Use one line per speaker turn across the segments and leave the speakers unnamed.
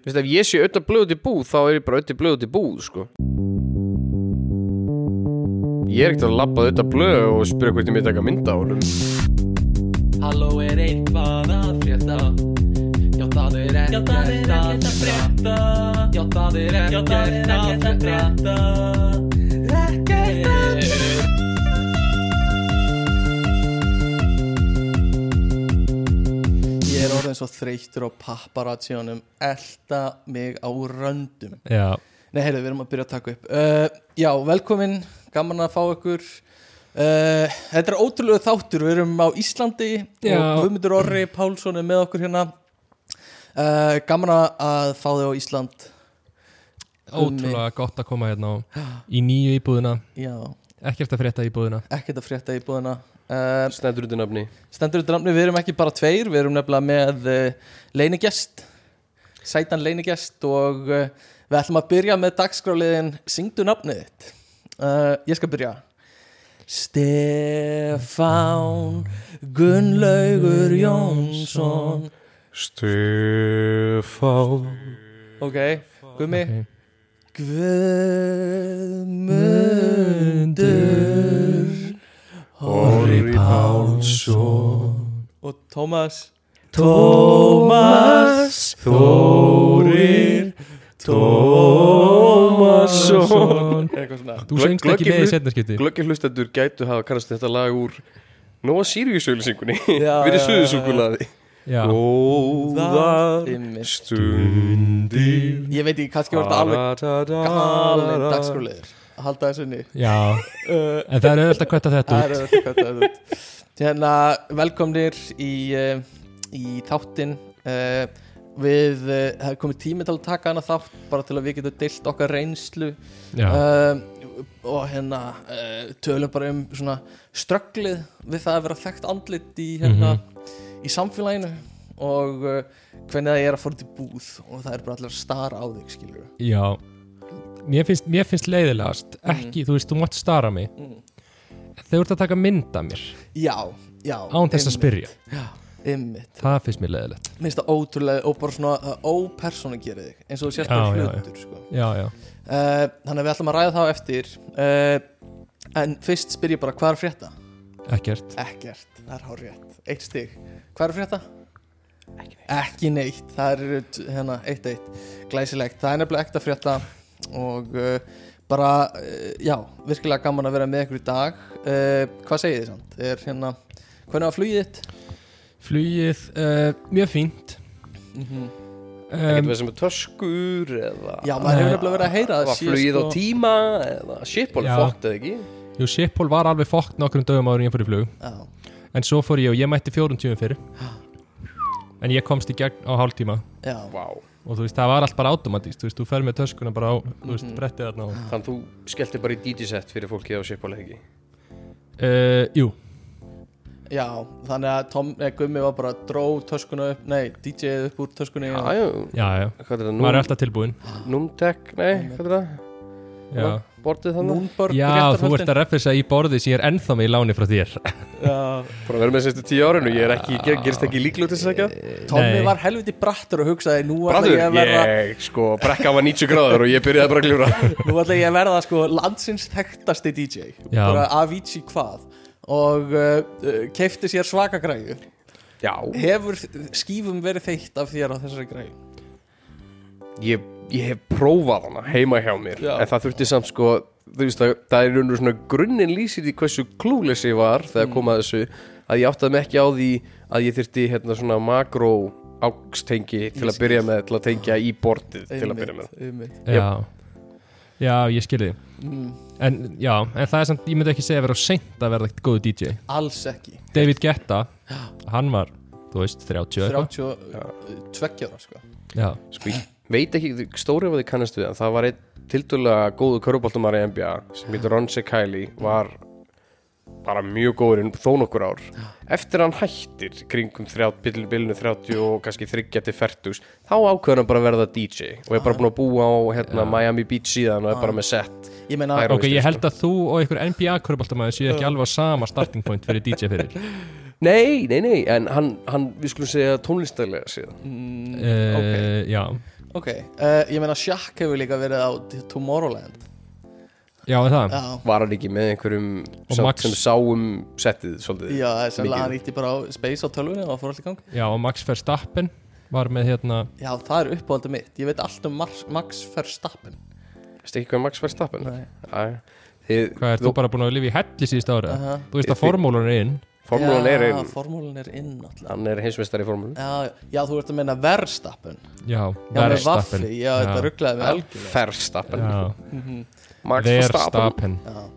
Vist, ef ég sé auðvitað blöð út í búð þá er ég bara auðvitað blöð út í búð sko. ég er ekkert að labba auðvitað blöð og spyrja hvernig mér taka mynda á honum
Halló er eitthvað að frétta Já það er ekkert að frétta Já það er ekkert að frétta Ekkert að frétta
Ég er orðin svo þreyttur á paparazziunum Elta mig á röndum
Já,
Nei, heyrðu, við erum að byrja að taka upp uh, Já, velkomin, gaman að fá ykkur uh, Þetta er ótrúlega þáttur Við erum á Íslandi
Já.
og Guðmundur Orri Pálsson er með okkur hérna uh, Gaman að fá þig á Ísland
ótrúlega gott að koma hérna og í nýju íbúðina,
Já,
ekkert að frétta íbúðina
ekkert að frétta í búðina uh,
snæður út í nafni
Stendur þetta namni, við erum ekki bara tveir Við erum nefnilega með uh, leinigest Sætan leinigest Og uh, við ætlum að byrja með dagskráliðin Syngdu nafnið þitt uh, Ég skal byrja Stefán Gunnlaugur Jónsson
Stefán
Ok, Gumi
Ok.
Guðmundur
Orri Pálsson
Og Tómas Tómas
Þórir Tómasson
Eitthvað svona
Þú syngst
glöggi
ekki með í
hlut-
setna skipti
Glöggir hlustendur gætu hafa kannast þetta lag úr Nóa Sirius auðlýsingunni
Já,
Verið
já,
suðusúkulaði
Já,
Góða
Einmitt.
stundir
Ég veit ekki, kannski var þetta alveg galinn dagskrúleður að halda þessu inni
já,
Uh,
en það er auðvitað að kvötta þetta
það er
út
auðvitað hvað það er þetta. hérna, velkomnir í, uh, í þáttinn uh, við, uh, það er komið tími til að taka hana þátt bara til að við getum deilt okkar reynslu
Já,
uh, og hérna uh, tölum bara um svona strögglið við það að vera þekkt andlit í, hérna, í samfélaginu og uh, hvernig það er að fóra til búð og það er bara allir að stara á þig skilur
já Mér finnst, mér finnst leiðilegast, ekki, þú veist, þú mátt stara mig
Mm.
Þau ert að taka mynd af mér
Já, já
án þess að
einmitt,
spyrja
Einmitt,
Það finnst mér leiðilegt
minnst það ótrúlega og bara svona ópersona gera þig eins og þú sérst
Já,
bara
já,
hlutur sko.
Já, já,
uh, Þannig að við ætlum að ræða þá eftir uh, En fyrst spyr ég bara hvað er að frétta?
ekkert
Ekkert, það er hár rétt Eitt stig, hvað er að frétta? Ekki neitt það er hérna, eitt eitt Glæsilegt, það er nefnilega ekkert að frétta Og uh, bara, uh, já, virkilega gaman að vera með ykkur í dag uh, Hvað segið þið samt? Er hérna, hvernig var flugið þitt?
Flugið, uh, mjög fínt
Mm
Ekkert
um,
verið sem er töskur eða
Já, maður hefur
Nei.
nefnilega verið að heyra að
Var
sé,
flugið á
sko-
tíma eða shipból
Já.
fótt eða ekki
Jú, Sipol var alveg fókt nokkrum dögum áður en ég fór í flug
Já,
En svo fór ég og ég mætti fjórum tíum fyrir En ég komst í gegn á hálftíma
já,
Vá
Og þú veist, það var allt bara automatist Þú veist, þú fer með töskuna bara á, þú veist, brettið þarna og
Þannig þú skellti bara í DJ-set fyrir fólkið á shipból eða ekki
uh, Jú,
já Þannig að Tom, eh, Gummi var bara dró töskuna upp, nei, DJ-ið upp úr töskunni og-
Jájú
já, já
Hvað er
Maður er
þetta?
alltaf tilbúinn
Numtek? Nei, hvað er það?
Já,
Bortið þannig?
Núnborg
já þú
réttarhöldin.
ert að refersa í borði sem ég er ennþá með í láni frá þér
Já.
Bara að vera með sérstu tíu árinu Ég er ekki, ger, gerst ekki líklu til þess að ekki
Tommi
Nei.
var helviti brattur og hugsaði nú ætla
Bræður,
ég að verða,
ég sko brekka var 90 gráður og ég byrjaði bara að gljúra
nú ætla ég að verða sko, landsins þekktasti DJ
Já.
bara Avicii hvað og uh, uh, keifti sér svaka græju
Já
hefur skífum verið þeitt af þér á þessari græju
ég, ég hef prófað hana heima hjá mér
Já.
en það þurfti samt sko þú veist að það er raunur svona grunnin lýsir í hversu klúles ég var þegar mm. kom að þessu að ég áttaði mig ekki á því að ég þurfti hérna svona makró ákstengi til að byrja með til að tengja í bortið til að byrja með
einmitt.
Jep.
Já, já, ég skilði
Mm,
En já, en það er samt, ég myndi ekki segja að vera seint að verða góðu DJ
alls ekki
David Guetta, hann var, þú veist, 30 eitthvað
32 ára sko
Já,
sko ég veit ekki, stórið var þið kannast við en það var einn tildulega góðu köruboltumar í NBA sem heitir Ron Sekæli var bara mjög góður en þó nokkur ár eftir að hann hættir kringum þrját, bilinu 30 og kannski 30 til 40 þá ákveður hann bara að verða DJ og er bara búin að búa á hérna, Miami Beach síðan og er bara með set
ég meina
Æra.
ok, ég held að þú og einhver NBA-körbóltamæður séu ekki alveg á sama starting point fyrir DJ fyrir
Mm.
nei, nei, nei, en hann, hann við skulum segja tónlistaglega síðan
uh, Eh, Já,
Ok, uh, ég meina Shaq hefur líka verið á Tomorrowland
Já, er það
Já,
Var hann ekki með einhverjum
Og
sem,
Max-
sem sáum settið svolítið
já það er sannlega
mikið.
hann ítti bara á Space á tölvunni og það fór allt í gang
Já, og Max Verstappen var með hérna
Já, það er uppáhaldið mitt, ég veit allt um Max, Max Verstappen
Veistu ekki hvað Max Verstappen er?
Nei.
Æ, Þið,
Hvað er þú bara búin að lifa í helli síðust ára?
Aha.
Þú veist að formúlan er inn
formúlan
já,
er einn
Formúlan er inn alltaf
Hann er heimsmeistari í formúlan
Já, já, þú ert að meina Verstappen
Já,
Já, með
Verstappen
vaffi, já, þetta rugglaði mig algjör
Verstappen
Já,
Max Verstappen
Verstappen
Mhm. Já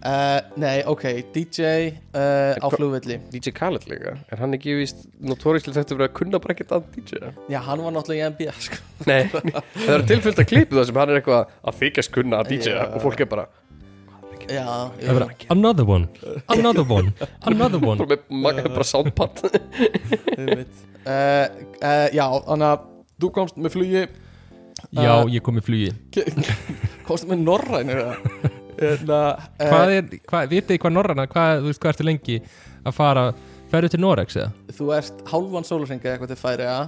Uh, nei, ok, DJ uh, á
hva-
flugvelli
DJ Khaled líka Er hann ekki víst notóriðslega þetta fyrir að kunna bara ekkert að DJ
Já, hann var náttúrulega í NBA sko.
Nei, það er tilfyllt að klipu það sem hann er eitthvað að þykjast kunna að DJ
Já.
og fólk er bara
Já,
Það
já,
verður Another one, another one, another one
bara með maga bara soundpad
einmitt. uh, uh, já þannig að þú komst með flugi
Já,
Uh,
ég kom í flugi
komst með norrænir Hérna
Hvað er, hvað, vitið þið hvað norrana, hvað, þú veist hvað ertu lengi að fara Ferðu til Norex eða?
Þú ert hálfan sólarsengi eitthvað til færiða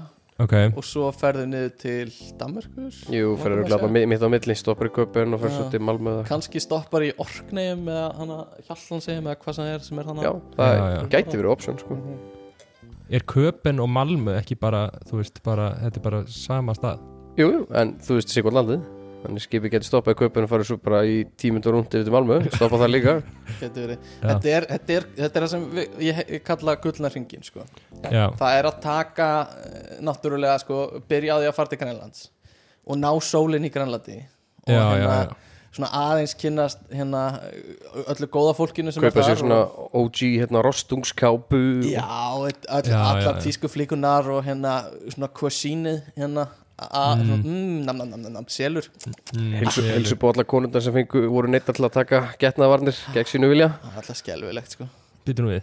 Ok,
og svo ferðu niður til Danmarkur
Jú, fyrir að glata mitt á milli stoppar í köpun og fyrir
Já.
svo til Malmöða
Kanski stoppar í Orkneim eða hana Hjallansheim eða hvað sem er sem er hana
Já, það
Já, já.
gæti verið option sko.
er Köpen og Malmö ekki bara, þú veist, bara, þetta er bara sama stað
Jú, jú, en þú veist sikkert landið Þannig skipi getur stoppað í köpun og farið svo bara í tímundur rúndi yfir til Malmö Stoppa það líka
Þetta er, þetta, er, þetta, er, þetta er það sem við, ég, ég kalla gullna hringin sko.
Já,
Það er að taka eh, náttúrulega sko, byrja á því að fara til Grænlands og ná sólinn í Grænlandi og hérna
Já, já, já.
svona aðeins kynnast hérna eh, öllu góða fólkinu sem
Kaupa
er
sér
þar
svona
og,
OG hérna rostungskápu
Já, öll, öll,
Já,
allar
já, já.
tísku flíkunar og hérna svona kusínið hérna a- svona, mm, nam, nam, nam, nam, nam, selur
Mm.
Hilsu, hilsu búið alla konundar sem fengu voru neittar til að taka getnaðvarnir gegn sínu vilja
Það er alltaf skelvilegt sko
býtum við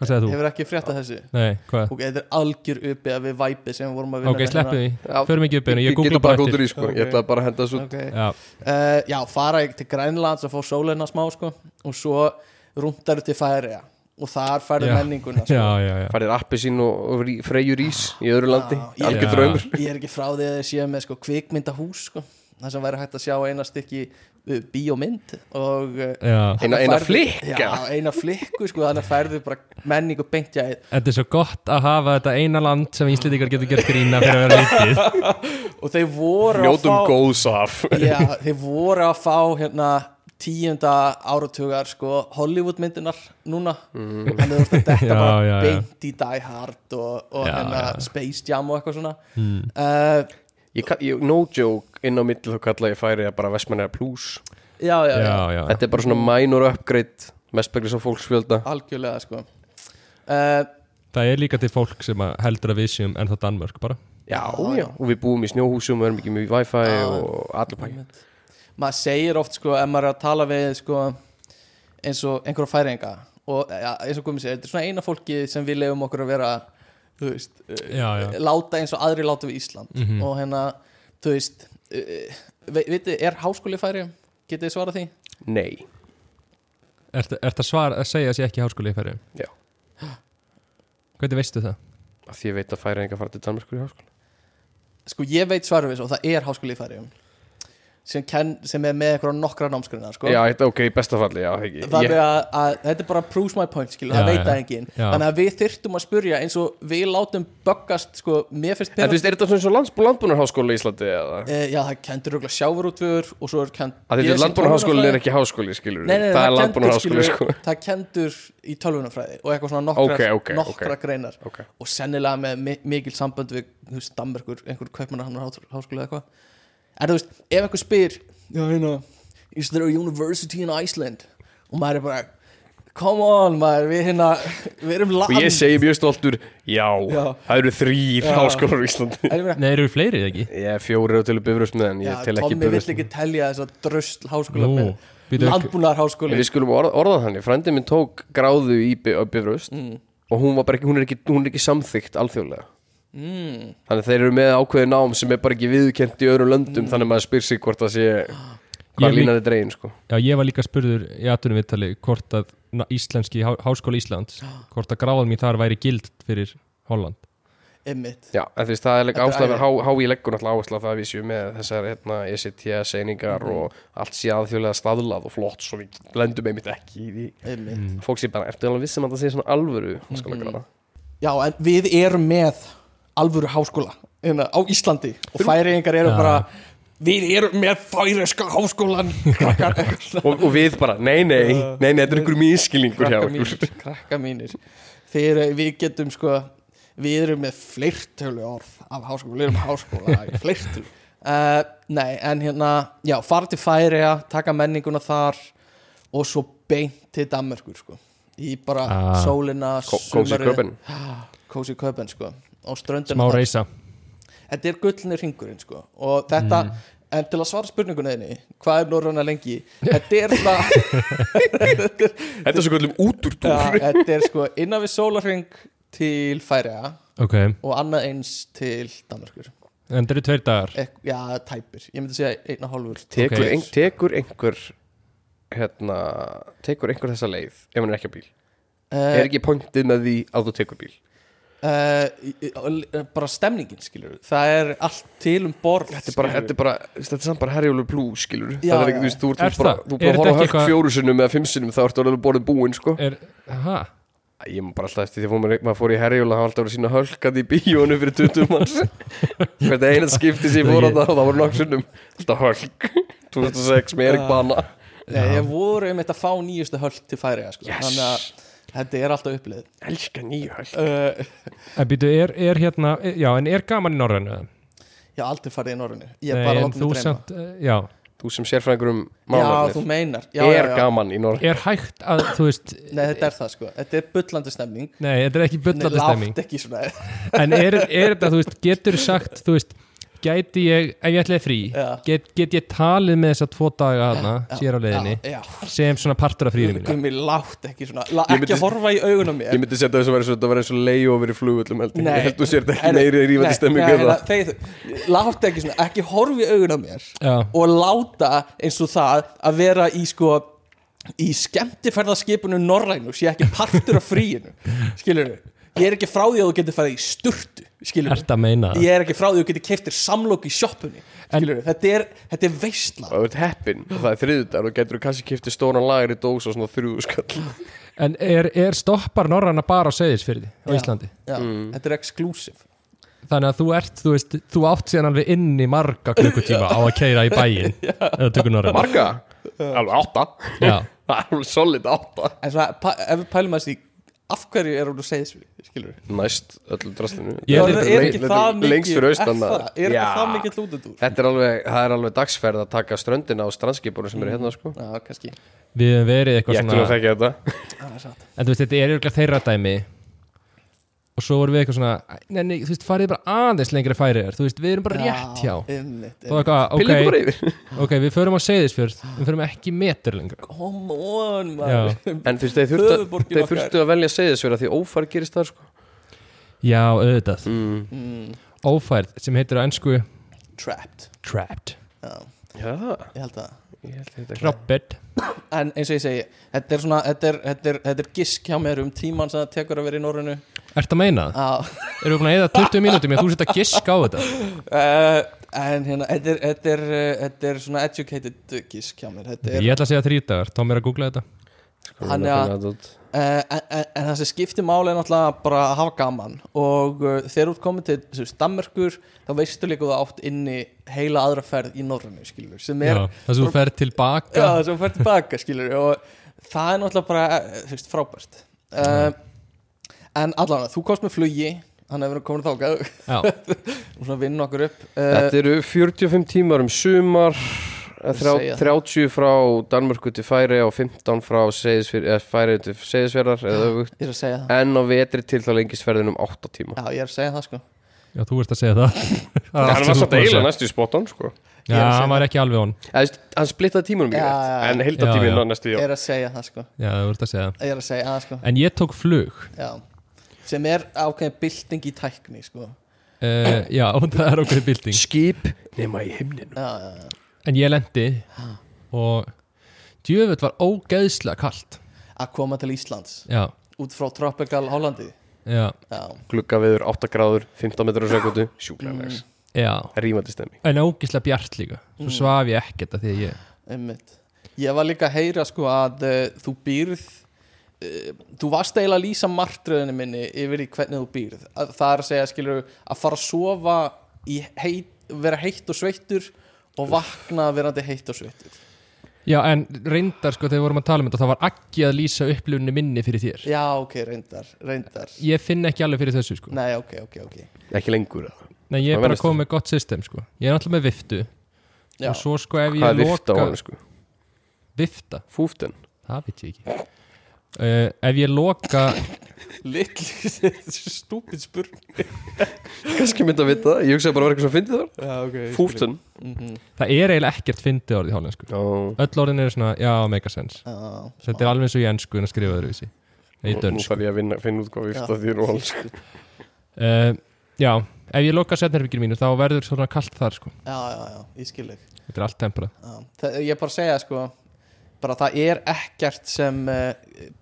Hvað segir þú?
Hefur ekki frétt að þessu
Nei, hvað?
Ok, þetta er algjör uppi að við væpi sem við vorum að vinna
Ok,
með
sleppu
hérna.
því,
Já.
förum ekki upp einu, ég
Ég
googla
geta
bara
bara góður
eftir
í sko,
Ok.
ég ætla bara að henda þessu
Ok.
Já,
uh, já, fara í- til Grænlands og fá sólina smá sko, og svo rúndaru til Færiða og þar færðu
Já.
menninguna sko.
já, já, já
Færðir appi sín og, og rí- freyjur ís í öðru landi
Já, ég-
Algjör
Já.
draumur
ég er ekki frá því að þið séu með sko, kvikmyndahús sko. það sem væri hægt að sjá eina stykki uh, bíómynd og uh,
Já,
Eina- eina flikka.
já, eina flikku sko, þannig að færðu bara menningu beint í æð
Þetta er svo gott að hafa þetta eina land sem Íslendingar getur gert grína fyrir að vera lítið
og þeir voru
Njótum
að fá
góðs af
já, þeir voru að fá hérna tíunda áratugar sko, Hollywood myndinar núna mm. en þú veist að þetta
Já,
bara
já, já.
beint í Die Hard og, og
Já,
hérna,
já.
Space Jam og eitthvað svona mm. uh,
ég, ka- ég, No joke, inn á milli þá kalla ég færi bara Vestmannera Plus
já, já, já,
Já, já, já,
Þetta er bara svona minor upgrade Mestbeglis á fólksfjölda
algjörlega sko uh,
það er líka til fólk sem að heldur að við séum en þá Danmörk bara
Já, já, og við búum í snjóhúsum Við erum ekki mjög wifi
Já.
og allir pakki
maður segir oft sko ef maður er að tala við sko eins og einhverja færinga og ja, eins og Guðmi segir, þetta er svona eina fólki sem við lefum okkur að vera þú veist, eh,
Já, já, Mhm.
láta eins og aðri láta við Ísland og hérna, þú veist uh, veitir, er háskóli færi getið þið svarað því?
Nei,
ertu ert að svara að segja að sé ekki háskóli í færi
Já.
Hvernig veistu það?
af því ég veit að færi enga fara til Danmarkur í háskóla
Sko ég veit svarað við þessu og það er háskóli færi sem, ken, sem er með einhverja nokkra námskrinar sko.
Já, þetta ok, í besta falli, já, ekki
Þannig
Ég-
að, að þetta er bara proves my point skilu,
Já,
það veit
já.
það enginn
Já.
Þannig að við þyrftum að spurja eins og við látum böggast sko, mér finnst
En
pirrandi-
þú veist, er þetta svona eins og landsbú, landbúnarháskóla í Íslandi eða?
Uh, já, það kendur auðvitað sjávarútvöður og svo er kend...
Að þetta er
Ég sé
landbúnarháskólin er
tölvunarfræði.
ekki háskóli, skilur
Nei, nei, nei,
Það er
kendur,
landbúnarháskóli,
skilur,
sko
Það kendur í tölvunarfræði og eitthvað svona nokkrar,
Ok, ok,
nokkrar
ok.
greinar
Ok.
og sennilega með mi mikil sambönd við, þú veist, Danmerkur, einhver kaupmannar háskóli eða eitthvað En þú veist, ef einhver spyr Já, hérna, is there a university in Iceland? Og maður er bara Come on, maður, við hérna Við erum land
Og ég segi mjög stoltur, já,
Já.
það eru þrýr
Já.
háskólar í Íslandi
En ég meina,
Nei, eru fleiri eða ekki?
Ég er fjóri á til bifrösmið en
Já,
ég tel ekki
Tommi vill
bifrösmið
ekki telja þess að drösl háskóla
Nú, býtu,
Landbúnaðar
Við skulum orða, orða þannig, frændi minn tók gráðu í bi- á bifröst og hún, var bara ekki, hún, er ekki, hún er ekki samþykkt alþjóðlega
mm.
Þannig að þeir eru með ákveðið nám sem er bara ekki viðkent í öðrum löndum Þannig að maður spyr sig hvort það sé
Ég
hvað
lík-
línan er dregin sko.
Já, ég var líka spurður í aðtunum viðtali hvort að na- íslenski há, háskóli Íslands hvort að gráðum í þar væri gild fyrir Holland
Einmitt
Já, en þú veist, það er
Þetta
líka
er
ástæðan
æði.
há, há í leggur náttúrulega áhersla á það að við séum með þessar hérna, ECT-seiningar og allt sé aðþjóðlega staðlað og flott svo við blendum einmitt ekki í því
Einmitt
Fólk sé bara, ertu alveg vissum að það sé svona alvöru háskólagráða?
Já, en við erum með alvöru háskóla hérna, á Íslandi og færiðingar eru
Já.
bara við erum með færiðska háskólan krakkar
og, og við bara, nei, nei, nei, nei, þetta er einhverjum ískilingur hjá
krakka
okkur
mínir, krakka mínir. Þeir, við getum sko við erum með fleirtölu orð af háskóla, við erum háskóla í fleirtölu uh, nei, en hérna já, fara til Færiða, taka menninguna þar og svo beint til Danmörkur sko, í bara
Ah.
sólina,
Kó- kósí Köben.
kósi köpen sko, og ströndin
smá reysa
þetta er gullni ringurinn sko og þetta,
Mm.
en til að svara spurningunni þinni, hvað er norræna lengi þetta er svona
Þetta er svo kvöldum út úr
ja,
dúr
þetta er sko innan við sólarring til Færiða
ok,
og annað eins til Danmarkur
en þetta eru tveir dagar
Ek, já, tæpir, ég myndi segja einna hálfur
tekur,
Ok.
ein, tekur einhver hérna, tekur einhver þessa leið ef hann er ekki á bíl
uh,
Er ekki pointið með því að þú tekur bíl?
uh, eh, bara stemningin skilur það er allt til um borð
Þetta er bara, þetta er bara, þetta er samt bara herjólur blú, skilur
Já,
Það er
já,
ekki, þú veist, þú ert
Er
þú ert bara,
það?
þú
Er
ert bara að horfa
þetta
á högg
ekki eitthvað- Eh.
fjóru sinnum eða fimm sinnum þá ertu alveg borðið búinn, sko
er, aha,
Æ, Ég maður bara alltaf eftir því að maður, maður fór í herjóla þá var alltaf að sína hölkað í bíónu fyrir 20 manns Hvert eina skipti sem ég fór á það og það voru nokk sinnum Alltaf hölk 2006 með Erik Bana
Nei, ég voru um þetta að fá nýjustu höll til Færiða sko.
Yes.
þannig að þetta er alltaf upplið
Elska nýju hölk
uh,
en býtu, er, er hérna e- já, en er gaman í norrænu
ég hef aldrei farið í Norrönu ég er
Nei,
bara
en
látið
þú
mig dreyma
samt, eh, já,
Þú sem sérfræðingur um
Já, þú
málefnið
meinar já, já,
Er
já.
gaman í Norr
er hægt að þú veist,
Nei, þetta er það sko, þetta er bullandi stemning
nei, þetta er ekki bullandi stemming
Látt ekki svona
en er, er þetta, þú veist, getur sagt þú veist, gæti ég, ef ég ætlaði frí
Já.
get, get ég talið með þessa tvo daga hana, sér á leiðinni
Já,
sem svona partur af fríðinu
já
mínu
Gumi, látt ekki svona La,
Ég
Ekki
myndi-
horfa í augunum
Ég
mér
myndi setja þess að vera svo, þetta var eins og leiðofur í flugvöllum held ég.
Nei.
Ég held þú sér þetta ekki
Herru,
meiri
nei,
rífandi
nei,
stemmingu en það.
nei, þeir- Látt ekki svona, ekki horfa í augunum mér
Já.
Og láta eins og það að vera í sko Í skemmtifærðaskipunum norrænu Sér ekki partur af fríinu Skilur Ég er ekki frá því að þú getur farið í sturtu Skilur
Ertu að meina það?
Ég er ekki frá því að þú getur keiftir samlók í sjoppunni Skilur Þetta er, þetta er veistla
og þú ert heppin og það er þriðudagur og getur þú kannski kiptið stóran lagar í dós og svona þrjúðu skall
En er, er stoppar norræna bara á segðisfyrði á
Já.
Íslandi?
Já,
Mm.
þetta er exclusive
Þannig að þú ert, þú veist, þú átt síðan alveg inn í marga klukkutíma á að keira í bæin eða tökur norræna
marga, alveg átta
Já.
það er alveg solid átta
En svona, pa- ef við pælum að því Af hverju er hún að segja þessu Skilur við
næst öllu drastlinu
Ég
Er
held
Þetta
að-
ekki
le-
það
þetta
mikið
lengst fyrir austan
Er
maður.
það, er
Já.
ekki það mikið lútið úr
þetta er alveg, það er alveg dagsferð að taka ströndina á strandskipunum sem eru hérna sko
Já, kannski
Við hefum verið eitthvað
ég ætti nú að
svona
þekka þetta
En þú veist, þetta er eitthvað þeirra dæmi Og svo vorum við eitthvað svona æ, Nei, nei, þú veist, farið bara aðeins lengri færið Þú veist, við erum bara rétt hjá
einmitt,
Þá var eitthvað,
pillið
ok,
bara yfir
Ok, við förum á Seyðisfjörð, við förum ekki metur lengra
Come on, maður
en þú veist, þeir þurftu, að-
Höfuðborgin
þeir
okkar.
þurftu að velja segðisverða því ófær gerist það sko
Já, auðvitað
Mm.
Ófærð, sem heitir á ennsku
Trapped
Trapped
Já,
já,
ég held það
ég held þetta ekki
Trapped
En eins og ég segi Þetta er svona, þetta er, þetta er, þetta er gisk hjá mér um tíman sem það tekur að vera í norrinu
Ertu að meina það?
Já
Erum við búin að eða 20 mínútum í að þú setja gisk á þetta?
uh, En hérna, þetta er, þetta er, uh, þetta er svona educated gisk hjá mér Þetta er
Ég ætla að segja þrítagar, Tom er að googla þetta
Hann er að-
Sko,
Uh, en, en, en það sem skiptir máli er náttúrulega bara að hafa gaman og uh, þegar þú ert komin til stammerkur þá veistu líka að þú átt inni heila aðra ferð í norrunni skilur sem er,
Já, Það sem þú fer
já,
tilbaka
já sem fer tilbaka skilur og það er náttúrulega bara uh, þú veist, frábært uh, en allavega þú komst með flugi hann hefur komin þákað og
Já,
svona vinn okkur upp uh,
Þetta eru 45 tímar um sumar eh,
Ég
þrjá-
segi það.
30 frá Danmörku til Færi og 15 frá Færi til Seyðisverðar eða öfugt.
ég er að segja það
en á vetri til þá lengist ferðin um 8 tíma
já ég er að segja það sko
já þú ert að segja það Það er allt
Hann
sem
var samt
þú ert að
eiginlega
segja.
næstu í spotan sko.
Ég
Já,
er að segja
hann var ekki alveg on
Eða, þú veist, Hann splittaði tímunum í
Já,
rétt
já, já.
En
Já,
heildatíminn
já.
var næstu í
ég er að segja það sko
Já, þú ert að segja það
ég er að segja það sko
En ég tók flug
já sem er ákveðin bylting í tækni sko
uh, Já, það er okkur bilding
Skip nema í himninu
já já já
En ég lendi Og djöfut var ógeðslega kalt
að koma til Íslands
Já,
út frá Tropical Hollandi
já,
já,
glugga viður 8 gráður, 15 metrur á Mm. sekundu sjúklega næs,
já
rímandi stemmi
en ógislega bjart líka svo
Mm.
svaf ég ekkert að því að ég
einmitt Ég var líka að heyra sko að uh, þú býrð uh, þú varst eiginlega að lýsa martröðinu minni yfir í hvernig þú býrð að, það er að segja skilur að fara að sofa í heit, vera heitt og sveittur og vakna verandi heitt og sveittur
já, en reyndar sko þegar við vorum að tala um þetta þá var ekki að lýsa upplifunni minni fyrir þér
Já, ok, reyndar, reyndar
ég finn ekki alveg fyrir þessu sko
Nei, ok, ok, ok
ekki lengur eða?
Nei, ég er
Hvað
bara
venjast
komið með gott system sko. Ég er náttúrulega með viftu
Já,
Og svo sko ef
hvað
ég
er vift á
loka
hann sko?
Vifta,
fúften,
það veit ég ekki uh, Ef ég loka
litli, þessi stúpid spurning
kannski myndi að vita það ég hugsaði bara að vera eitthvað sem fyndi það
Já, ok
fúften
Mhm.
Það er eiginlega ekkert fyndið orðið í hálflensku
nú
Öll orðin eru svona, já, make a sense
Já,
Þetta er alveg eins og ég ennsku en að skrifa öðru í sí Í
nú
dönsku
þarf ég að vinna, finna út hvað vift
Já.
að því nú alls
uh, Já, ef ég loka setnherbyggir mínu þá verður svona kalt þar sko
já, já, já, ég skil þig
Þetta er allt temperað
Já, það, ég er bara að segja sko bara það er ekkert sem uh,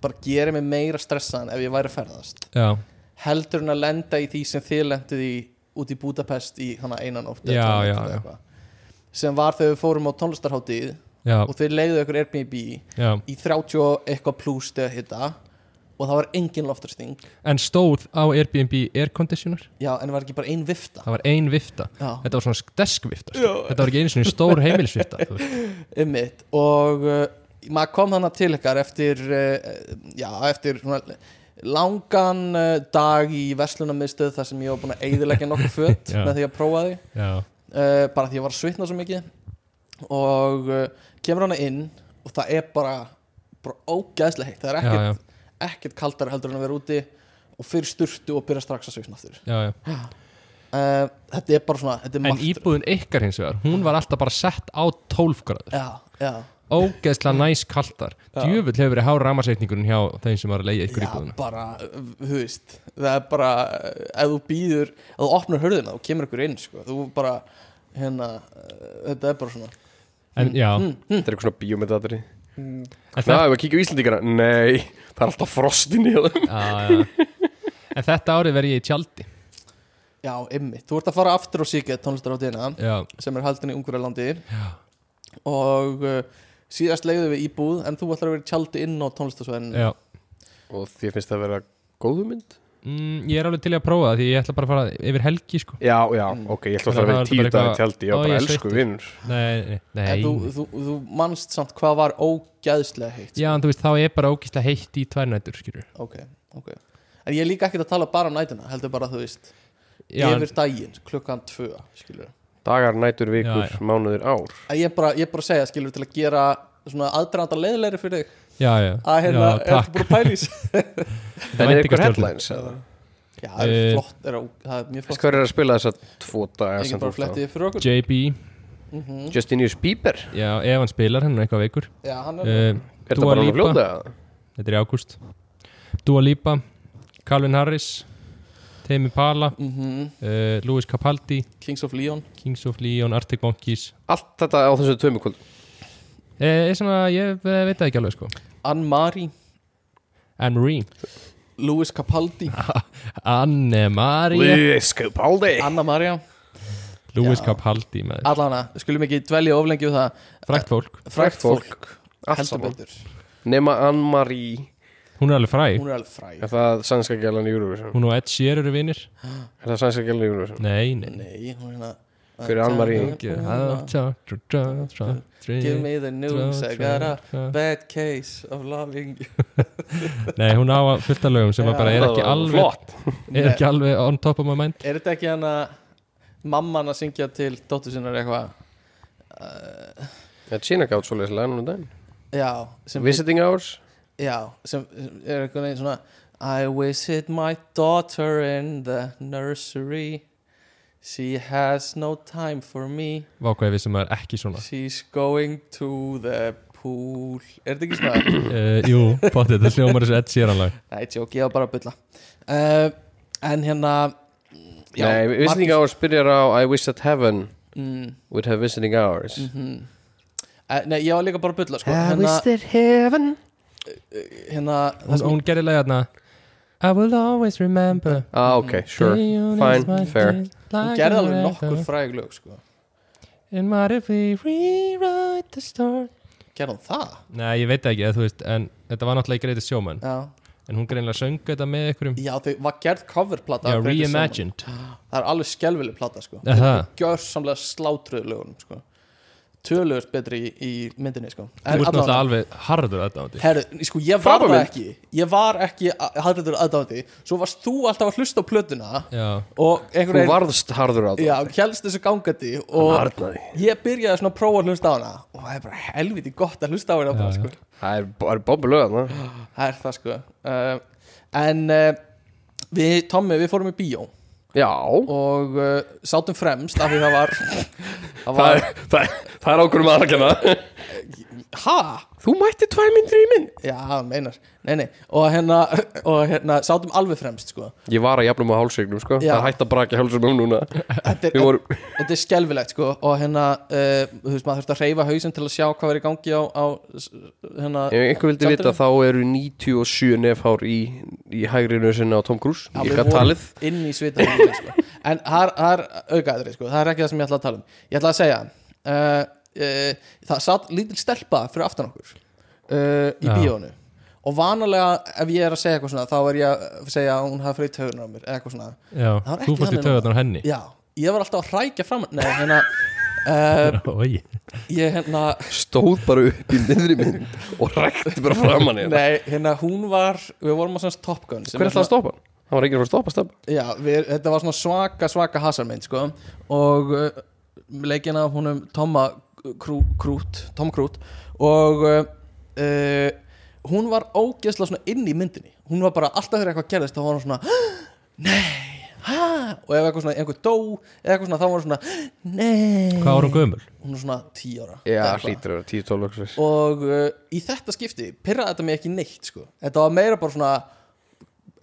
bara gerir mig meira stressaðan ef ég væri að ferðast
Já,
heldur en að lenda í því sem þið lenduð í út í Budapest í hana einan ótt
Já, já, já.
sem var þegar við fórum á tónlistarháttið
já,
og þeir leiðu ykkur Airbnb í
já
30 og eitthvað plus þegar hitta og það var engin loftræsting
En stóð á Airbnb air conditioner
já, en var ekki bara ein vifta
Það var ein vifta
já,
Þetta var svona deskvifta sko. Þetta var ekki einu svona stór heimilisvifta þú veist.
Einmitt. um og uh, maður kom þannig til ykkar eftir uh, já, eftir svona langan uh, dag í verslunarmiðstöð þar sem ég var búin að eyðilegja nokkuð föt
Já.
með því að prófa því
Já,
uh, bara því ég var að svitna svo mikið og uh, kemur hana inn og það er bara, bara ógæðslega heitt, það er
já, já
ekkert, ekkert kaldar heldur en að vera úti og fyrir sturtu og byrja strax að svitna aftur
Já, já.
uh, þetta er bara svona, þetta er
En
margt
íbúðin ykkar hins vegar, hún var alltaf bara sett á 12 gráður,
já, já,
ógeðslega næs kaltar djöfull hefur verið há ramarsreikningunum hjá þeim sem var að leiða ykkur
Já, Mm.
íbúðuna
bara, þú veist það er bara, ef þú býður ef þú opnar hörðina, þú kemur ykkur inn sko. þú bara, hérna eh, þetta er bara svona
En já,
Mm.
þetta er eitthvað svona bíómyndatri
en,
Ná,
það,
ef við kíkjum í Íslandíkana, nei það er alltaf frostin í það
já, já. en þetta árið verið ég í tjaldi
já, ymmi, þú ert að fara aftur og síkja tónlistaráttina
Já,
sem er haldin í Ungverjalandi og uh, síðast leiðu við íbúð en þú ætlar að vera í tjaldi inn á tónlistarsvæðinu
já
og því finnst það að vera góðu mynd
mm, Ég er alveg til í að prófa það því ég ætla bara að fara yfir helgi sko
já, já,
Hmm.
ok, ég ætla að það að
Það
vera
er
tíu
bara
dagar
eitthvað-
í tjaldi ég
Ó,
var
ég
bara
er
elsku
sveittur.
vinnur
Nei, nei, nei
en þú, þú, þú manst samt hvað var ógæðslega heitt
Já, en þú veist, þá er bara ógeðslega heitt í tværnætur, skilur
ok, ok en ég er líka ekkert að tala bara um nætuna heldur bara, þú veist,
Já, en-
yfir daginn klukkan tvö, skilur
dagar, nætur, vikur,
Já, já.
mánuðir, ár
að ég er bara, ég er bara að segja, skilur, til að gera svona aðdraðanda leiðilegri fyrir þig
já, já,
að hérna,
já,
er þú
takk
búin að pælís
en er ykkur
Væntingastjórnun.
headlines eða?
já, það er
Eh,
flott, er, á- það er mjög flott
Hver er að spila þess að tvo dagar
ég
sem þú
er bara að
ert á?
fletti fyrir okkur Mhm.
JB,
Justinius Bieber
já, ef hann spilar, hann er eitthvað veikur
já, hann er,
uh,
Er það bara hann að fljóta? eða?
Þetta er í ágúst Dua Lipa, Calvin Harris Temi Pala
mm
uh, Louis Capaldi,
Kings of Leon
Kings of Leon Arctic Monkeys
Allt þetta á þessu tömukvöld
eh, er svona, Ég eh, veit það ekki alveg sko
Anne-Marie,
Anne-Marie
Louis Capaldi
Anne-Marie
Luis Capaldi
Anna-Maria,
Louis
Já.
Capaldi með
allana, skulum ekki dvelja oflengi við það,
frækt fólk
Frægt
frækt
fólk.
fólk
Allt
heldur
saman
betur,
Nema Ann-Marie
Hún er alveg fræg
Eh.
hún er alveg fræg
Er það sænska gælan í Eurovision?
Hún og Ed Sheer eru vinnir
Er það sænska gælan í Eurovision?
Nei, nei
nei, hún er hérna
Hver er Anne-Marie?
give
Give
me the news, I got a bad case of loving you
Nei, hún á að fullt af lögum sem að bara er
Það
ekki
var
alveg
Flott
er ekki alveg on top of my mind
Er þetta ekki hann að mamman að syngja til dóttur sinnar eitthvað uh,
Það er Sina gátt svoleiðis læn og daginn
Já, sem,
Visiting Hours
já, sem sem er eitthvað neginn svona I visit my daughter in the nursery She has no time for me
Vákvæði sem er ekki svona
She's going to the pool Er þetta ekki svona?
uh, Jú, potið, þetta hljómar þessu Ed Sheeran lag
Nei, tjók, ég var bara að bylla uh, En hérna já,
Nei, Visiting
Markus-
Hours byrjar á I wish that heaven
mm,
would have visiting hours
mhm. Eh, Nei, ég var líka bara að bylla sko.
that heaven
hérna, það
Hún,
sem
hún gerir lag hérna I will always remember
Ah,
Mm.
ok, sure,
Day
fine, fair
Hún gerði alveg nokkur fræg lög sko.
And what if we rewrite the story
Gerði hún það?
Nei, ég veit ekki, eða þú veist En þetta var náttúrulega í Greatest Showman
Já,
En hún greinlega söng þetta með einhverjum
já þau var gerð coverplata
Já,
af Greatest Showman.
reimagined
Það er alveg skelvileg plata sko.
Er það?
Gjörsamlega slátruðu lögunum sko. Tölugust betri í, í myndinni sko.
Þú ert náttúrulega
allavega-
alveg harður þetta átti
Herru, sko, ég var
Frábær
það
mynd.
ekki Ég var ekki harður aðdáðandi Svo varst þú alltaf að hlusta á plötuna
Já,
Og
Þú
einhvern
varðst harður á
Já, helst þessu gangandi
það
Og
Harnaði
ég byrjaði svona að prófa að hlusta á hana Og það er bara helviti gott að hlusta á hana bara,
Já,
sko.
Það er, það er bobbi lögðan
Það er það sko uh, En uh, við, Tommi, við fórum í bíó
Já
Og uh, sátum fremst Af því það var Það
Það
var,
er, það er, það er hérna. ákvörðum að aðkjanna
ha?
Þú mætti tvær myndir í mynd
Já, það meinar Nei, nei, og hérna, og hérna sátum alveg fremst sko.
Ég var að jafnum á hálsíknum sko
Já.
Það er hægt að braka hálsíknum núna
þetta, er,
Við vorum
þetta er skelfilegt sko. Og hérna, uh, þú veist, maður þurfti að reyfa hausinn Til að sjá hvað var í gangi á, á s- hérna,
Ef einhver vildi
Samt er
vita þá eru 97 nefhár í, í hægrinu sinna á Tom Cruise
Já,
Ég
við
gæt
vorum
talið
inn í svitaherbergi, sko. en það er- það er aukaðri sko. það er ekki það sem ég ætla að tala um ég ætla að segja uh, uh, það satt lítil stelpa fyrir aftan okkur uh, í
Já.
bíónu og vanalega ef ég er að segja eitthvað svona þá er ég að segja að hún hafi fyrir tögunar á mér eða eitthvað svona
já,
Það var
þú
ekki
fórst í
þannig
töðarnar henni
já, ég var alltaf að hrækja fram nei, hérna uh,
Ói,
ég hérna
Stóð bara upp í miðri mynd Og rækti bara framan í hérna
Nei, hérna hún var, við vorum á svona Top Gun sem
Hver ætlaði
hérna- er
að
svona-
stoppa hann? Það var enginn að fara að stoppa stefn
Já, við, þetta var svona svaka, svaka hasarmynd sko. og uh, leikin af húnum Toma Krú, Krút, Tom Krút og uh, uh, hún var ógeðslega svona inn í myndinni hún var bara alltaf þegar eitthvað gerðist þá var hún svona nei, hæ og ef eitthvað svona, einhver dó eða eitthvað svona, þá var hún svona nei
hvað var hún gömul?
hún var svona 10 ára
Já,
eða eitthvað.
hlýtur að vera 10-12 vöksir
og uh, í þetta skipti pyrraði þetta mig ekki neitt sko. þetta var meira bara svona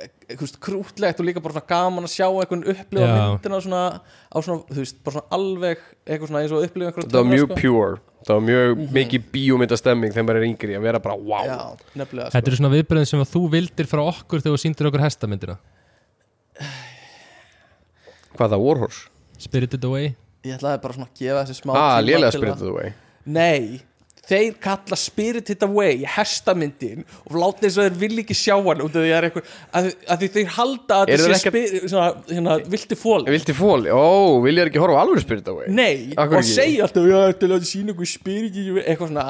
e- e- þú veist, krútlegt og líka bara svona gaman að sjá einhvern upplifa
Já.
myndina svona, á svona, þú veist, bara svona alveg eitthvað svona eins og upplifa einhverja sko.
Þetta var
töfra,
mjög pure Það var mjög mikið bíómyndastemming þegar maður er yngri að vera bara wow
Mhm. Já, nefnilega
Þetta
sko.
eru svona viðbröðin sem að þú vildir frá okkur þegar þú sýndir okkur hestamyndina
Hvað það, Warhorse?
Spirited Away
Ég ætlaði bara svona að gefa þessi smá
Ah,
tíma
lélega
til að-
spyrðu þú vei
Nei, þeir kalla Spirited Away hestamyndin og láta eins og þeir vilja ekki sjá hann út af því að það er einhver að, að því þeir halda að
Eru
þetta
þeir
sé spiri, svona, hérna, vilti fól
Vilti fól, ó, viljar ekki horfa á alveg spyrir þetta vei
Nei,
Af hverju
og
ekki?
segja alltaf Já, þetta er að sína ykkur spirit í- Eitthvað svona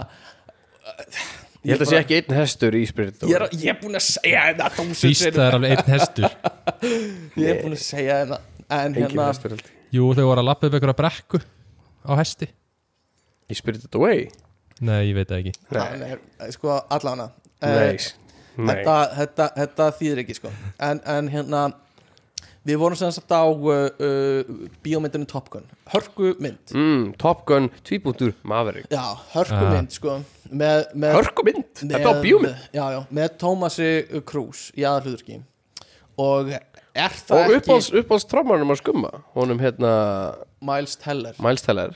Ég held að sé ekki einn hestur í spyrir
Ég
þetta
er, ég er búin að segja þetta þúsund
Víst það
sinnum.
er alveg einn hestur
Ég er búin að segja þetta En
Engin
hérna
hestur held ég.
Jú, þau voru að lappa upp einhverja brekku á hesti
Í spyrir þetta vei
Nei, ég veit það ekki
hann er, Sko, allana
Nei, nei
Eh, þetta, þetta, þetta þýðir ekki sko En, en hérna Við vorum sem sagt á uh, uh, Bíómyndinu Top Gun Hörku mynd
mm, Top Gun, tvíbúntur, Maverick
Já, hörku
Ah.
mynd sko með, með,
Hörkumynd, þetta var bíómynd
Já, já, með Thomasi Krús Í aðalhlutverki Og er það
Og
ekki
uppáhalds, uppáhalds trámanum að skumma Honum hérna,
Miles Teller
Miles Teller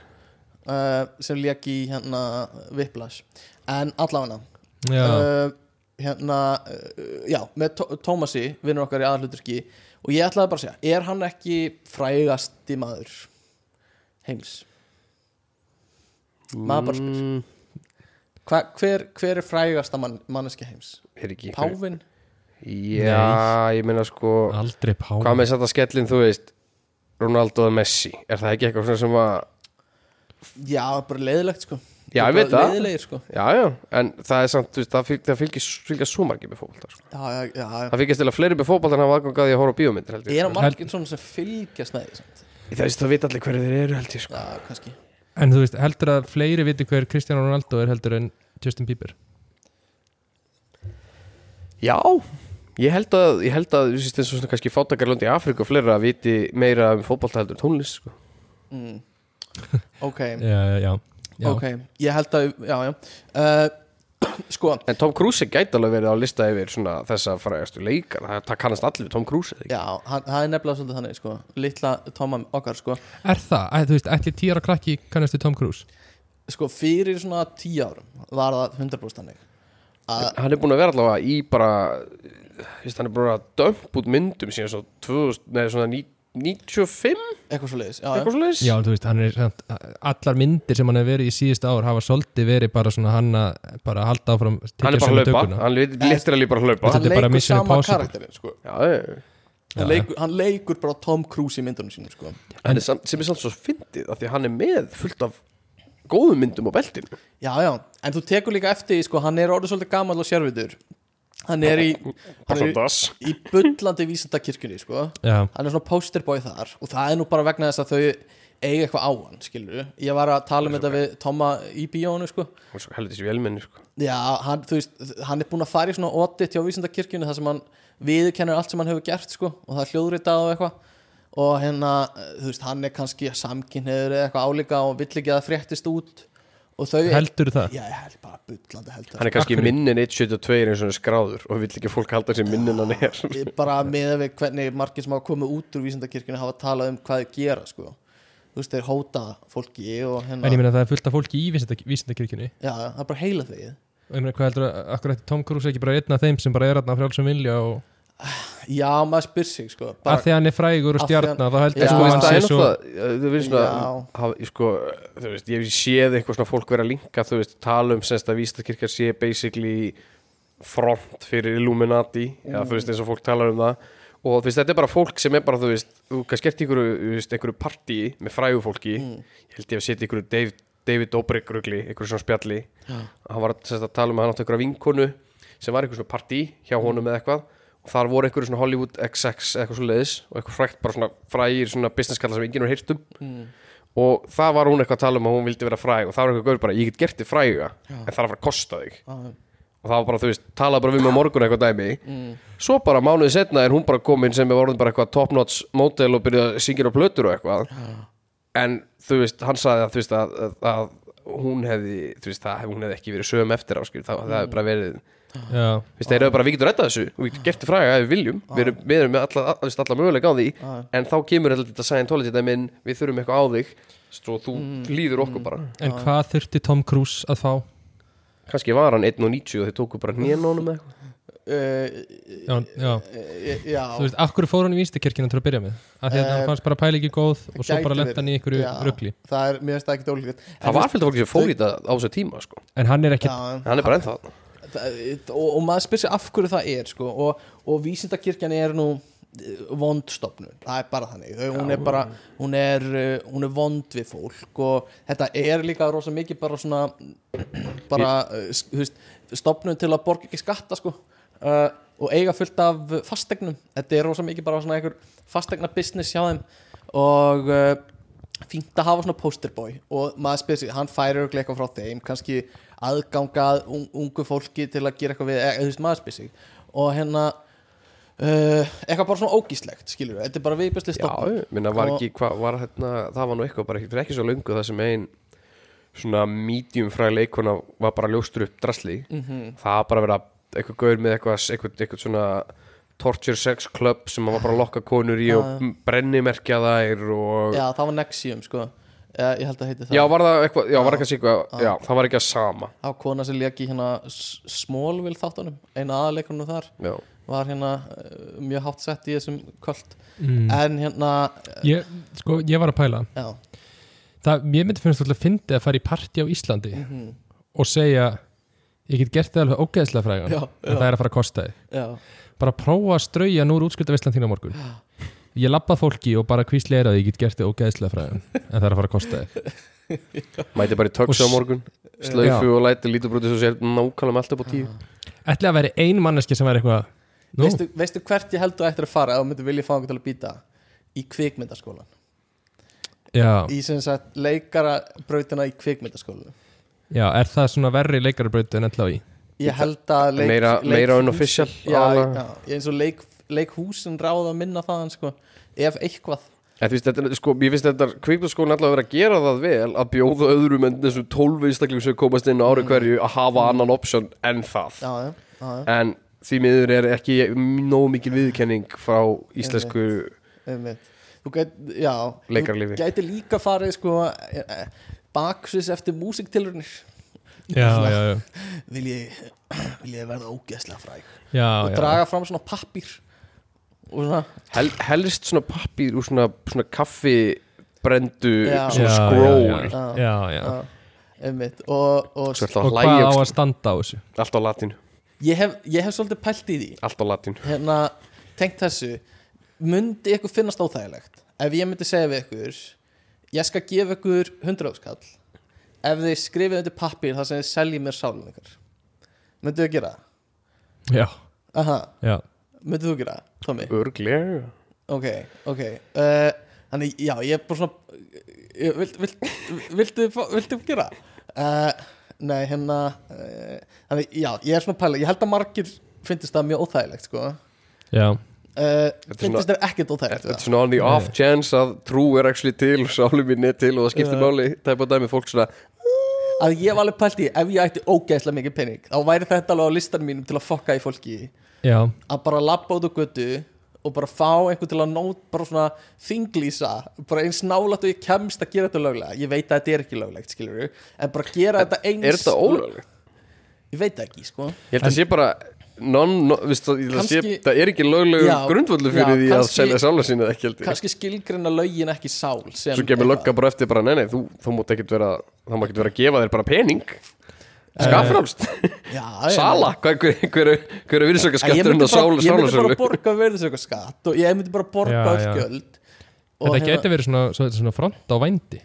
uh, sem lék í hérna Whiplash en allavega
Já,
uh, hérna uh, já, með Tó- Tómasi vinnur okkar í aðalhuturki og ég ætlaði bara að segja, er hann ekki frægasti maður heims maður bara spyr
mm,
Hva, hver, hver er frægasta man, manneski heims?
Er ekki
Pávin?
Já, ég meina sko
aldrei pá
Hvað með þetta skellin, þú veist Ronaldo og Messi, er það ekki eitthvað svona sem að
Já, bara leiðilegt sko
Já, ég
Bara
veit það.
Leiðilegir sko
Já, já, en það er samt, þú veist, það, fylg, það fylgir, fylgir svo margir með fótbolta sko.
Já, já, já, já
Það fylgir stila fleiri með fótbolta en hafa aðgang að því að horfa á bíómyndir held ég
Er hann margir svona sem fylgjast með því samt?
sko. Það, það veit allir hverju þeir eru held ég sko.
Já, kannski
En þú veist, heldur að fleiri viti hver Kristján Ronaldo er heldur en Justin Bieber
Já, ég held að, ég held að, þú veist, eins og svona kannski fátakarlönd í Afríku og fleira að viti meira um fótbolta heldur en tónlist sko.
mm. Ok
Já, já, já, já.
ok, ég held að já, já. Uh, sko,
En Tom Cruise gæti alveg verið á lista yfir svona þessa frægastu leikar það, það kannast allir við Tom Cruise eða ekki?
já, hann, það er nefnilega svolítið þannig sko. litla Toma okkar sko.
Er það, að, þú veist, ætli tíara krakki kannast við Tom Cruise
sko, fyrir svona tíu árum var það 100% þannig að
Hann er búin að vera allavega í bara þú veist, hann er bara að dömp út myndum síðan svo 2000, nei, svona ní- 95
eitthvað svo leiðis
eitthvað svo
Já, en þú veist, hann er samt, allar myndir sem hann hefur verið í síðust ár hafa svolítið verið bara svona hann að bara halda áfram
hann er bara að hlaupa, hann er literally bara að hlaupa
Þetta er bara Mission
sama
Impossible.
karakterin sko.
já, já, já.
hann, leikur, hann leikur bara Tom Cruise í myndunum sínum sko.
En, en, sem er samt svo fyndið af því að hann er með fullt af góðum myndum á beltin
já, já, en þú tekur líka eftir því, sko, hann er orðið svolítið gamall og sérvitur hann er í, hann er í,
Passandars.
í bullandi vísindakirkjunni sko.
Já,
hann er svona posterboy þar og það er nú bara vegna þess að þau eiga eitthvað á hann, skilur ég var að tala um þetta við Toma í bíónu sko.
Hann er svo heldur þessi velmenni sko.
já, hann, þú veist, hann er búin að fara í svona audit hjá vísindakirkjunni þar sem hann viðurkennir allt sem hann hefur gert sko, og það er hljóðritað og eitthvað og hérna, eh, þú veist, hann er kannski samkynniður eða eitthvað álíka og vill ekki að það fréttist út og þau
heldur það
já, ég held bara bullandi heldur
hann er kannski minnin 1.72 eins og hann er skráður og vill ekki að fólk halda sér minnin hann er
Ég bara með við hvernig margir sem hafa komið út úr vísindakirkjunni hafa talað um hvað þeir gera sko. þú veist þeir hóta fólki og hérna
En ég meina það er fullt af fólki í vísindakirkjunni
já, það er bara heila þegið
Og ég meina hvað heldur að, akkur ætti Tom Cruise ekki bara einn af þeim sem bara er aðna frjálsum vilja og
já, maður spyr sig sko
bara, að því að hann er frægur og
Af því hann-
stjarnar þá heldur
Já.
ég
sko, veist,
sko hann
það
sé
er
svo
náttúrulega eh, þú veist svona,
Já.
haf, sko, þú veist, ég hef séð eitthvað svona fólk vera að linka, þú veist, tala um semst að Vístakirkja sé basically front fyrir Illuminati eða þú veist, eins og fólk talar um það og þú veist, þetta er bara fólk sem er bara, þú veist þú kannski ert í einhverju, þú veist, einhverju partí með frægu fólki, ég held ég að setja einhverju Dave, David Dobrik rugli, einhverju svona spjalli hann var semst að tala um að hann átti einhverja vinkonu sem var einhverju svona partí hjá honum eða eitthvað og þar voru einhverju svona Hollywood XX eitthvað svona leiðis og eitthvað frækt bara svona frægir svona businesskalla sem enginn er heyrt um og það var hún eitthvað að tala um að hún vildi vera fræg og það var eitthvað gaur bara, ég get gert þig fræga en það er að fara að kosta þig
Ah,
og það var bara, þú veist, talaði bara við mig á morgun eitthvað dæmi svo bara mánuði setna er hún bara komin sem er orðin bara eitthvað top notch mótel og byrjaði að syngja á plötur og eitthvað en þú veist, hann sagði að þú veist að, að, að hún hefði þú veist, það, hún hefði ekki verið sögum eftir á skil það, það hefði bara verið,
Já,
þú veist, þeir eru bara við getum rettað þessu og við getum gert þið fræga ef við viljum við erum, við erum með alla, alla, alla mögulega á því en þá kemur alltaf þetta Scientology dæmi inn, við þurfum eitthvað á þig svo þú líður okkur bara
en hvað þurfti Tom Cruise að fá?
kannski var hann 1.90 og þeir tóku bara nénónum eða eitthvað
uh,
Já, já
eh, já,
Þú veist, akkur fór hann í vísindakirkjunum til að byrja með? Af því að hann fannst bara pælingi góð og svo
Eh, gæti
bara
verið.
lenda hann í einhverju
Já,
rugli
það er, mér finnst það ekkert ólíkt
það var fyrir fólki sem fór í þetta á þessu tíma sko.
En hann er ekki,
já,
hann er bara ennþá þarna.
það- og, og maður spyr sig af hverju það er sko, og, og vísindakirkjan er nú eh, vond stofnun, það er bara þannig Þau- hún er bara, hún er, eh, hún er vond við fólk og þetta er líka rosa mikið bara svona bara, eh, s- þú veist, stofnun til að borga ekki skatta sko uh, og eiga fullt af fastegnum þetta er rosa mikið bara svona einhver fastegna business hjá þeim og uh, fínt að hafa svona posterboy og maður spyrir sig, hann færir örugglega eitthvað frá þeim kannski aðgangað un ungu fólki til að gera eitthvað við, eða þú veist maður spyrir sig og hérna uh, eitthvað bara svona ógíslegt, skilur við þetta er bara viðbjörsli
já,
stofn
minna var ekki hvað var hérna, það var nú eitthvað bara ekki, fyrir ekki svo löngu það sem ein svona medium fræ leikona var bara ljóstur upp drasli það var bara verið að eitthvað gaur með eitthvað, eitthvað, eitthvað svona torture sex club sem var bara að lokka konur í og brennimerkja þær og
já, það var Nexium, sko já, ég held að heiti það
já, var það eitthvað, já, var kannski eitthvað já, það var ekki að sama
á kona sem leki hérna Smallville þáttunum, eina aðaleikunum þar
já.
var hérna uh, mjög hátt sett í þessum kvöld
Mm.
en hérna
Mm, ég, sko, ég var að pæla
já,
það, Ég myndi finnst alltaf að fyndi að fara í parti á Íslandi
Mhm.
og segja ég get gert það alveg ógeðslega frægan
Já,
en það er að fara að kosta þið
já,
bara prófa að strauja núr útskriftavislan þín á morgun ég labbað fólki og bara kvísleira að ég get gert þið ógeðslega frægan en það er að fara að kosta þið
mæti bara í
Og
töksu á
s-
morgun slaufu og læti lítur brútið svo sér nákvæmlega með allt upp á tíu
Ætli að veri ein manneski sem er eitthvað Nú,
Veistu, veistu hvert ég held að ættir að fara ef þú myndir vilja fá einhvern til að býta í kvikmyndaskólan
já,
í sem sagt leikara brautina í kvikmyndaskólan
já, er það svona verri leikarabraut en ennlá í?
ég held að leik,
Meira-
leik,
meira unofficial,
já,
aðalega.
já, ég eins og leik, leikhúsin ráða að minna þaðan sko, ef eitthvað
En þú veist, þetta, er- sko, ég finnst þetta kvikmyndaskólinn allavega verið að gera það vel að bjóða öðrum en þessum 12 einstaklingum sem komast inn á ári hverju að hafa annan option en það
Mm. já, já, já, já,
en því miður er ekki nógu mikil viðkenning frá íslensku
einmitt. þú gæt, já,
Leikaralífi.
þú gæti líka farið sko, eh, eh, baksviðs eftir músiktilrunir
já, já, já,
vil ég, vil ég verða ógeðslega fræg
já,
og
já.
draga fram svona pappir og svona
Hel, helst svona pappír úr svona, svona kaffi brendu,
Já.
svona
Já,
scroll
já, já, já, já.
já, sko. einmitt og, og
Svo alltaf
og
að
hvað á
hlæja,
að standa á þessu
allt á latínu
ég hef, ég hef svolítið pælt í því
Allt á latínu
hérna, tengt þessu myndi ykkur finnast óþægilegt ef ég myndi segja við ykkur ég skal gefa ykkur 100 áskall ef þið skrifið undir pappir þar sem þið seljið mér sálun ykkur myndið þau gera það?
já,
Aha,
já,
myndið þú gera það, Tommy?
Örglega
Ok, ok uh, Þannig, já, ég er bara svona ég, vilt, vilt, viltu, fá- viltu gera? Uh, nei, hérna uh, Þannig, já, ég er svona pæla Ég held að margir finnist það mjög óþægilegt sko.
já
uh,
Þetta er
Finnist
svona-
það ekkert óþægilegt sko.
Þetta
eða?
er svona on the off chance að trú er actually til og sálu mín er til og það skiptir
Já.
máli tæpa dæmi fólk svona
Að ég var alveg pælt í, ef ég ætti ógeðslega mikið pening Þá væri þetta alveg á listan mínum til að fokka í fólki
já,
Að bara labba út á götu Og bara fá einhvern til að nót Bara svona þinglýsa Bara eins nálætt og ég kemst að gera þetta löglega Ég veit að þetta er ekki löglegt, skilur En bara gera þetta eins
Er þetta ólöglegt?
Ég veit það ekki, sko
Ég held að sé bara non, non, viðst, ég held að sé,
Kannski-
Það er ekki löglegu
Já.
grundvöldu
Já,
fyrir því að
kannski-
selja sála sína ekki held ég
kannski skilgreina lögin ekki sál sem
Svo kemur
eitthvað.
lögga bara eftir bara Nei, nei, þú, þú mátt ekkert vera Það mátt ekkert vera að gefa þér bara pening
Eh,
Skafrálst
já,
Sala Hvað- Hver, hver, hver er
ég, ég,
virðsökkaskatturinn
myndi
á sála
bara, ég myndi
sálasölu?
bara borga verðisökkaskatt og ég myndi bara borga
Já,
öll
já.
gjöld Og
þetta
hérna-
gæti verið svona, svona, svona front á vændi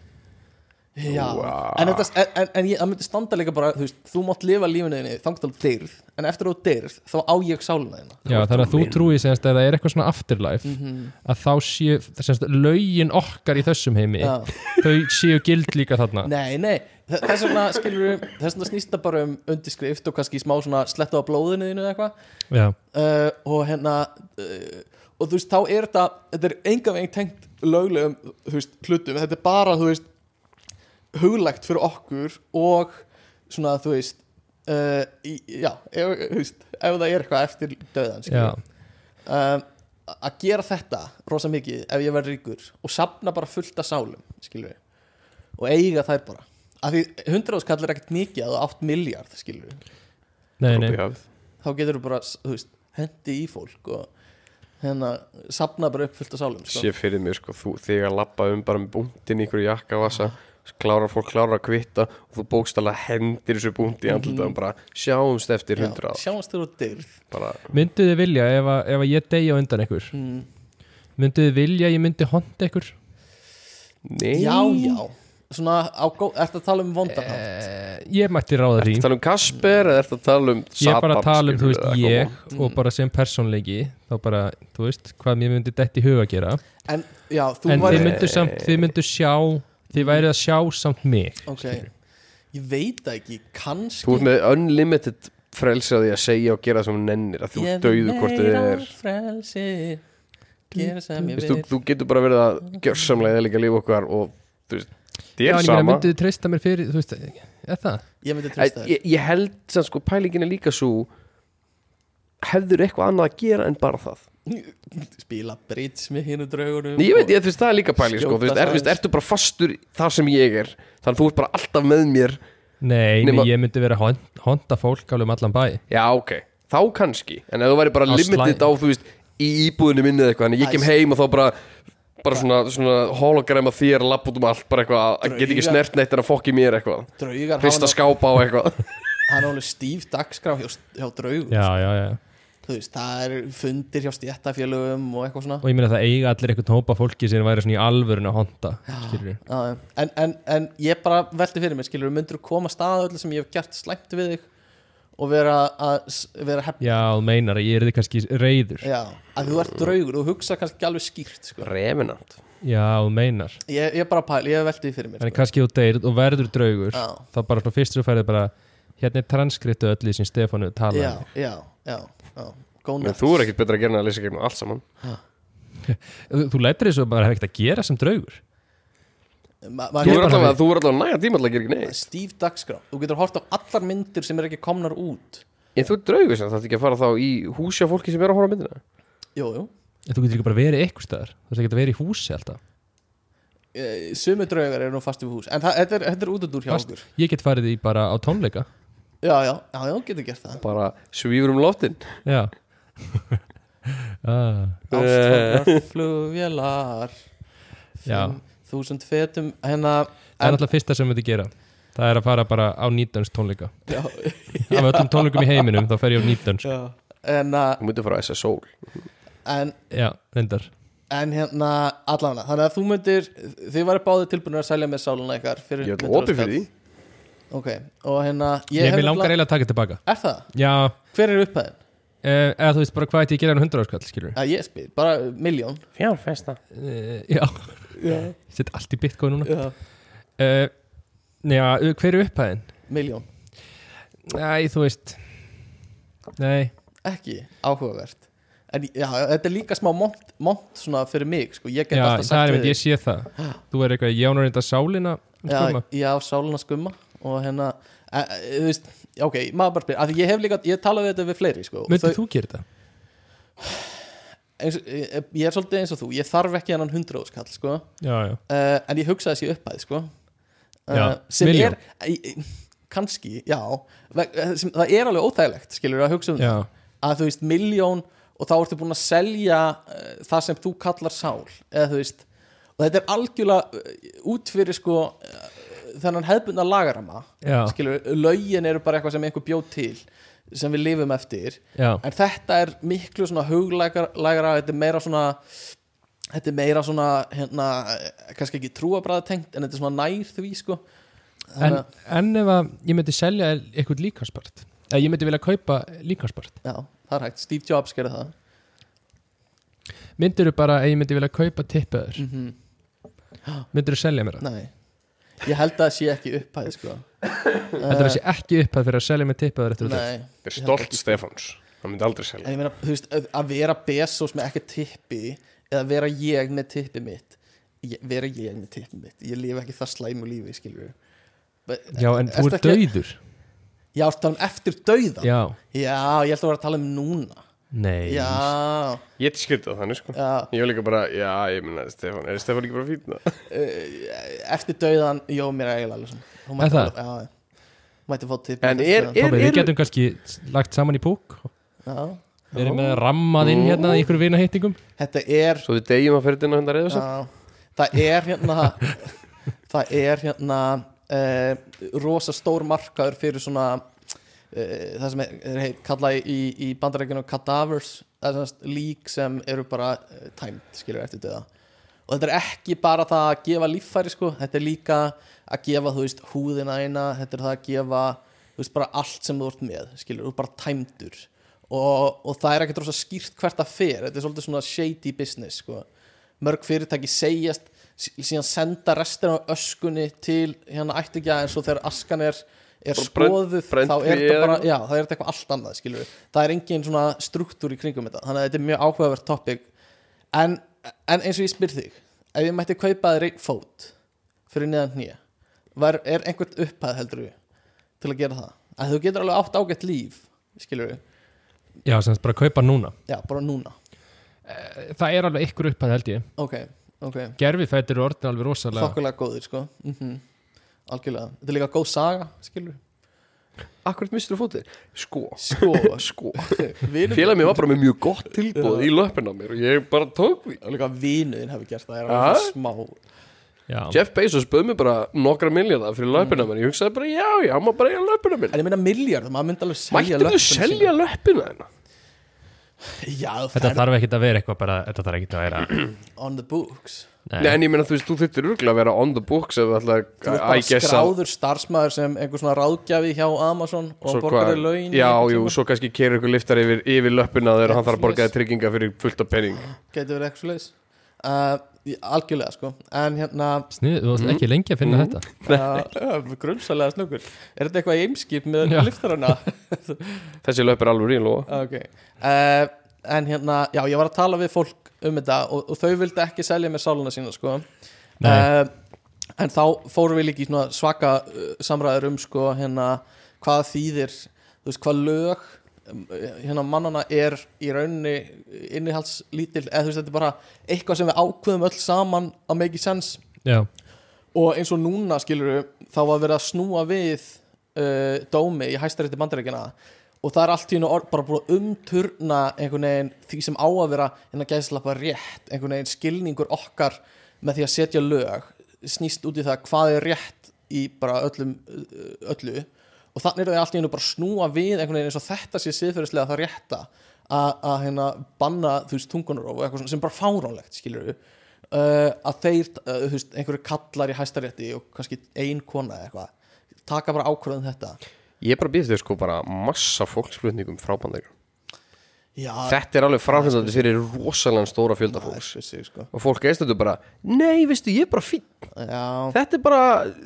hérna- já,
Vá.
en, þetta, en, en, en ég, það myndi standa líka bara þú, veist, þú mátt lifa lífinu þinni þangt alveg dyrð en eftir að þú dyrð þá á ég sálina þina
já, þannig að þú trúi semst að það er eitthvað svona afterlife
Mhm.
að þá séu semst lögin okkar í þessum heimi
Já.
þau séu gild líka þarna
nei, nei, þe- þess vegna skilur þess vegna snýst það bara um undirskrift og kannski smá svona sletta á blóðinu þínu eða eitthvað
já,
uh, og hérna uh, og þú veist, þá er þetta þetta er enga veginn tengt löglegum þú veist, hlutum, þetta er bara, þú veist huglægt fyrir okkur og svona, þú veist uh, í, já, ef, þú veist ef það er eitthvað eftir döðan
já,
skilur. um, að gera þetta rosa mikið ef ég verð ríkur og sapna bara fullt af sálum, skilur og eiga þær bara af því 100 áskall er ekkert mikið að þú átt miljard, skilur
nei, nei
þá getur þú bara, þú veist, hendi í fólk og hérna sapna bara upp fullt af sálum sko.
sé fyrir mér sko, þú, þegar lappa um bara með búntin í ykkur jakkavasa klárar fólk klárar að kvitta og þú bókstala hendir þessu búnti í andlitaðum bara sjáumst eftir
Já,
hundra
sjáumst þér og dyrð
bara,
myndu þið vilja ef, að, ef að ég deyja undan ykkur mm. myndu þið vilja að ég myndi honda ykkur
nei
já, já, svona á góð ertu að tala um vondarhátt
Eh, ég mætti ráða því
Ertu að tala um Kasper eða ertu að tala um Satan
ég er bara að tala um, þú
skilurðu,
veist,
eða eitthvað
ég og bara sem persónleiki þá bara, þú veist, hvað mér myndi þetta í huga að gera
en já, þú
en
var
þið myndu samt, þið myndu sjá þið værið að sjá samt mig
ok, ég veit það ekki
Þú
kannski
ert með unlimited frelsi að því að segja og gera sem þú nennir að þú
Ég
dauðu hvort þið
meira
er
frelsi gera sem ég
Veist, þú,
vil
þú getur bara verið að gjörsamlega eða líka líf okkar og þú veist,
já,
þér
en ég meina,
sama
myndu þið treysta mér fyrir, þú veist, er það
ég myndi treysta
Ég,
þér
ég- ég held sem sko pælingin er líka svo hefður eitthvað annað að gera en bara það
spila bridge með hinu draugunum
Nei, ég veit, ég, þú veist, það er líka pæling sko,
Skjóta
þú veist, er,
aðeins.
þú veist, ertu bara fastur þar sem ég er þannig að þú ert bara alltaf með mér
nei,
Nema-
nei, ég myndi vera að hon- honda fólk alveg um allan bæ
já, ok, þá kannski en ef þú væri bara
Á
limited
slæ-
á, þú veist í íbúðinu minni eða eitthvað, þannig að ég kem heim og þá bara bara svona, svona hologramma þér lapp út um allt, bara eitthvað að- að get ekki
Drauga.
snert neitt en að fokki mér eitthvað
draugar
hrista
hafa
skápa á eitthvað
hann alveg stíf dagskrá hjá, hjá draugum
já, já, já,
þú veist, það er fundir hjá stjættafélögum og eitthvað svona
og ég meina það eiga allir eitthvað hópa fólki sem væri svona í alvörun að honda skilurðu.
Já, já. en, en, en ég bara velti fyrir mér skilur, myndur þú koma stað öllu sem ég hef gert slæmt við þig og vera að s- vera hefn
já, þú meinar að ég er þið kannski reyður já,
já, að þú ert draugur, þú hugsa kannski ekki alveg skýrt sko.
reminant
þú meinar
ég, ég bara pæl, ég velti því fyrir mér
en
sko.
kannski þú deyr og verður draugur
Já.
þá bara svona fyrst þú færið bara hérna er transkriptu öllu sem Stefánu talaði
já,
um.
já, já, já góna
en þú er ekkert betra að gera en að lesa gegnum allt saman
þú, þú lætur þessu bara hefði ekkert að gera sem draugur
Ma,
þú er
maður, hérna-
allavega, þú er allavega næga tíma til að gera ekki neitt
stíf dagskrá, þú getur hort á allar myndir sem er ekki komnar út
En þú ert draugur sem þetta ekki að fara þá í húsi á fólki sem er að horfa á myndina
jú, jú,
en þú getur líka bara verið eitthvað staðar þú veist ekki að vera í húsi alltaf
eh, Sumi draugar eru nú fast við hús En það, þetta, er, þetta er út og dúr hjá
Fast.
okkur
Ég get farið í bara á tónleika
Já, já, já, já, getur gert það
bara svífur um loftin
Já ah,
Eh.
Ástfagnar flugvélar
Já.
Þúsund fetum Hérna
Það er
en-
alltaf fyrsta sem við þetta gera Það er að fara bara á nýtdönsk tónleika
Já,
Af öllum tónleikum í heiminum þá fer ég á nýtdönsk
já En, uh,
þú myndir fara að SSO
en,
Já, reyndar
en hérna allavega Þannig að þú myndir Þið væri báðið tilbúinir að selja með sáluna ykkar fyrir
ég er
100
opið fyrir því
skall. Ok, og hérna
Ég, ég
hef
vil
nefnilega-
langar eiginlega að taka tilbaka
Er það?
Já,
Hver er upphæðin?
eh, eða þú veist bara hvað ætti ég að gera en 100 áskall skilur
Að ég spyr, bara miljón
fjárfesta
eh, Já,
Já,
ég set allt í bitcoin núna
já
eh, Nei, já, hver er upphæðin?
Miljón,
Nei, þú veist Nei,
ekki áhugavert En já, þetta er líka smá mont, mont svona fyrir mig, sko, ég get
já,
alltaf
það
sagt
er
við
mynd, ég
þig,
sé það Þú er eitthvað, ég án að reynda sálina um skumma.
Já, já, sáluna skumma og hérna, e, e, þú veist ok, maður bara spyr, af því ég hef líka ég talaði þetta við fleiri, sko og
Myndir
þau-
þú gera þetta?
eins, e, ég er svolítið eins og þú, ég þarf ekki hennan hundróðskall, sko,
Já, já
uh, en ég hugsaði þessi upphæð, sko Eh,
Já,
sem
milljón.
er e, e, kannski, já veg- eh, sem, það er alveg óþægilegt, skilur að hugsa um
Já,
það að þú veist miljón og þá ertu búin að selja uh, það sem þú kallar sál eða þú veist og þetta er algjörlega uh, út fyrir sko uh, þennan hefðbundna lagarama
já,
skilur, lögin eru bara eitthvað sem einhver bjóð til sem við lifum eftir
já,
en þetta er miklu svona huglægara þetta er meira svona þetta er meira svona hérna, eh, kannski ekki trúabræða tengt en þetta er svona nær því sko
en,
Þannig að-
en ef að ég myndi selja eitthvað líkanspart eða ég myndi vilja kaupa líkanspart
já, það er hægt, Steve Jobs gerði það
myndirðu bara að ég myndi vilja kaupa tippaður
mm
myndirðu selja mér það
nei, ég held að það sé ekki upphæð sko
þetta er þessi ekki upphæð fyrir að selja mér tippaður eftir þetta
nei,
ég Eh. er stolt Stefáns hann myndi aldrei selja
En ég meina, þú veist, að- að vera Bezos með ekki tippi eða vera ég með tippi mitt ég, vera ég með tippi mitt, ég lifi ekki það slæmu lífi, skilur við But,
já, en þú
Ertu
er
ekki-
döður
Já, ertu að tala um eftir dauðan
já,
ég held að vera að tala um núna
nei
Já,
ég skildi það þannig sko
já
ég var líka bara já ég myndi Stefán er Stefán ekki bara fín það
eh, eftir dauðan, jó, mér er eiginlega alveg svona. Hún
Er
mætti
það?
alveg- Já, hún mætti fá tippi
en er
Já,
er
Tómi, við
er
getum kannski lagt saman í púk
já.
við erum með rammað inn hérna í ykkur vinahittingum
Þetta er
svo þið degjum hérna að ferðina hundar eða svo
Já, það er hérna það er hérna uh, rosa stór markaður fyrir svona uh, það sem er, er heit, kalla í, í bandarækjunum cadavers það er svona lík sem eru bara uh, tæmt skilur eftir döða og þetta er ekki bara það að gefa líffæri sko þetta er líka að gefa þú veist húðina eina, þetta er það að gefa þú veist bara allt sem þú ert með skilur, þú ert bara tæmdur og, og það er ekkert rosa skýrt hvert það fer þetta er svolítið svona shady business sko mörg fyrirtæki segjast sí- síðan senda restina af öskunni til hérna ætti ekki aðeins og þegar askan er, er
Bara
skoðuð
brennt-
þá er
brennt í
þetta bara,
eða-
já, það er þetta eitthvað allt annað skilur það er engin svona struktúr í kringum þetta þannig að þetta er mjög áhugavert topic en, en eins og ég spyr þig ef ég mætti kaupa þér einn fót fyrir neðan hnýja var, er einhvert upphæð heldur við til að gera það, að þú getur alveg átt ágætt líf skilur við,
já, sem sagt bara kaupa núna Eh,
já, bara núna
það er alveg ykkur upphæð held ég
ok, ok
gerfifættir eru orðin alveg rosalega
þokkulega góðir sko mm algjörlega, þetta er líka góð saga skilur,
akkurat mistur fótið sko
sko
sko
vinur,
félag mér var bara með mjög gott tilbúð í löppin á mér og ég bara tók því
líka vinuðin hefur gert það er
Ah?
alveg smá
já,
Jeff Bezos bauð mér bara nokkra miljardar fyrir löppina mér ég hugsaði bara já já maður bara eiga löppina
Mm. en
mér
ég meina miljard, maður myndi alveg selja
mættu þú
löppina
selja löppina þína
sína. já,
þetta
það
þarf ekkit að vera eitthvað bara, þetta þarf ekkit að vera
on the books
Nei, en ég meina þú veist, þú þurftir örgulega að vera on the books ef þú
þú ert
ætlar
bara
I guess að-
skráður starfsmæður sem einhver svona ráðgjafi hjá Amazon og
Svo
borgar
hvað-
þau laun í
Já,
einhvern
jú,
tímann.
svo kannski keirir ykkur liftar yfir, yfir löppuna þegar hann þarf að borga
Yes.
þið trygginga fyrir fullt af penning
gæti verið eitthvað slags uh, í- algjörlega sko, en hérna uh,
Snið, þú varst ekki lengi að finna
Mhm.
þetta
grunnsælega snökkur er þetta eitthvað í eimskip með
Já.
liftarana
Þessi löpp er alveg ríl og
ok uh, en hérna, já ég var að tala við fólk um þetta og, og þau vildi ekki selja mér sáluna sína sko
Nei.
uh, en þá fórum við líka í svona svaka uh, samræður um sko hérna hvað þýðir þú veist hvað lög um, hérna mannana er í rauninni innihaldslítil eða þú veist þetta er bara eitthvað sem við ákveðum öll saman að make sense
já,
og eins og núna skilur þá var verið að snúa við uh, dómi í hæstarétti bandaríkina og það er allt í hennu bara búið að umturna einhvern veginn því sem á að vera en að gæðslappa rétt einhvern veginn skilningur okkar með því að setja lög snýst út í það hvað er rétt í bara öllum uh, öllu og þannig er það allt í hennu bara að snúa við einhvern veginn eins og þetta sé siðferðislega það rétta að, að hérna banna þú veist tungunarof og eitthvað svona sem bara fáránlegt skilur uh, að þeir, uh, þú veist, einhverju kallar í hæstarétti og kannski ein kona eða eitthvað taka bara ákvörðum þetta
Ég bara býðst þér sko bara massa fólksflutningum frá bandaríkjum
Já,
Þetta er alveg fráhengandi fyrir rosalega stóra fjölda
maður
fólks
vissi, sko.
Og fólk eist þetta bara, nei, veistu, ég er bara fín
Já,
Þetta er bara,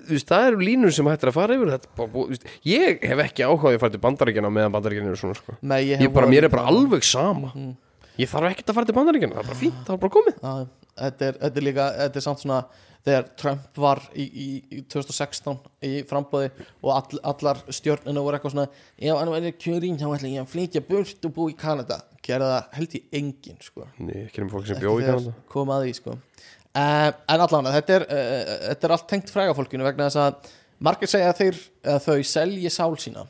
þú veist, það eru línur sem hættir að fara yfir þetta er bara, búið- þú veist, Ég hef ekki áhugaði að fara til bandaríkjana meðan bandaríkjana eru svona sko.
nei, ég hef
Ég bara, mér er bara
Já,
alveg sama
Mm.
Ég þarf ekkert að fara til bandaríkjana, það er bara fínt, það er bara komið
já, þetta, er, þetta er líka, þetta er samt svona þegar Trump var í, í, í 2016 í frambóði og all, allar stjórnina voru eitthvað svona Já, en það er kjörin, þá ætla ég að flytja burt og búa í Kanada Gerða það held ég enginn, sko
Nei, ekki um fólk sem
Ekki
bjóð í
þegar
Kanada
kom að því sko um, en allan að þetta er, uh, þetta er allt tengt fræga fólkinu vegna þess að margir segja að, þeir, að þau selji sál sína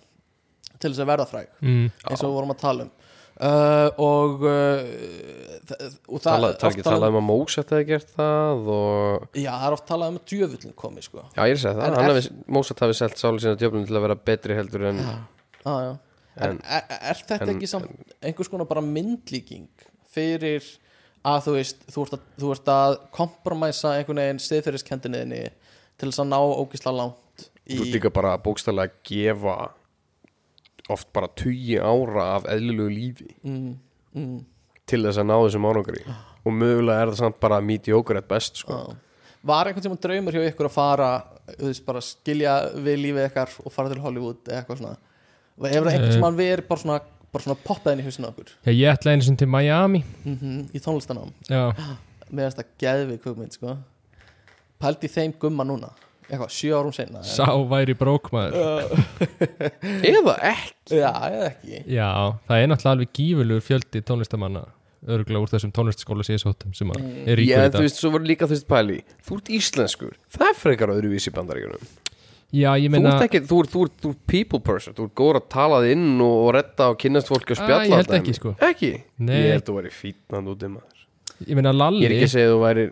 til þess að verða fræg
mm,
eins og við vorum að tala um uh, og uh, þ- og
Tala, tala
oft
ekki, tala um að Mósett hefði gert það og
já, það er oft talað um að djöfullin komi sko
Já, ég er að segja
En
það, hann
er-
hafi, Mósat hafi selt sáli sína djöflun til að vera betri heldur en
ah, já. en,
En-
er, er þetta
en-
ekki samt einhvers konar bara myndlíking fyrir að þú veist þú ert að, þú ert að kompromæsa einhvern veginn stiðferðiskendinni til þess að ná ógisla langt
þú ert
í,
líka bara bókstælega að gefa oft bara tugi ára af eðlilegu lífi
mm, mm, Ah.
til þess að ná þessum árangri og mögulega er það samt bara mediocre at best sko.
Já. Var einhvern tímann draumur hjá ykkur að fara þú veist, bara skilja við lífið ykkar og fara til Hollywood eða eitthvað svona Og Hefur það einhvern tímann verið bara svona, bara svona poppaðin í hausinu okkur
já, ég ætla einu sinni til Miami
mm í tónlistanám
já,
Ah.
með þess að geðvið kugmynd sko. Pældi í þeim gumma núna eitthvað, sjö árum seinna eða-
sá væri brókmaður
Uh. eða ekki
Já, eða ekki
já, það er náttúrulega alveg gífurlegur fjöldi tónlistamanna örgulega úr þessum tónlistaskóla síðsóttum sem að er ríkur
ég,
í
Mm. þú
dag
veist, svo voru líka þú veist pæli þú ert íslenskur, það er frekar öðruvísi í bandaríkjunum
já, ég
þú
meina,
ert ekki, þú ert, þú ert, þú ert people person þú ert góður að tala þig inn og, og retta og kynnast fólki og
Ah,
spjalla
ég held
allt
ekki,
dæmi.
sko.
ekki?
Nei.
ég held þú væri fítnan út um maður
ég meina
Ég er
Lalli
ekki að segja að þú væri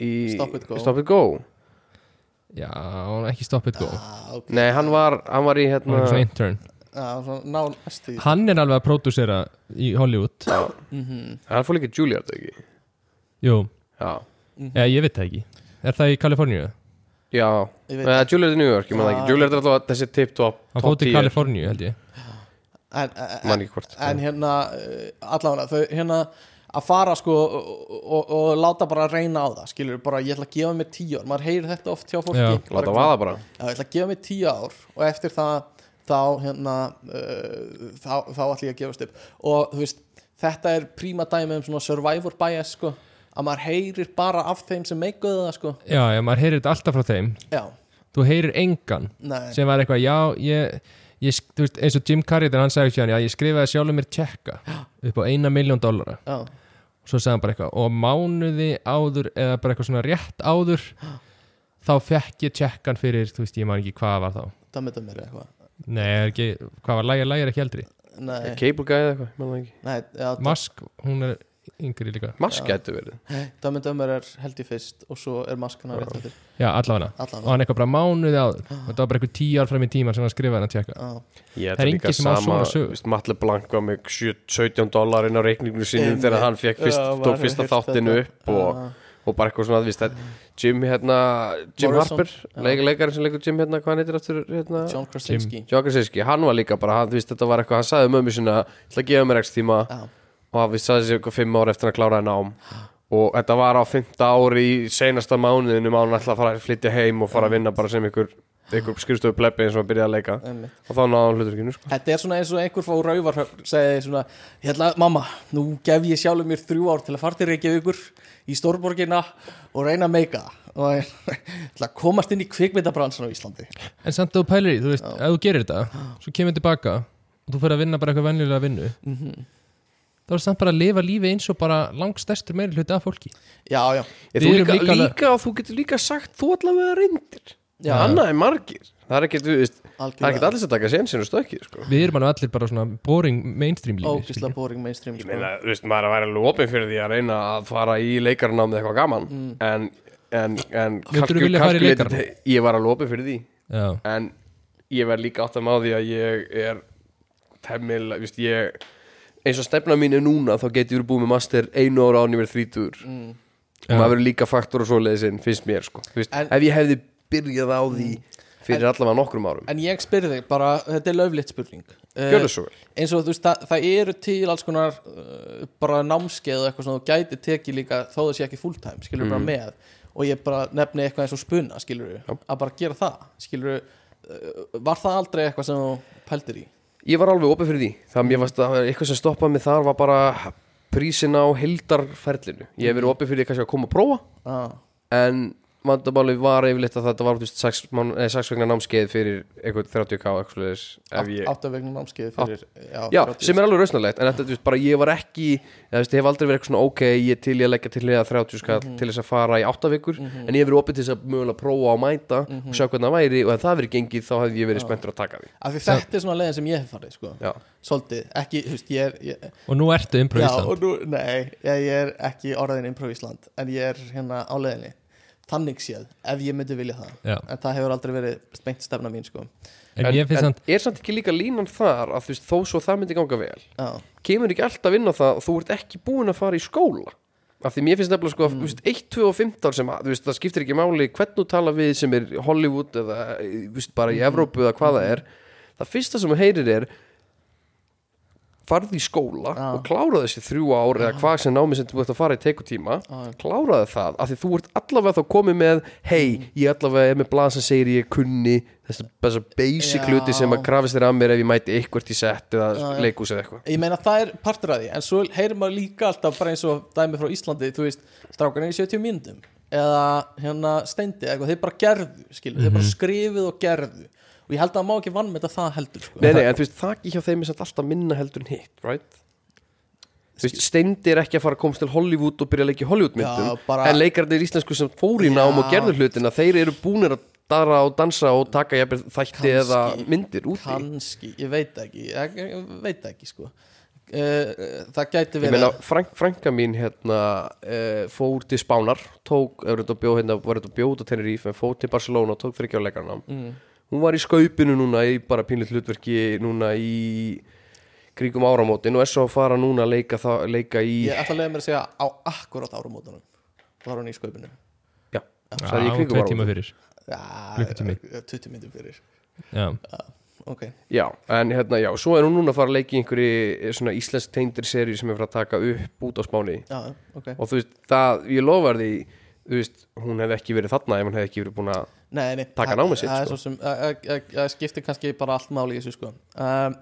í
Stop it go.
Stop it go.
já, ekki stoppið góð
ah, okay.
Nei, hann var, hann var í
hann
hérna
er svona intern
ah, svona, Ná næstu því
hann er alveg að pródúsera í Hollywood
Mhm.
Hann fór líka Juilliard, ekki?
jú,
Já, Mhm.
já, ég veit það ekki er það í Kaliforníu?
já
Ég veit Ah.
Nei, Juilliard er New York, ég maður
Já.
ekki Juilliard er alltaf þessi tip-top
hann
top
fótt
10,
í Kaliforníu held ég
en, en,
Man ekki hvort
en hérna allavega þau hérna að fara sko og, og, og láta bara reyna á það skilur bara ég ætla að gefa mér tíu ár maður heyrir þetta oft hjá fólki
Já.
Láta
Bara eitthvað,
vaða bara
já, ég ætla að gefa mér tíu ár og eftir það þá hérna uh, þá, þá ætla ég að gefast upp og þú veist þetta er príma dæmi um svona survivor bias sko að maður heyrir bara af þeim sem meikuðu það sko
já, já, maður heyrir þetta alltaf frá þeim
já,
þú heyrir engan
nei,
sem var eitthvað, já, ég, ég sk- þú veist, eins og Jim Carrey, hann sagði sjálf, já, ég skrifaði sjálfur mér tjekka upp á eina miljón dollara,
já,
svo sagði hann bara eitthvað og mánuði áður, eða bara eitthvað svona rétt áður þá fekk ég tjekkan fyrir, þú veist, ég man ekki hvað var þá
það mynda mér eitthvað
nei, er ekki, hvað var lægir, lægir ekki eldri
nei,
Cable guy eða eitthvað, ég maður það ekki
nei, já,
Mask, hún er yngri líka
Mask gætu verið
Dömmin Dömmur er held í fyrst og svo er maskana rétt eftir
já, allavega og
allan
hann eitthvað bara mánuði áður þetta var bara eitthvað tíu ár fram í tíman sem hann skrifaði hann tjekka
á.
Ég
Það er
ætla líka
enginn sem á svona sögu.
sama Matle Blank var með 7 17 dólarinn á reikninginu sínum
Einmitt.
þegar hann fekk fyrst,
Já, maður
tók
hefur
fyrsta
heyrt
þáttinu
þetta. Ah.
upp og
Já.
og bara eitthvað svona aðvist Jim hérna, Jim
Morrison,
Harper
já.
leik, leikarinn sem leikur Jim hérna, hvað hann heitir aftur hérna,
John Krasinski
John Krasinski, hann var líka bara, hann, þú veist, þetta var eitthvað, hann sagði mömmu sinna, ég ætla að gefa mér ekki tíma
Já.
og hann vissi að þessi eitthvað fimm ára eftir að hann kláraði nám og þetta var á fymta ári í seinasta mánuðinu mánuðin ætla að fara að flytja heim og fara að vinna bara sem ykkur, ykkur skrifstofu plebbi eins og hann byrjaði að leika
Einmitt.
og þá náði hann hluturkinu sko.
Þetta er svona eins og einhver fór rauvarhöfn segi svona, hérna mamma nú gef ég sjálfur mér þrjú ár til að fara til Reykjavíkur í Stórborgina og reyna að meika það. og ég ætla að komast inn í kvikmyndabransan á Íslandi
En samt að þú pælir í, þú veist, ef þú gerir þetta svo kemur tilbaka og þú fyrir að vinna bara eitthvað venjulega vinnu það er samt bara að lifa lífi eins og bara langstærstur meiri hluti af fólki
já, já,
Ég,
Við
þú,
erum
líka,
líka
líka,
alveg-
og þú getur líka sagt þú allavega reyndir
Já.
annað er margir það er ekkert, þú veist, það er
algjörlega
ekkert allir sem taka sénsinn og stökkið sko.
við erum alveg allir bara svona boring mainstream lífi
ógislega boring mainstream
ég
sko.
meina, þú veist, maður er að vera alveg opinn fyrir því að reyna að fara í leikarnám með eitthvað gaman en, en, en
Myndirðu Mm. vilja fara í
leiti-
leikarnám?
ég var alveg opinn fyrir því
já,
en ég verð líka átt að má því að ég er temmil, viðst, ég eins og stefna mín er núna þá getur ég búið með master einu ára án ég verð þrítur mm. og
Já.
maður verður líka faktor og svoleiðisinn finnst mér sko, viðst,
En-
ef ég hefði byrjað á því
Mm.
fyrir allavega nokkrum árum
en ég spyrir þig bara, þetta er löflitt spurning Eh,
gjörðu svo vel,
eins og þú veist, það, það eru til alls konar uh, bara námskeið og eitthvað sem þú gæti tekið líka þó það sé ekki fulltime, skilur bara með og ég bara nefni eitthvað eins og spuna, skilur
Mhm. Já.
að bara gera það, skilur uh, var það aldrei eitthvað sem þú pældir í?
ég var alveg opið fyrir því það mér varst að eitthvað sem stoppaði mig þar var bara prísin á heldarferlinu ég hef
Mhm.
verið opið fyrir því kannski að koma og prófa
Ah,
en vandamáli var yfirleitt að þetta var þú veist, sex, mánu- nei, sex vegna námskeið fyrir eitthvað 30k eitthvað svoleiðis, ef ég
átt af vegna námskeið fyrir já,
Já,
30.
sem er alveg rausnarlegt en þetta, þú veist, bara ég var ekki eða, þú veist, ég hef aldrei verið eitthvað svona, ok, ég er til ég að leggja til hliða 30 skall
Mhm.
til þess að fara í 8 vikur en ég hef verið opið til þess að mögulega prófa að mæta
Mhm.
og sjá hvernig það væri og ef það verið gengið þá hefði ég verið spenntur að taka því
af því þetta er svona leiðin sem ég hef farið sko.
Já,
svolítið, ekki, þú veist, ég er ég,
og nú ertu
já,
improvisand
og nú, nei, ég, ég er ekki orðin improv Ísland, en ég er hérna á leiðinni, þannig séð ef ég myndi vilja það
Já.
en það hefur aldrei verið spengt stefna mín sko.
en ég finnst samt
er samt ekki líka línan þar að þú veist, þó svo það myndi ganga vel
Já,
kemur ekki alltaf inn á það að þú ert ekki búin að fara í skóla af því mér finnst nefnilega sko, mm. veist, 1, 2 og 15 sem, að- þú veist, það skiptir ekki máli hvernig þú tala við sem er Hollywood eða þú veist, bara
Mm.
í Evrópu eða hvað það er það fyrsta sem þú heyrir er farðu í skóla
Já.
og kláraðu þessi þrjú ár eða hvað sem námið sem þú ert að fara í tekutíma kláraðu það, af því þú ert allavega þá komið með, hei, ég allavega er með blað sem segir ég kunni þessar þessa basic
Já.
hluti sem að krafist þér að mér ef ég mæti eitthvert í sett eða
Já, já.
leikús eða eitthvað
ég meina það er partur af því en svo heyrir maður líka alltaf bara eins og dæmi frá Íslandi, þú veist, strákan er í 70 myndum eða hérna steindi eða eitthvað, þeir bara gerðu, skilur, þeir bara skrifuð og gerðu og ég held að það má ekki vann með það heldur, sko
Nei, nei, en þú veist, það ekki hjá þeim er samt alltaf minna heldur en hitt, right? Þú veist, Steindi er ekki að fara að komast til Hollywood og byrja að leika í Hollywoodmyndum
Já, bara-
En leikarnir íslensku sem fór í nám og
Já.
gerðu hlutina Þeir eru búnir að dara og dansa og taka jafnir, þætti
Kannski-
eða myndir úti
kannski, ég veit það ekki ég, ég, ég veit það ekki, sko uh, það gæti
Ég
verið
meina, frank, franka mín hérna uh, fór til Spánar Tók, ef þetta bjó hérna, var þetta bjó út á Tenerife En fór til Barcelona og tók fyrir ekki á leikarnám
Mm.
Hún var í skaupinu núna í bara pínleitt hlutverki Núna í kringum áramótin og er svo að fara núna að leika, það, leika í
ég ætla að leiða mér að segja á akkurát árumótunum var hún í skaupinu
Já, sagði
Já,
ég kringum
tvei
áramótin.
tíma fyrir
Já,
Klukkutími.
20 myndum Eh, fyrir
já,
ok,
Já, en hérna, já, svo er hún núna að fara að leika í einhverju svona íslensk teyndir seri sem er frá að taka upp út á spáni
já, ok
og þú veist, það, ég lofar því þú veist, hún hefði ekki verið þarna ef hún hefði ekki verið búin að
nei, nei,
Taka
það-
námið sitt,
það er
sko.
svo sem- það- það- það- það skiptir kannski bara allt máli í þessu sko um,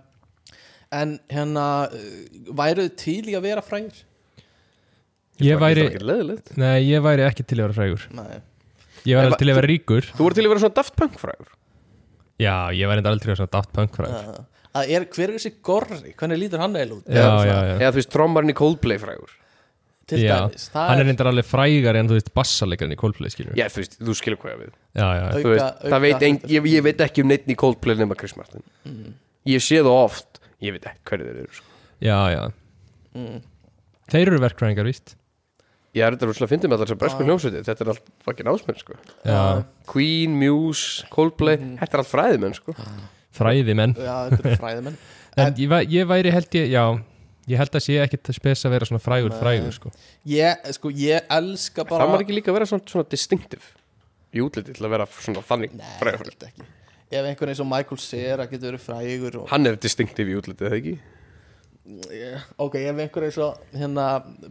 en hérna uh, væruð þið til í að vera frægir?
ég væri
Það er ekki leðilegt
nei, ég væri ekki til að vera frægur
nei,
ég væri
En
alveg til að vera ríkur
Þú voru til að vera svona Daft Punk frægur
já, ég væri enda aldrei að vera svona daft punk frægur
uh, að er, hver er þessi gorri, hvernig lítur hann eiginlega út?
já,
Eða
já,
svona,
já,
Eða þú veist, trommarinn í Coldplay frægur
til
já.
dæmis, það
hann er enda alveg frægar en þú veist bassalegarinn í Coldplay skilur já,
Já, þú veist, þú skilur hvað ég við
já, já,
Þú veist,
Auka-
það
auka-
veit ein, ég, ég veit ekki um neittn í Coldplay nema Chris Martin
Mm.
Ég sé það oft, ég veit ekki hverju þeir eru sko.
já, já. þeir eru verkfræðingar, víst
Ég er þetta rússlega að fyndi með allar sem bresku hljómsveiti Þetta er allt fucking ásmenn, sko
já,
Queen, Muse, Coldplay
Mm.
Þetta er allt fræðimenn sko
fræði menn
já, þetta er fræðimenn
en ég, væ- ég væri held ég, já ég held að sé ekkit að spes að vera svona frægur frægur sko.
ég, sko, ég elska bara
Það var ekki líka að vera svona, svona distinctive Í útliti til að vera svona þannig
nei,
frægur
þetta ekki ef einhvern eins og Michael Cera getur verið frægur og
Hann er distinctive í útliti, eða ekki?
Yeah. ok, ef einhver eins og hérna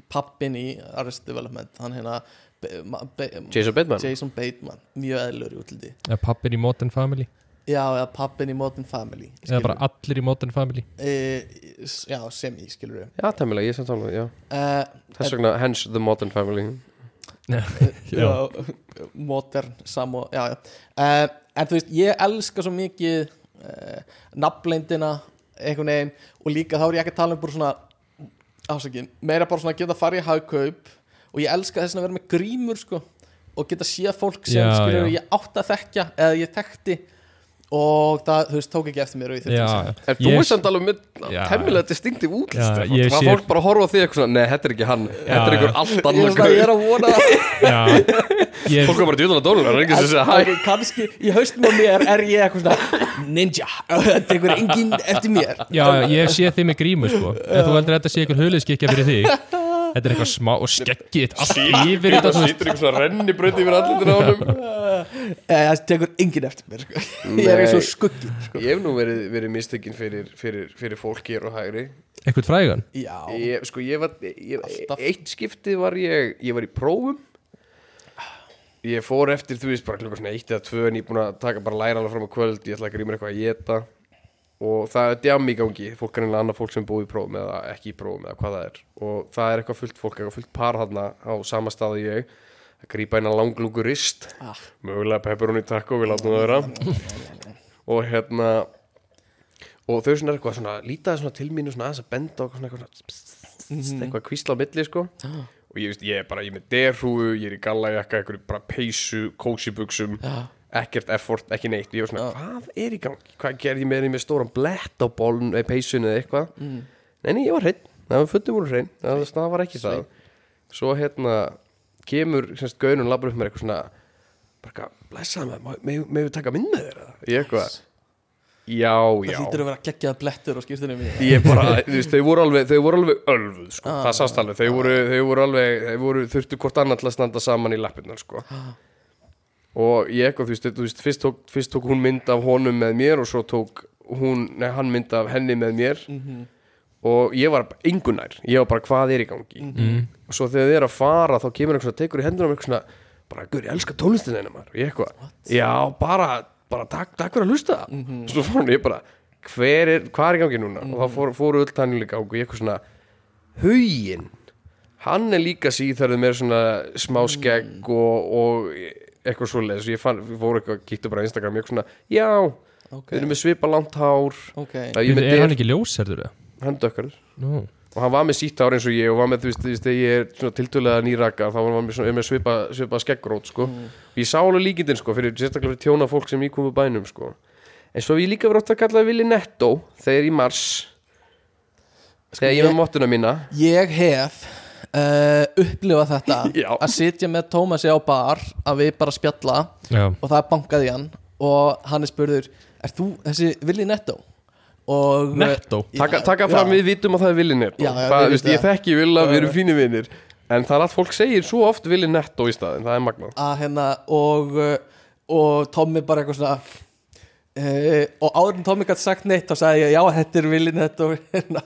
pappin í Arrest Development hann hérna Be- Ma- Be-
Jason Bateman
Jason Bateman, mjög eðlur í útliti
eða pappir í Modern Family
já, eða pappin í Modern Family
eða bara allir í Modern Family
e, já, sem í, skilur við
Já, tæmilega, ég sem tala, já
uh,
Þess vegna, hence the modern family
já. modern samo, já, já uh, en þú veist, ég elska svo mikið eh, uh, nafnleindina einhvern veginn og líka þá er ég ekki að tala um bara svona ásakinn, meira bara svona að geta farið í hagkaup og ég elska þess að vera með grímur sko, og geta síða fólk sem
Já,
skilur,
já.
ég átt að þekka eða ég þekkti og það, þú veist, tók ekki eftir mér og ég þurfti
já,
að segja.
já.
En þú
Ég-
er samt alveg með
Já.
temmilega distinktiv
Já, ég
útlist Það
sé-
fólk bara horfa á því eitthvað svona Nei, þetta er ekki hann, þetta er
já.
einhver allt
Ég er
annar
svona- ég
gaur."
er að vona að
Já, ég,
Fólk er bara djúðan að dólar, það er ekki sem segja hæ
Ok, kannski í haustum á mér er ég eitthvað svona ninja, þetta er einhver engin eftir mér
já, ég sé þig með grímu sko. En þú heldur að þetta sé ykkur höliðskikja fyrir þig Þetta er eitthvað smá og skeggið Allt yfir þetta
Það
þú veist.
sýtur einhver svona rennibraut yfir allir á honum
Eh, það tekur engin eftir mér sko. ég er eins og
Nei.
skuggi sko.
Ég hef nú verið, verið mistökin fyrir, fyrir, fyrir fólk hér og hægri
Eitthvað frægan
já,
ég, Sko ég var ég,
Alltaf.
Eitt skiptið var ég Ég var í prófum Ég fór eftir þú veist bara klukka svona eitt eða tvö En ég er búin að taka bara læra alveg fram á kvöld Ég ætla að gríma eitthvað að geta Og það er djam í gangi Fólk er einlega annað fólk sem er búið í prófum Eða ekki í prófum eða hvað það er Og það er eitthvað fullt fólk, eitthvað fullt par þarna Á sama staði ég Að grípa einan langlungu rist
Ah.
Mögulega pepperoni taco, við látum það vera Og hérna Og þau svona eitthvað svona Lítaði svona til mínu svona aðeins að benda Og svona eitthvað svona mm. eitthvað kvísla á milli sko og ég veist, ég er bara, ég er með derhúu ég er í gallajakka, einhverju bara peysu kósi buksum, ekkert effort ekki neitt, ég var svona, hvað er í gangi hvað gerði ég með því með stóran blett á bólun eða peysunni eða eitthvað mm. nei, nei, ég var hreinn, það var fötum úr hreinn það, var- það var ekki það svo hérna, kemur semst gaunum labur upp með eitthvað svona bara eitthvað, blessaði með, með, með við taka mynd með þér eða?" ég eitthvað, já, já
það hlýtur að vera geggjað blettur á skýrtunum mínu
ég bara, þú veist, þau voru alveg þau voru alveg ölfuð, sko, það sást alveg þau voru, þau voru alveg, þau voru þurftu hvort annað til að standa saman í lappirnar, sko og ég eitthvað, þú veist, þú veist fyrst, tók, fyrst tók hún mynd af honum með mér og svo tók hún, nei, hann mynd af henni með mér og ég var engunær, ég var bara hvað er í gangi
Mhm.
og svo þegar þið er að fara þá kemur einhvers að tekur í hendunum einhvers svona bara, guður, ég elska tónlistin hennar maður og ég eitthvað, já, bara, bara takk, takk fyrir að hlusta mm
Mhm.
-hmm. svo fór hún, ég bara, hver er, hvað er í gangi núna og þá fór, fóru öll þannig líka og ég eitthvað svona haugin hann er líka síðarðu með svona smá
Mhm.
skegg og, og eitthvað svoleiðis ég fann, við fórum eitthvað, kíktu bara á Instagram ég eitthvað svona, já,
Ok.
við erum með svipa langt hár
ok,
það er ég með
Er hann
dyr,
ekki ljósherður? eða?
hann dökkar
Nú.
og hann var með sítt hár eins og ég og var með, þú veist, þú veist þegar ég er svona tildulega nýraka þá var hann með, svona, með svipa, svipa skeggrót sko.
Mm.
og ég sá alveg líkindin, sko, fyrir sérstaklega fyrir tjóna fólk sem ég komu bænum, sko en svo hef ég líka verið átt að kalla Vili Netto þegar í mars þegar ég, ég
Sko, ég-
með mottuna mína
ég hef uh, upplifað þetta
Já.
að sitja með Tómasi á bar að við bara spjalla
Já,
og það er bankað í hann og hann er spurður, er þú þessi Willi Netto? Og, eh,
Netto?
Já,
Taka, taka fram,
já.
við vitum að það er Willi Netto
Já, já,
það,
við
veist,
vitum
Ég
það.
þekki Villa, við erum
Já.
fínir vinnir En það er allt fólk segir svo oft Willi Netto í staðin, það er magnað
að hérna og, uh, og Tommy bara eitthvað svona uh, og áður en Tommy gætt sagt neitt þá sagði ég já þetta er villin þetta og hérna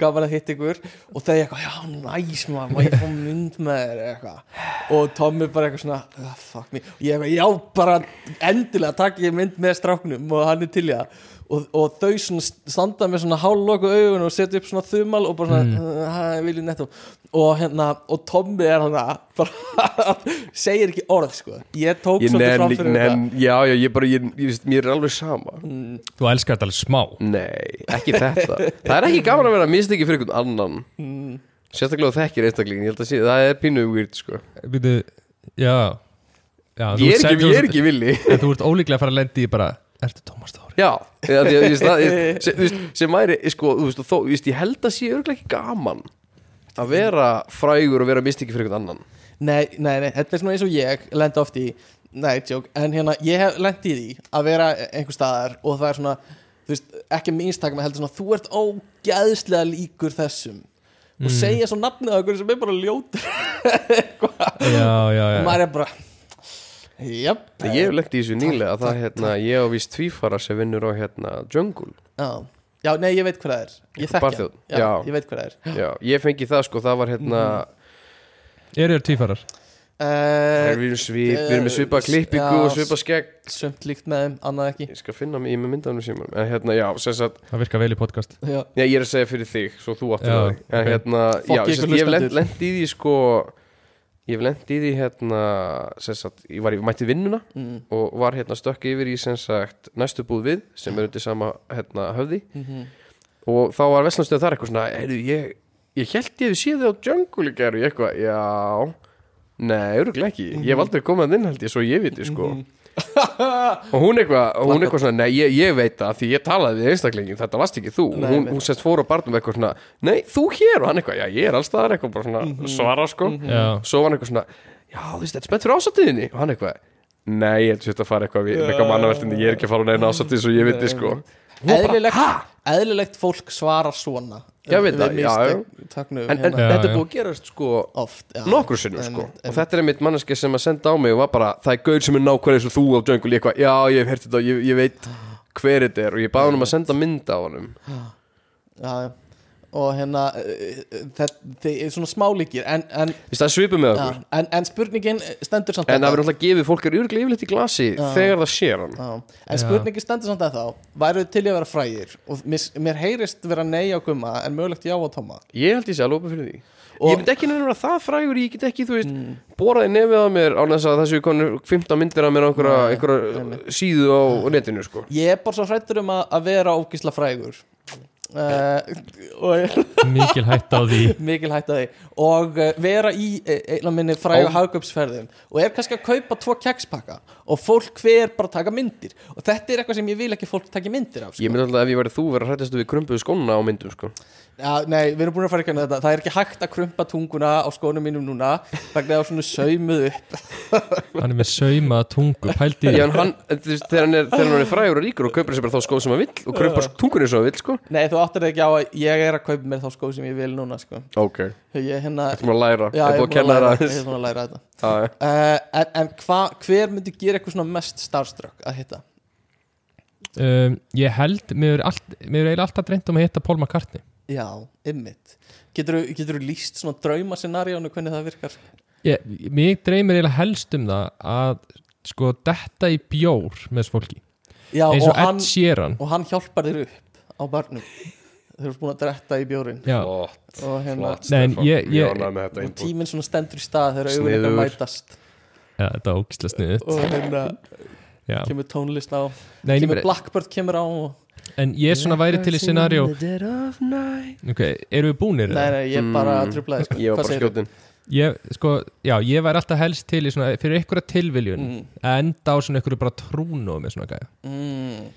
gaman að hitta ykkur og þegar ég eitthvað já næs maður má ég fá mynd með þér eða eitthvað og Tommy bara eitthvað svona ah, fuck me og ég eitthvað já bara endilega takk ég mynd með stráknum og hann er til í það og, og þau svona standa með svona hálfloku augun og setja upp svona þumal og bara svona, mm. uh, vilji netto og hérna, og Tommi er hann að bara, segir ekki orð sko ég tók
Ég
svolítið fram
nenni,
fyrir
nenn, já, já, ég bara, ég, ég veist, mér er alveg sama
þú elskar þetta alveg smá
Nei, ekki þetta Það er ekki gaman að vera mistiki fyrir einhvern annan Sérstaklega þú þekkir einstaklingin, ég held að sé, það er pínu weird, sko
Býtu, já, já þú
Ég er
ert sett-
ekki,
þú
ég er
ert-
ekki villi
En þú ert ólíklega að fara að lendi í bara Ertu Tómas Þóri?
Já, eða, því að, ég, það, ég, sem, þú veist, sem væri, sko, þú veist, og þó, þú veist, ég held að sé örglega ekki gaman að vera frægur og vera mistiki fyrir einhvern annan
Nei, nei, nei, þetta er svona eins og ég lendi oft í, nei, tjók, en hérna ég hef lendi í því að vera einhver staðar og það er svona, þú veist, ekki minnstak með heldur svona, þú ert ógæðslega líkur þessum
Mm.
og segja svo nafnið á einhverju sem er bara ljótur
Já, já, já
og maður er bara, jöp,
Eh. Ég hef lengt í þessu nýlega að það hérna, ég á víst tvífara sem vinnur á hérna Jungle.
já, já, nei, ég veit hvað það er, ég
Einhver
þekki
barþjónn,
hann, já,
já.
ég veit hvað það er.
Já, ég fengi það sko, það var hérna,
Eru þér tvífarar?
mm.
Uh,
við erum svip, við erum með svipa klippingu
Já.
og svipa skegg.
sumt líkt með þeim, annað ekki
Ég skal finna mig í með myndanum síman, en hérna, já, sem sagt,
Það virkar vel í podcast
já,
já, ég er að segja fyrir þig, svo þú áttur
Já,
það. En
ok.
hérna,
Fokk
já,
ykkur
sem sagt, ég hef lent,
hlustendur.
lent í því sko, ég hef lent í því hérna, sem sagt, ég var í, mætti í vinnuna
mm,
og var hérna stökk yfir í sem sagt næstu búð við sem er undir sama hérna höfði
mhm,
og þá var Vestlandstöð þar eitthvað svona heyrðu ég ég held ég þið séð þið á Jungle í gær og ég eitthvað, já Nei, öruglega ekki, ég
Mhm.
hef aldrei komið að inn held ég svo ég viti sko Og hún eitthvað, og hún eitthvað svona, nei ég, ég veit það því ég talaði við einstaklingin, þetta varst ekki þú
Nei,
Hún,
einmitt.
hún sest fór á barnum eitthvað svona, nei þú hér og hann eitthvað, já ég er allstaðar eitthvað bara svona
Mhm.
svara sko
Já.
Svo var hann eitthvað svona, já þú veist, þetta er spennt fyrir ásatíðinni og hann eitthvað, nei ég held sér að fara eitthvað við, eitthvað mannavertindi, ég er ekki að fara á neina ásatíð svo ég viti sko
eðlilegt, eðlilegt fólk svarar svona
Ég veit það, já,
Taknu
En, en
hérna
þetta er
já.
búið að gerast sko
oft já.
nokkur sinnum
En-
sko
en-
og þetta er einmitt manneski sem að senda á mig og var bara það er gaur sem er nákvæmlega eins og þú á jungle ég, eitthvað, já ég hef hert þetta og ég, ég veit hver þetta er og ég baði hann um að senda mynd á hann
já, já. og hérna eh, eh, þetta þið er svona smálíkir en, en,
það er svipum með
já,
okkur
en, en spurningin stendur
en
samt
það
þetta.
verður alltaf gefið fólk er örglega yfirleitt í glasi þegar það sér hann
Já, en spurningin stendur samt að þá væru þið til í að vera frægir og mér, mér heyrist vera nei á gumma en mögulegt já á tóma
ég held ég sé alveg opið fyrir því
Og-
ég myndi ekki nefnir að það frægur ég get ekki, þú veist, mm. boraði nefið á mér án þess að þessu konur 15 myndir af mér á einhverja, einhverja síðu á netinu sko
ég er bara svo hrættur um að, að vera ógisla frægur uh, og
mikil hætt á því
mikil hætta því og eh, vera í eh, einu af minni frægu
Ó.
hagöpsferðum og er kannski að kaupa tvo kekspakka og fólk hver bara að taka myndir og þetta er eitthvað sem ég vil ekki að fólk taka myndir af sko.
ég myndi alltaf ef ég verið þú vera hrættastu við krumpuðu skóna á myndum sko
Já, nei, við erum búin að fara ekki að þetta Það er ekki hægt að krumpa tunguna á skónum mínum núna vegna það er svona saumuð upp
hann er með sauma tungu, pældi
Já, en hann, þú veist, þegar hann er, þegar hann er frægur og ríkur og kaupir sér bara þá skóð sem hann vill og krumpar tungunni sem hann vill, sko
Nei, þú áttir ekki á að ég er að kaupa mér þá skó sem ég vil núna sko.
Ok
Ég er hérna
Þú maður að læra, ég
Já,
er búið að kenna þér
læra, ég
aðeins
er búin að læra þetta
Já, já.
uh, En, en hva, hver myndi gera eitthvað svona mest starstruck að hitta?
um, ég held, mér er, allt, mér er eiginlega alltaf dreymt um að hitta Paul McCartney
Já, ymmit Getur þú líst svona draumasenaríónu hvernig það virkar?
ég, mér dreymir eiginlega helst um það að sko detta í bjór með þessu fólki,
Já,
eins
og
og
hann,
Ed Sheeran
og hann hjálpar þér upp á barnum Þeir eru búin að dretta í bjórin
já,
Flott,
og hérna
flott,
Nei, en
Stefán.
ég-
Mjög
ég-
ánægð með þetta
og
input.
tíminn svona stendur í stað þegar augun
Sniðugur.
eitthvað mætast
já þetta er ógislega sniðut
og hérna
já.
kemur tónlist á
Nei, en ég
kemur
meina-
Blackbird kemur á og...
en ég er svona væri til í scenario
Nei,
ok, eru við búnir?
nei,
eða?
nei, ég bara trublaði sko.
Mm. Ég var
Hvað
bara
segirðu?
skjótin
Ég, sko, já, ég væri alltaf helst til í svona, fyrir einhverja tilviljun
Mhm.
að enda á svona einhverju bara trúnu með svona gæja
mm,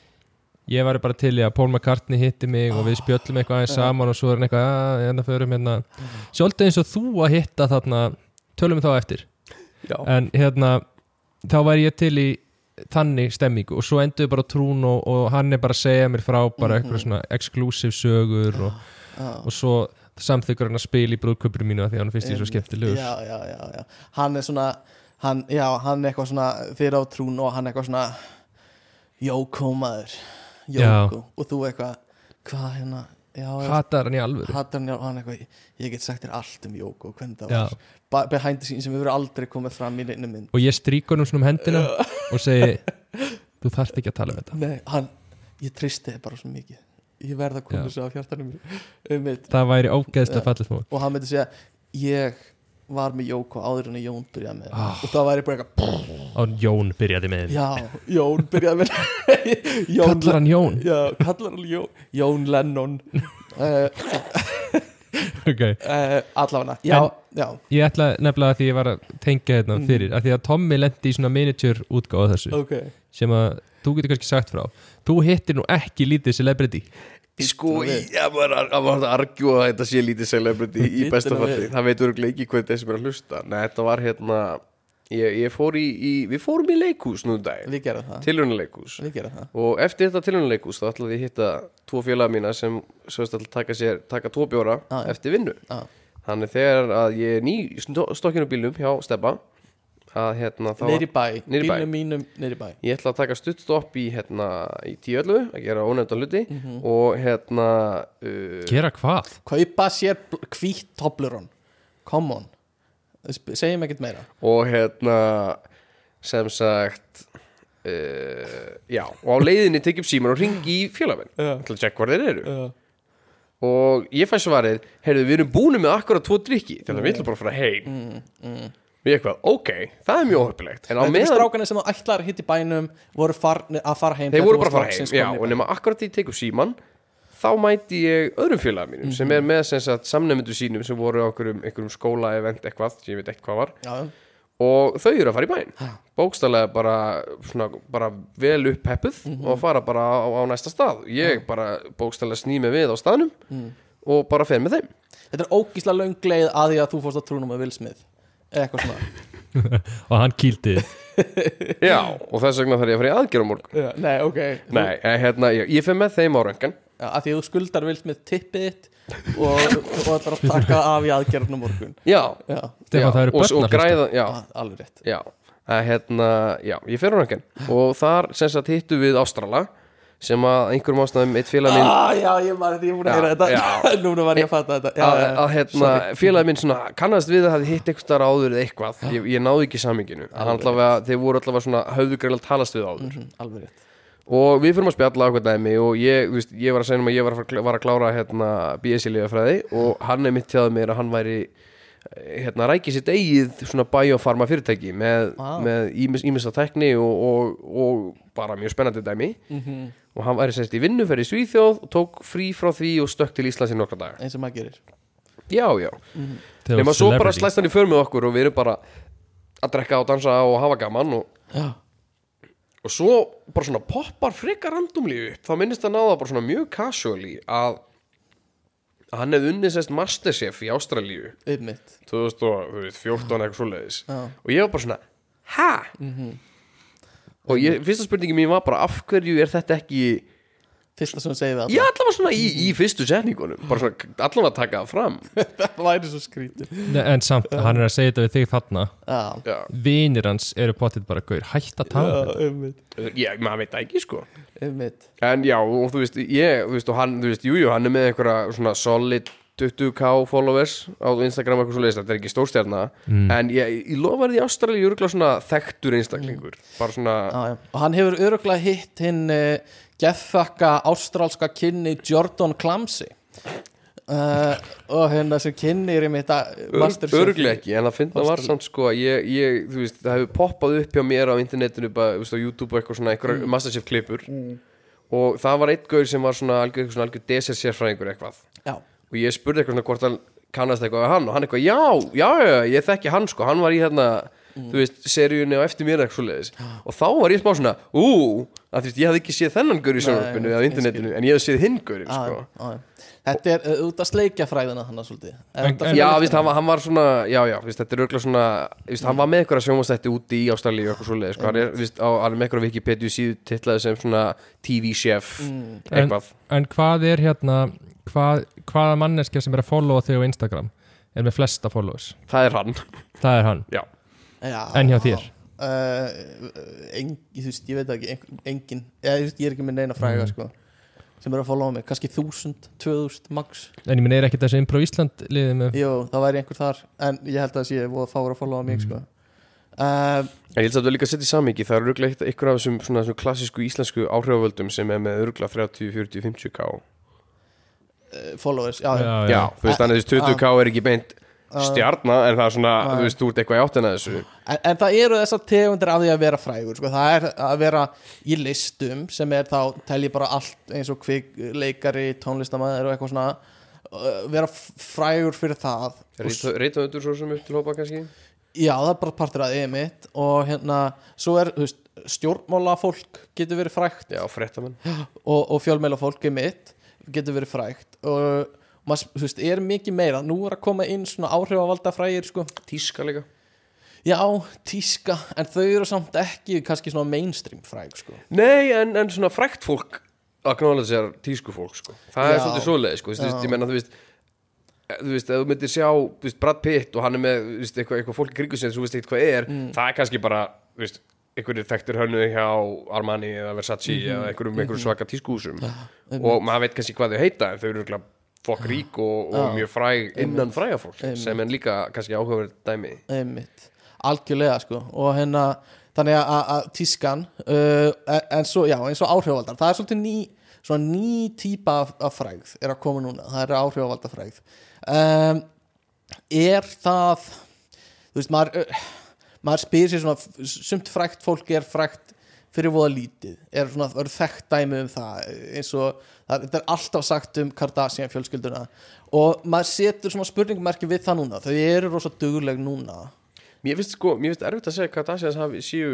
ég væri bara til í að Paul McCartney hitti mig og
Ah.
við spjöllum eitthvað aðeins saman og svo er hann eitthvað, að, hérna förum hérna
Mhm.
sjálfdeg eins og þú að hitta þarna tölum við þá eftir
Já.
en hérna, þá væri ég til í þannig stemmingu og svo endur við bara á trún og, og hann er bara að segja mér frá bara eitthvað
Mhm.
svona exclusive sögur og,
Ah.
og svo samþykkur hann að spila í brúðköpur mínu að því að hann finnst ég svo skemmtilegur
Um, já, já, já, já. hann er svona hann, já, hann er eitthvað svona fyrir á trún og hann er eitthvað svona Jókó maður Jókó og þú eitthvað hvað hérna já, já,
hatar hann í alvöru
hattar hann já, hann eitthvað ég get sagt þér allt um Jókó hvernig það
Já.
var Ba- behind the scenes sem hefur aldrei komið fram í neinu mynd
og ég strík honum svona um hendina og segi, þú þarft ekki að tala um þetta
Nei, hann, ég tristi þið bara svo mikið Ég verð að koma
Já.
þessu á hjartanum mínu, um mitt
það væri ógeðslega fallið mót
Og hann myndi segja Ég var með Jóko áður en að Jón byrjaði með
Ah.
oh. Og það væri bara eitthvað
og Jón byrjaði með þeim
Já, Jón byrjaði með Jón
kallar hann Jón
Já, kallar hann Jón, Jón Lennon uh,
okay.
uh, Allafana Já, já,
ég ætla nefnilega að því ég var að tengja þetta fyrir að því að Tommy lendi í svona miniature útgáð þessu
Mm. ok
sem að þú getur kannski sagt frá þú hittir nú ekki lítið celebrity
Sko, ég var að var að argjúa að þetta sé lítið celebrity í
Bíddu
besta
nú
falli
við.
Það veitur örugglega ekki hvað þetta er sem er að hlusta Nei, þetta var hérna Ég, ég fór í, í, við fórum í leikhús nú um dag
Við gerum það
Tilrunaleikús
Við gerum það
og eftir þetta tilhjónuleikus þá ætlaði ég hitta tvo félaga mína sem sögst að taka sér, taka tvo bjóra
Ah, já.
eftir vinnu
Já.
þannig þegar að ég er ný í stó- stokkinu bílum hjá Stebba að hérna þá
Neyri bæ,
Niður í bæ.
bílnum mínum neyri bæ
ég ætla að taka stuttstopp í hérna í tíuallu, að gera ónefnda hluti og hérna
Eh.
uh,
gera hvað?
Kaupa sér hvít toblurón Come on Sp- Segjum ekkert meira
og hérna sem sagt uh, já, og á leiðinni tekjum síman og ringi í félagminn
Já.
til að tjekka hvað þeir eru
Já.
og ég fæ svarið, heyrðu við erum búin með akkurat tvo drikki, þannig að við ætlum bara að fara heim mm, mm. og ég eitthvað, ok það er mjög óhöfnilegt, en á
Þetta meðan...
meðan
strákana sem þú ætlar að hitta í bænum voru farni, að fara heim
þeir
þegar
voru
þú
bara að
varst
fara
loksins
heim, já,
komin í
og
bæ.
nema akkurat því tekjum síman þá mæti ég öðrum félaga mínum sem er með sem sagt, samnefndu sínum sem voru á einhverjum, einhverjum skóla event eitthvað, ég veit eitthvað var
já,
og þau eru að fara í bæinn bókstallega bara, svona, bara vel upp heppuð og fara bara á, á næsta stað ég bara bókstallega sný mig við á staðnum og bara fer með þeim
Þetta er ógísla löng leið að því að þú fórst að trúna með vilsmið eða eitthvað svona
og hann kýldi þig.
já, og þess vegna þarf ég að fara í aðgerð á morgun
já, Nei, ok
nei, eh, hérna, ég, ég fer með þeim á röngan
já, Að því að þú skuldar vilsmið tippið þitt og, og ætlar að taka af í aðgerðna morgun
já,
Já,
Stefán,
já,
það eru
og, og
börnafesta.
græða, já,
að, alveg rétt
já, að, hérna, já, ég fer á röngan og þar sem sagt hittu við Ástrala sem að einhverjum ástæðum eitt félag minn
ah, Já, ég var þetta, ég er búin að heyra
Já,
þetta
já.
Núna var ég að fatta þetta
að,
já, já,
að hérna, félagi minn svona kannast við að hafi hitt eitthvað starf áður eða eitthvað ég, ég náði ekki saminginu allavega, þeir voru allavega svona höfðugreilega talast við áður
Mhm, Alveg rétt
og við fyrir að spjalla okkur dæmi og ég, þú veist, ég var að segja um að ég var að, fara- var að klára hérna, BS í liðafræði og hann er mitt tjáði mér að hann væri hérna rækið sitt eigið svona biofarma fyrirtæki með,
Vá.
með ímis, ímista tekni og, og, og bara mjög spennandi dæmi
Mm-hmm,
og hann væri semst í vinnuferð í Svíþjóð og tók frí frá því og stökk til Íslands í nokkra daga
Eins og maður gerir
já, já
Þegar
nema
þú
svo bara
celebrity.
slæst hann í för með okkur og við erum bara að drekka og dansa og hafa gaman og,
Já,
og svo bara svona poppar frekar randomli upp þá minnist hann á það bara svona mjög casually að, að hann hefði unnið sérst masterchef í Ástralíu
einmitt
2014 eitthvað svoleiðis
Já.
og ég var bara svona, hæ? og ég, fyrsta spurningin mín var bara af hverju er þetta ekki
Fyrsta sem hún segir við
ég allavega svona í, í fyrstu setningunum bara svona allavega að taka það fram
alltaf Það væri svo skrítið
Nei, en samt, hann er að segja þetta við þig þarna
Já,
já,
vinir hans eru potið bara gaur, hætt að tala um
já, einmitt
ég, maður veit það ekki sko
Einmitt
En já, og þú veist, ég, þú veist, og hann, þú veist, jújú, jú, hann er með einhverja svona solid 20k followers á Instagram eitthvað svo leiðist, þetta er ekki stórstjarna en ég, ég lofa því ástralið ég örgulega svona þekktur einstaklingur bara svona,
Já, já. og hann hefur öruglega hitt hinn uh, geffakka ástrálska kynni Jordan Clamsey uh, og hérna sem kynni er einmitt að
Ör- örgulega ekki en það finna var
Ástralíu.
samt sko að ég, ég, þú veist, það hefur poppað upp hjá mér á internetinu, bara, þú veist, á YouTube og eitthvað svona einhverja mm. Masterchef klippur og það var eitt gaur sem var svona algjör, svona algjör desert sérfræðingur eitthvað
já,
og ég spurði eitthvað svona hvort hann kannast eitthvað við hann og hann eitthvað, já, já, já, já, ég þekki hann sko, hann var í hérna, þú veist, seríunni og eftir mér eitthvað svoleiðis og þá var ég smá svona, ú, að þú veist, ég hafði ekki séð þennan gaur í sjónvarpinu
Nei, Ah.
eða á internetinu, en ég hafði séð hinn gaurinn
á,
sko.
á, þetta er uh, út að sleikja fræðina hann svolítið Er
En-
þetta
en-
Já,
fyrir-
víst, hann, var- hann var svona, já, já, víst, þetta er örgulega svona, víst, hann var með eitthvað sjónvastætti úti í Ástralíu og eitthvað svoleiðis, sko, hann er, víst, á, hann er með eitthvað Wikipedia síðu titlaði sem svona TV-chef, eitthvað.
en hvað er hérna hvað, hvaða manneskja sem er að followa þig á Instagram er með flesta followers
Það er hann,
það er hann,
já.
já,
en hjá þér?
uh, en, þú veist, ég veit það ekki en, engin, eða, þú veist, ég er ekki með neina fræga
Mm.
sko, sem er að followa mig, kannski 1000 2000 max,
en ég minn er ekki þessi Impro Ísland liðið með
jú, það væri einhver þar en ég held að það sé voða fáur að followa
Mm.
mig sko. uh,
En ég held að við líka að setja í samingi, það er örgulega eitt ykkur af þessum, svona, þessum klassísku íslensku áhrifavöldum sem er með örgulega 30, 40, 50k.
uh, followers já, já.
Já, þú veist, þannig að þessi 20k er ekki beint stjarna, en það er svona,
Já.
þú veist, þú ert eitthvað í áttina þessu.
En, en það eru þessar tegundir af því að vera frægur sko. það er að vera í listum sem er þá, tel ég bara allt eins og kvik, leikari, tónlistamæður og eitthvað svona uh, vera f- frægur fyrir það
Reitaðundur svo sem upp til hópa kannski?
já, það er bara partur að emitt og hérna, svo er þú veist, stjórnmála fólk getur verið frægt
Já, frettamenn.
og, og fjölmeila fólk emitt getur verið frægt og maður, þú veist, er mikið meira nú er að koma inn svona áhrifavalda frægir sko.
Tíska líka.
já, tíska, en þau eru samt ekki kannski svona mainstream fræg sko.
Nei, en, en svona frækt fólk acknowledge sér tísku fólk sko. það er
Já.
svolítið svoleið sko. Þú veist,
Já.
ég menna, þú veist eh, þú veist, ef þú myndir sjá þú veist, Brad Pitt og hann er með þú veist, eitthvað, eitthvað fólk í kringu sem þú veist eitthvað hvað er
Mm.
það er kannski bara, þú veist einhverjir þekktur hönnu hjá Armani eða Versace
Mhm.
eða einhverjum, einhverjum svaka tískuhúsum og maður veit kannski hvað þau heita en þau eru örugglega fokk rík og, og mjög fræg innan fræga fólk sem er líka kannski áhugaverð dæmi
einmitt, algjörlega sko og hérna, þannig að- að að tískan, uh, en- en svo já, eins og áhrifaldar, það er svolítið ný svona ný típa af, af frægð er að koma núna, það er áhrifalda frægð um, er það þú veist, maður uh, maður spyr sér svona, sumt frægt fólk er frægt fyrir voða lítið er svona, það eru þekkt dæmi um það eins og, það, þetta er alltaf sagt um Kardashian fjölskylduna og maður setur svona spurningmerki við það núna þau eru rosa dugleg núna
Mér finnst sko, mér finnst erfitt að segja hvað Kardashians hafi, séu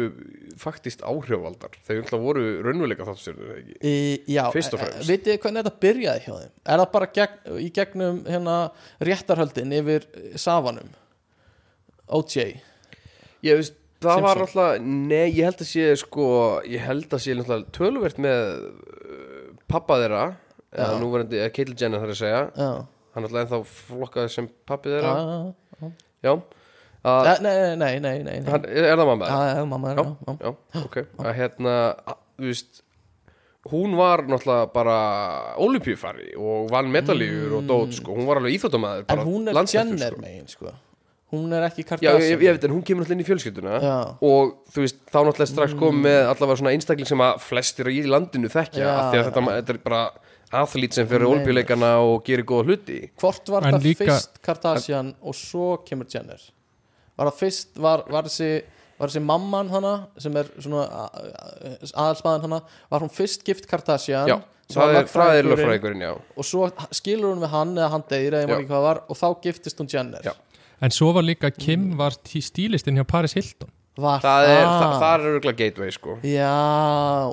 faktist áhrifaldar Þeir alltaf voru raunvöleika þáttstjörnur eða ekki
e, já,
Fyrst og fremst.
veit þið hvernig þetta byrjaði hjá þeim er það bara gegn, í gegnum hérna, réttarhöldin yfir eh, safanum OJ
Ég veist, það
Simpson.
var alltaf, nei, ég held að sé sko, ég held að sé alltaf töluvert með uh, pappa þeirra eða núverandi, eða Caitlyn Jenner þar að segja
já,
hann alltaf ennþá flokkaði sem pappi þeirra
já.
Já, að,
Eh, nei, nei, nei, nei, nei.
hann, er er það mamma þeirra?
Já, já, mamma er
Já,
já, já.
já, ok að hérna, að, þú veist hún var náttúrulega bara olimpíufari og vann medalíur og dót sko, hún var alveg íþjóttamaður
Mm. En hún er Jenner megin sko. Hún er ekki
Já,
Kardashian
ég, ég veit, en hún kemur alltaf inn í fjölskylduna
Já. Mm.
og þú veist, þá náttúrulega strax komið með allavega svona einstakling sem að flestir í landinu þekkja,
Já,
af því að þetta, þetta er bara athlít sem fyrir
Hún meinar.
olbjuleikana og gerir góða hluti
Hvort var
En
það
líka-
fyrst Kardashian og svo kemur Jenner Var það fyrst, var, var þessi var þessi mamman hana sem er svona aðalsmaðan hana var hún fyrst gift Kardashian
Já,
sem var
það er, það er
lögfræðingurinn,
lögfræðingurinn, já
og svo skilur hún við hann eða hann deyr eða
Já.
ég man ekki hvað það var og þá giftist hún Jenner
Já.
en svo var líka Kim var tí- stílistinn hjá Paris Hilton
var
Það er,
það?
það, það er örgulega gateway, sko
Já,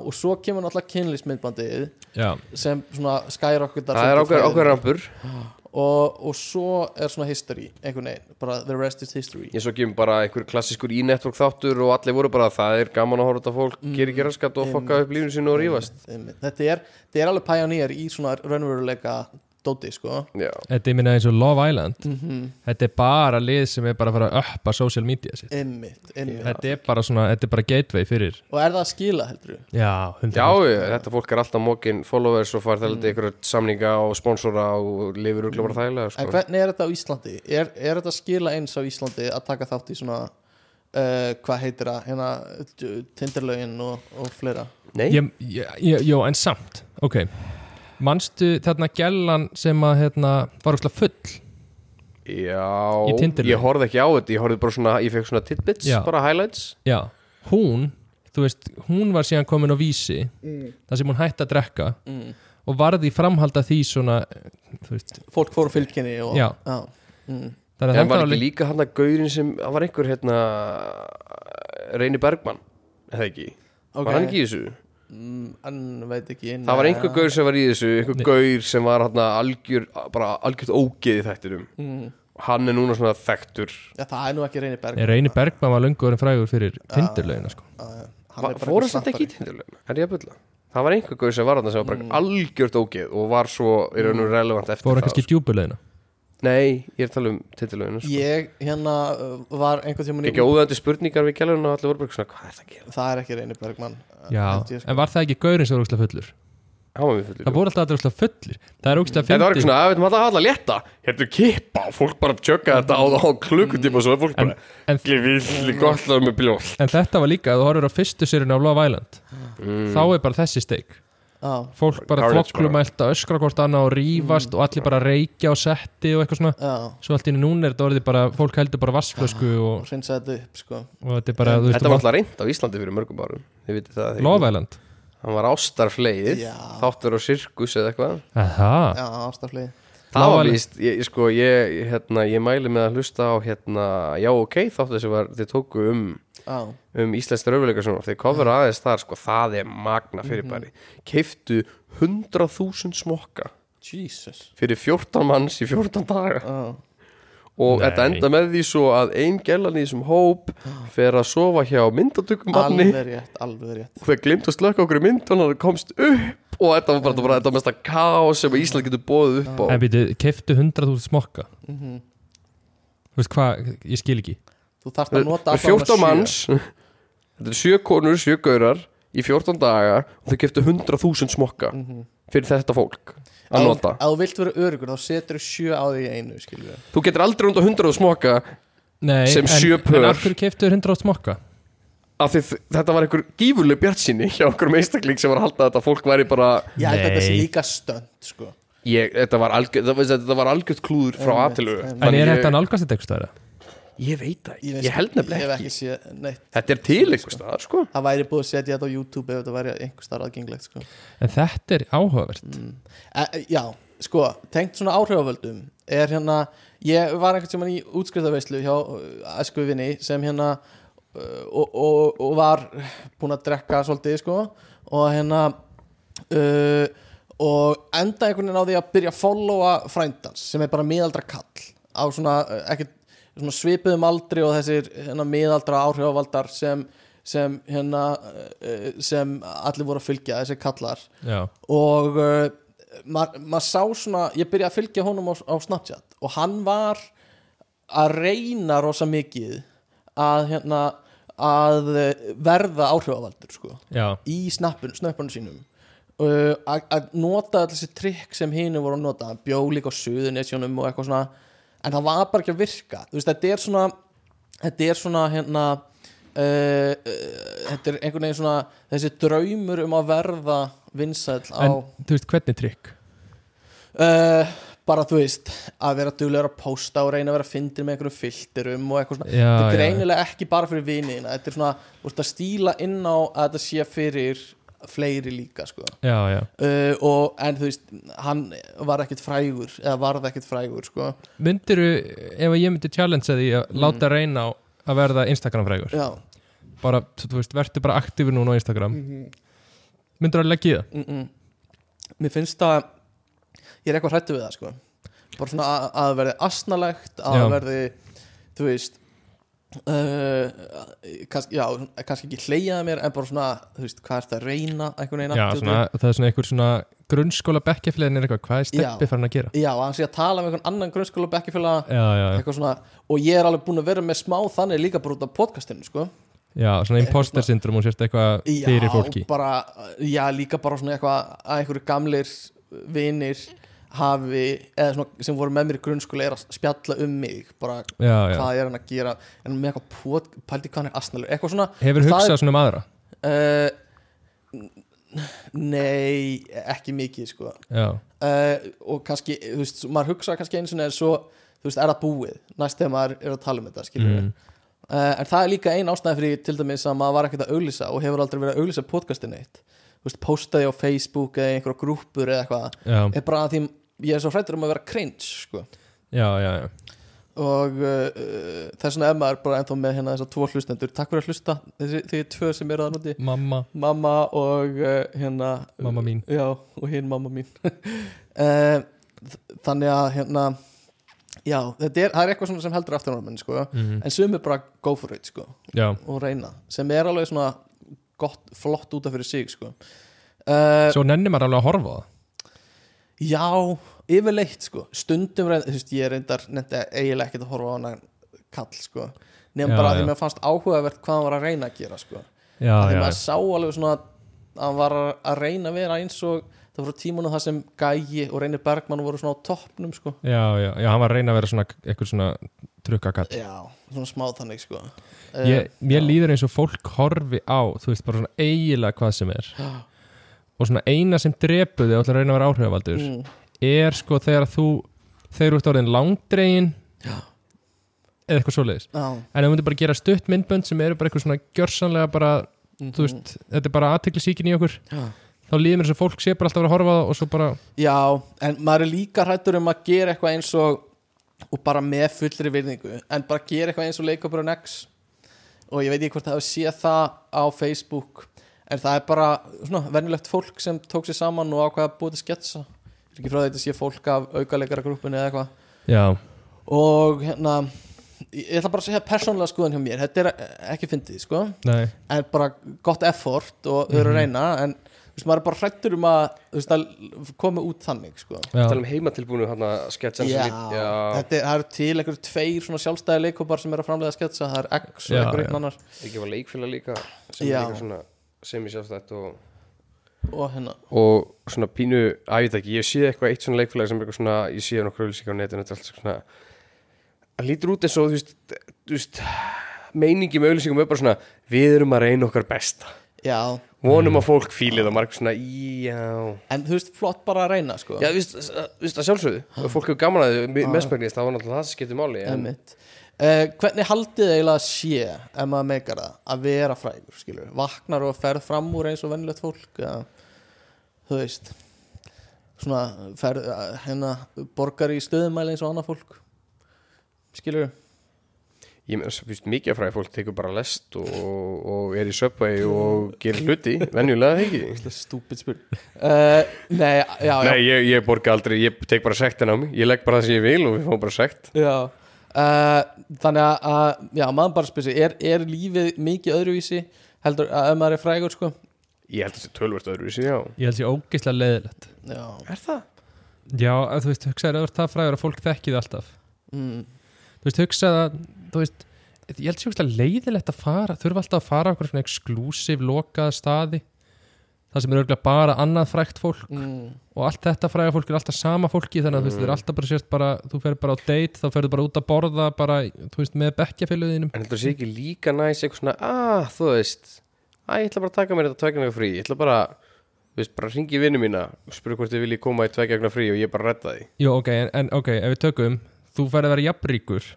og svo kemur náttúrulega kynlýsmyndbandið
já,
sem svona skyrocketar
Það er
svolítið
ákveður,
fræðin.
ákveður rampur
og, og svo er svona history einhvern veginn, bara the rest is history
Ég svo kemur bara einhver klassískur í-network þáttur og allir voru bara það er gaman að horfa þetta fólk mm. gerir geraskatt og fokka upp lífinu sínu og rífast
Einmitt. þetta er, þetta er alveg pæjanýjar í svona raunveruleika dóti sko
Já,
þetta er minna eins og Love Island þetta er bara lið sem er bara að fara að uppa social media sitt
einmitt, einmitt.
þetta er bara svona, þetta er bara gateway fyrir
og er það að skila heldur við
já,
Já, ég- þetta fólk er alltaf mókin followers og fær þeldi ykkur samninga og sponsora og lifir örgulega bara þægilega
en
sko.
hvernig er þetta á Íslandi? Er, er þetta að skila eins á Íslandi að taka þátt í svona uh, hvað heitir það hérna, t- tinderlögin og, og fleira
Nei,
ég, ég, ég, Jó, en samt, ok Manstu þarna gælan sem að hérna, var úrslega full Í
já,
Tinderlögin.
ég horfði ekki á þetta Ég horfði bara svona, ég fekk svona tidbits,
Já.
bara highlights
Já, hún, þú veist, hún var síðan komin á vísi þar sem hún hætti að drekka
Mm.
og varði framhalda því svona þú veist,
fólk fór fylgjenni og
Já.
Mm.
þannig
En
að þetta
var
var
ekki
líka
líka hann að gaurin sem, það var einhver hérna Reyni Bergmann, eða ekki
Ok.
Var hann ekki í þessu?
Mm, en veit ekki
Það var
nei.
einhver gaur sem var í þessu, einhver gaur sem var hérna algjör, bara algjört ógeði þættinum mm. Hann er núna svona þekktur
Já, það er nú ekki reynir berg Ah,
Reyni Bergman var löngu orðin frægur fyrir
Ah.
tindirlaugina sko.
Va- Fór hann þetta ekki í tindurlun? Er ég að bulla? Það var einhver gaur sem var þarna sem var bara algjört ógeð og var svo, er hann relevant eftir
Mm. Fór hann
það
kannski í djúbulaugina
sko. Nei, ég er að tala um tindurlun sko.
ég hérna uh, var einhvern tímann í
Ekki óðandi spurningar við gælun og allir voru bara svona, hvað er það að gera?
það er ekki Reynir Bergmann
Já,
held ég, sko.
en var það ekki gaurin sem var úrslega fullur?
Hann var mjög fullur
Það voru alltaf allir úrslega fullir Það er úrslega
Þetta var
fyndið
eitthvað svona, að veitum alltaf að létta Hérna kippa og fólk bara tjökka þetta á, á klukkutíma og svo er fólk bara
en-
Ekki villi gott að vera með bljól
En þetta var líka, ef þú horfir á fyrstu sérinu af Love Island
Mm.
þá er bara þessi steik
Já,
fólk bara
Carnage
flokklumælt að öskra hvort annað og
Mm.
rífast og allir bara reykja og setti og eitthvað svona
já,
svo allt í einu núna er þetta orðið bara, fólk heldur bara vassflösku
og
og,
hreinsa þetta upp sko
og þetta er bara, þú veist, um
Þetta var alltaf reynd á Íslandi fyrir mörgum árum Þið vitið það þegar ekki.
lofæland
Hann var ástarfleið
Já.
Þáttur á sirkus eða eitthvað
það,
Ah.
Já, ástaflið
Það var
Lágaleg.
víst, ég, ég sko, ég, hérna, ég mæli með að hlusta á, hérna, já ok, þáttu sem var, þið tóku um,
Já,
um Íslands rauðuleika svona, þeir kofur aðeins þar, sko, það er magna fyrirbæri.
Mhm.
Keiftu 100.000 smokka
Jesus
fyrir 14 manns í 14 daga
Já,
og
Nei.
þetta enda með því svo að ein gellan í þessum hóp fer að sofa hjá myndatökumanni
Ah. alveg rétt, alveg rétt
og þeir glimt að slöka okkur í myndun og það komst upp og þetta var bara, þetta var bara þetta mesta kaos sem Ísland getur bóðið
Ah.
upp á.
en býtu, keftu 100.000 smokka þú veist hvað, ég skil ekki
Þú þarft að nota
Það er 14 manns Þetta er 7 konur, 7 gaurar Í 14 daga og þau keftu 100.000 smokka
Mhm.
Fyrir þetta fólk að nota
Ef þú vilt vera örugur, þá setur þú sjö á því í einu skilur við
Þú getur aldrei undan 100 smokka
Nei,
Sem sjö
en,
pör.
en af hverju keftu 100.000 smokka?
Af því þ- þetta var einhver gífurleg bjartsinni Hjá einhverjum einstakling sem var að halda að þetta fólk væri bara
Ég held að þetta sé
Nei.
líka stönd sko
ég, Þetta var algjört, þetta var algjört klúður frá
Einmitt,
aðtilu
einmitt.
En er þetta nálgast þetta
Ég,
eitthvað?
Ég veit það,
Ég
ég,
veist-
ég held
ég
nefnilega
hef
ekki.
ekki séð neitt
Þetta er til einhvers staðar, sko
það væri búið að setja þetta á YouTube ef þetta væri einhvers staðar aðgengilegt sko.
en þetta er áhugavert
e, e, já, sko, tengt svona áhrifavöldum er hérna, ég var einhvern tímann í útskriftaveislu hjá æskuvinni sem hérna uh, og, og, og var búin að drekka svolítið sko og hérna uh, og enda einhvern veginn á því að byrja að followa frændans sem er bara miðaldra kall á svona, uh, ekkert svona svipuðum aldri og þessir hérna, miðaldra áhrifavaldar sem sem hérna uh, sem allir voru að fylgja, þessir kallar
já,
og uh, maður ma sá svona, ég byrjaði að fylgja honum á, á Snapchat og hann var að reyna rosa mikið að hérna að eh, verða áhrifavaldur sko,
já,
í snappun, snappunum sínum uh, að að nota alls þessi trikk sem hinu voru að nota hann bjó líka á suðunisjónum og eitthvað svona en það var bara ekki að virka þú veist, þetta er svona þetta er svona hérna Uh, uh, þetta er einhvern veginn svona þessi draumur um að verða vinsæll á
en þú veist hvernig trikk
uh, bara þú veist að vera duglegur að posta og reyna að vera fyndir með einhverjum filterum og eitthvað svona
Já,
þetta er
já.
greinilega ekki bara fyrir viniðina þetta er svona, þú veist að stíla inn á að þetta sé fyrir fleiri líka sko.
já, já,
uh, og, en þú veist, hann var ekkit frægur eða varð ekkit frægur sko.
myndiru ef ég myndi challengea því að láta reyna á að verða Instagram frægur
já,
bara, þú þú veist, verður bara aktífur núna á Instagram
Mhm.
myndir að leggja í það
mm -mm. mér finnst að ég er eitthvað hrættu við það sko. bara svona að, að verði asnalegt að
Já.
verði, þú veist uh, kannski, já, kannski ekki hleyjaði mér en bara svona, þú veist, hvað ertu að reyna einhvern veginn
já,
aftur,
svona, það er svona einhver svona grunnskóla bekkjafliðin er eitthvað, hvað er
Já.
steppi farin að gera
þú- já, að hann sé að tala með einhvern annan grunnskóla bekkifélaga,
já, já, já,
eitthvað svona og ég er alveg búin að vera með smá þannig líka bara út af podcastinu, sko
já svona imposter syndrom og sérst eitthvað
hérna. já,
fyrir fólki
bara, já, líka bara svona eitthvað að einhverju gamlir vinir hafi, eða svona sem voru með mér í grunnskóla er að spjalla um mig bara
já, já,
hvað ég er hann að gera en með eitthvað pot, pældi hvað hann er asnalur eitthvað svona,
hefur
það
hugsað svona um aðra
uh, nei, ekki mikið sko
já,
uh, og kannski, þú veist, maður hugsa kannski eins og neður svo, þú veist, er það búið næst þegar maður er að tala um þetta, skilur við
Mm.
uh, en það er líka ein ástæði fyrir til dæmis að maður var ekkert að auglýsa og hefur aldrei verið að auglýsa podcastin eitt, þú veist, postaði á Facebook eða í einhverja grúppur eða eitthvað
já,
er bara að því ég er svo hrættur um að vera cringe sko.
já, já, já.
og uh, uh, þess vegna er maður bara ennþá með hérna þessar tvo hlustendur, takk fyrir að hlusta þessi, því tvö sem eru að núti
mamma,
mamma og uh, hérna
mamma mín
Já, og hinn mamma mín Eh, þ- Þannig að hérna Já, þetta er, það er eitthvað svona sem heldur aftur á manni, sko.
Mhm.
en sumir bara go for it sko,
já,
og reyna sem er alveg svona gott, flott út af fyrir sig sko. uh,
svo nennir maður alveg að horfa á það
Já, yfirleitt sko. stundum reyna, þú veist, ég reyndar nefndi eiginlega ekkert að horfa á hana kall sko. nefn
Já,
bara að því
já.
mér fannst áhugavert hvað hann var að reyna að gera sko.
já,
að því
já,
maður sá alveg svona að hann var að reyna að vera eins og það voru tímunum það sem Gæi og Reynir Bergmann voru svona á toppnum sko
já, já, já, hann var að reyna að vera svona eitthvað svona trukkakall
já, svona smá þannig sko
ég, mér
já.
líður eins og fólk horfi á þú veist bara svona eiginlega hvað sem er
Já.
og svona eina sem drepuði og ætlar að reyna að vera áhrifavaldur
Mm,
er sko þegar þú þegar þú ert orðin langdregin eða eitthvað svoleiðis
já,
en þú myndir bara gera stutt myndbönd sem eru bara eitthvað svona gjörsanlega bara, þú veist, þetta er bara aðteglisíkin í okkur
já.
þá líður mér eins og fólk sé bara alltaf að vera að horfa á það og svo bara,
já, en maður er líka hrættur um að gera eitthvað eins og og bara með fullri virðingu en bara gera eitthvað eins og leikopur og nex og ég veit ekki hvort það hefur séð það á Facebook en það er bara svona venjulegt fólk sem tók sér saman og ákvaða að búið til sketsa ég er ekki frá því að þetta sé fólk af aukaleikara eða eitthvað
já,
og hérna ég ætla bara að segja persónlega skoðan hjá mér þetta er eh, ekki fyndið sko
nei
en bara gott effort og þau eru að reyna en þú veist maður er bara hrættur um að, þú veist, að koma út þannig sko
já,
Tala um heimatilbúinu hann að sketsa
Já,
já,
þetta er, það eru til einhverju tveir svona sjálfstæði leikópar sem eru að framlega sketsa, það er X og
Já,
einhver
já.
einn annar
ekki var leikfélag líka sem
Já.
er líka svona sem ég sjálfstætt og,
og hérna,
og svona pínu, að ég veit ekki, ég sé eitthvað eitt svona leikfélag sem er eitthvað svona, ég sé nokkur auðlýsing á netinu, þetta er alltaf svona það lítur út eins og þú veist, þú veist meiningi með auðlýsingum er bara svona við erum að reyna okkar besta
já
vonum að fólk fílið og margur svona já,
en þú veist flott bara að reyna sko
já, þú veist, þú veist að sjálfsögðu fólk hefur gaman að þau, mestmægnist, það var náttúrulega það sem skiptir máli en,
Einmitt. uh, hvernig haldið þið eiginlega að sé ef maður meikar það, að vera frægur skilur, vaknar og ferð fram úr eins og vennilegt fólk eða, þú veist svona ferð, eh, hérna, borgar í stöðumæli eins og annað fólk skilur
Ég meina, svo fyrst mikið af fræði fólk tekur bara lest og, og er í söpvei og gerir hluti, venjulega það ekki
stúpid spil uh, nei, já, já,
Nei, ég, ég borga aldrei, ég tek bara sektin á mig Ég legg bara það sem ég vil og við fáum bara sekt
já. Uh, þannig að- að, já, maður bara spyrir sig er, er lífið mikið öðruvísi heldur að ef maður er frægur sko
Ég held að þessi tölvert öðruvísi, já
Ég held sér ógeðslega leiðilegt
já,
Er það?
Já, að þú veist, hugsaður öður það fræður að fólk þekki það alltaf
mm,
Þú veist, hugsaðu að, þú veist Ég held sér ógeðslega leiðilegt að fara Þurfa alltaf að fara á einhverjum svona exklusív lokaða staði Það sem er örgulega bara annað frækt fólk
mm,
og allt þetta fræga fólk er alltaf sama fólki þannig að þú veist, þú er alltaf bara sérst bara þú fer bara á date, þá ferðu bara út að borða bara, þú veist, með bekkjaféluginum
En heldur það sé ekki líka næs eitthvað svona Ah, þú veist Æ, ég ætla bara að taka mér þetta tveikjagna frí Ég ætla bara, þú veist, bara ringi vinnu mína og spyrir hvort þið vilji koma í tveikjagna frí og ég bara redda því
Jó, ok, en, en ok, ef við tökum þú ferð að vera jafnríkur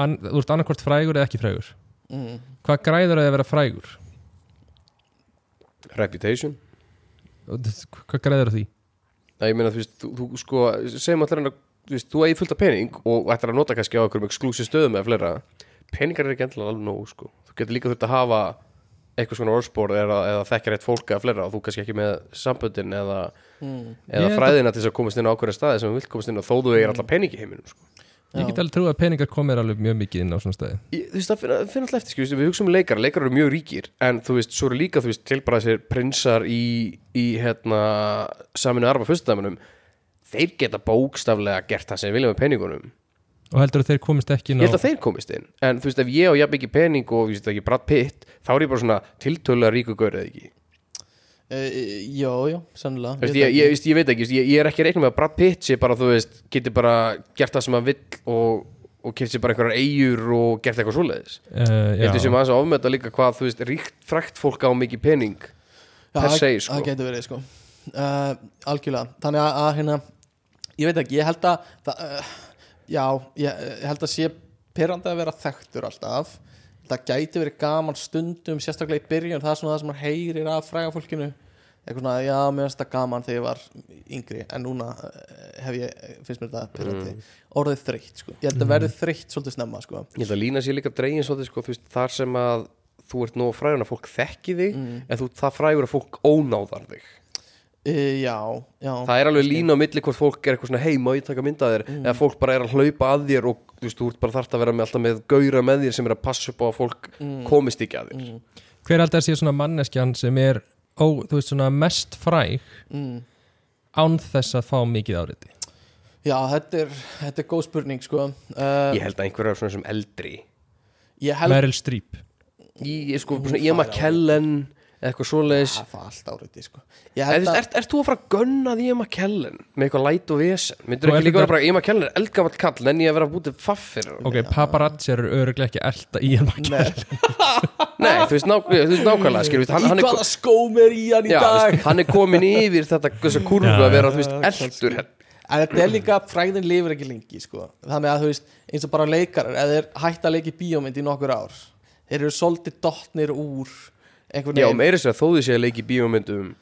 An, þú ert annarkvort frægur eða ekki frægur
mm.
hvað græður að vera frægur?
Reputation
Og þú veist, hvað græður að því?
Það ég meina, þú veist, þú, þú sko segjum allir hann að, þú veist, þú eigi fullt af pening og ættir að nota kannski á einhverjum exclusive stöðum eða fleira, peningar er ekki endilega alveg nóg, sko, þú getur líka þurft að hafa eitthvað svona orðspor eða, eða þekkja rétt fólk eða fleira og þú kannski ekki með samböndin eða, eða
Ég held að-
fræðina til þess að komast inn á ákveðin staði sem þú vilt komast inn á þó þú eigir alltaf pening í heiminum, sko
Ég get alveg trú að peningar komir alveg mjög mikið inn á svona stæði
Ég- þú veist, það finna, finna alltaf eftir, sko, þú veist, við hugsaum um leikara, leikara eru mjög ríkir en þú veist, svo eru líka, þú veist, til bara þessir prinsar í, í hérna saminu arfa fyrstudæminum þeir geta bókstaflega gert það sem þeir vilja með peningunum,
og heldur að þeir komist ekki inn
ég
á
held að þeir komist inn en þú veist, ef ég á jafn ekki pening og, þú veist, ekki bratt pitt, þá er ég bara svona tiltölulega ríku gaur eða ekki,
Uh, já, já, sennilega
þú veist, ég, ég, veist, ég veit ekki, þú veist, ég, ég er ekki að reikna með að bratt pitt sé bara, þú veist, geti bara gert það sem hann vill og, og kefti sér bara einhverjar eigur og gert eitthvað svoleiðis
uh,
Ég held
já.
þessum aðeins að ofmeta líka hvað, þú veist, ríkt frækt fólk á mikið pening
Já,
per
það-
se, sko.
það getur verið sko uh, algjörlega, þannig að, að hérna, ég veit ekki, ég held að það, uh, já, ég, ég held að sé perandi að vera þekktur alltaf það gæti verið gaman stundum sérstaklega í byrjun, það er svona það sem maður heyrir af fræga fólkinu eitthvað svona, já, mér finnst það gaman þegar ég var yngri en núna eh, hef ég, finnst mér þetta perandi
Mm.
orðið þreytt, sko, ég held að verði þreytt svolítið snemma, sko
Ég held að lína sér líka dregin svolítið, sko, þú veist, þar sem að þú ert nóg frægur að fólk þekki þig
Mm.
en þú, það frægur að fólk ónáðar þig
e, já, já,
Það er alveg lína á milli hvort fólk er eitthvað svona hei, má ég taka mynd að þér, eða fólk bara er að hlaupa að þér og þú veist, þú ert bara þart að vera með alltaf með gauðra með þér sem er að passa upp á að fólk komist ekki að þér
hver aldrei sé svona manneskjan sem er ó, þú veist svona mest fræg
Mm.
án þess að fá mikið áriti
já, þetta er þetta er góð spurning, sko uh,
Ég held að einhverjar svona sem eldri
ég held
Meryl Streep
Ég, ég sko, svona, ég maður kellen eitthvað svoleiðis
Það var alltaf áriti sko Ég
En
held
þú
að,
veist, ert, ert þú að fara að gunna því Emma Kellen með eitthvað læt og vesen? Myndur
Og
ekki
er
líka
þetta-
vera bara Emma Kellen er eldgamall kall en ég að vera að búti faff fyrir hann?
ok, paparazzi eru öruglega ekki elda í hann
Nei, þú veist, nák þú veist nákvæmlega, skilur við, hann,
í
hann, er,
hvaða skóm er í hann í
já, þú
dag
veist, hann er komin yfir þetta þessa kurvu að vera, þú veist, eldur henn.
En þetta er líka, fræðin lifir ekki lengi sko Þannig að þú veist, eins og bara leikarar Eða þeir hætta að leika í bíómynd í nokkur ár Þeir eru svolítið dottnir úr Einhvern
Já,
veginn
meira sér að þóði sé að leiki bíómyndum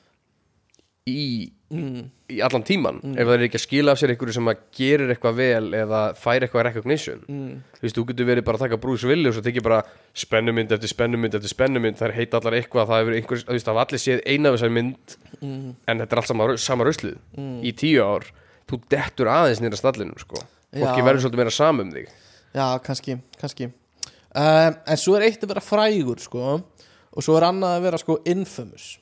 í,
Mm.
í allan tíman ef það er ekki að skila af sér einhverju sem að gerir eitthvað vel eða fær eitthvað recognition mm. þú veist, þú getur verið bara að taka brús villi og svo tekið bara spennumynd eftir spennumynd eftir spennumynd, þær heita allar eitthvað það hefur einhver, þú veist, það hafa allir séð eina þessar mynd
Mm.
en þetta er allt sama, sama ruslið í tíu ár, þú dettur aðeins nýra stallinu, sko
Já.
fólki verður svolítið meira samum þig
Já, kannski, kannski um, En svo er eitt að vera frægur sko Og svo er annað að vera sko infamous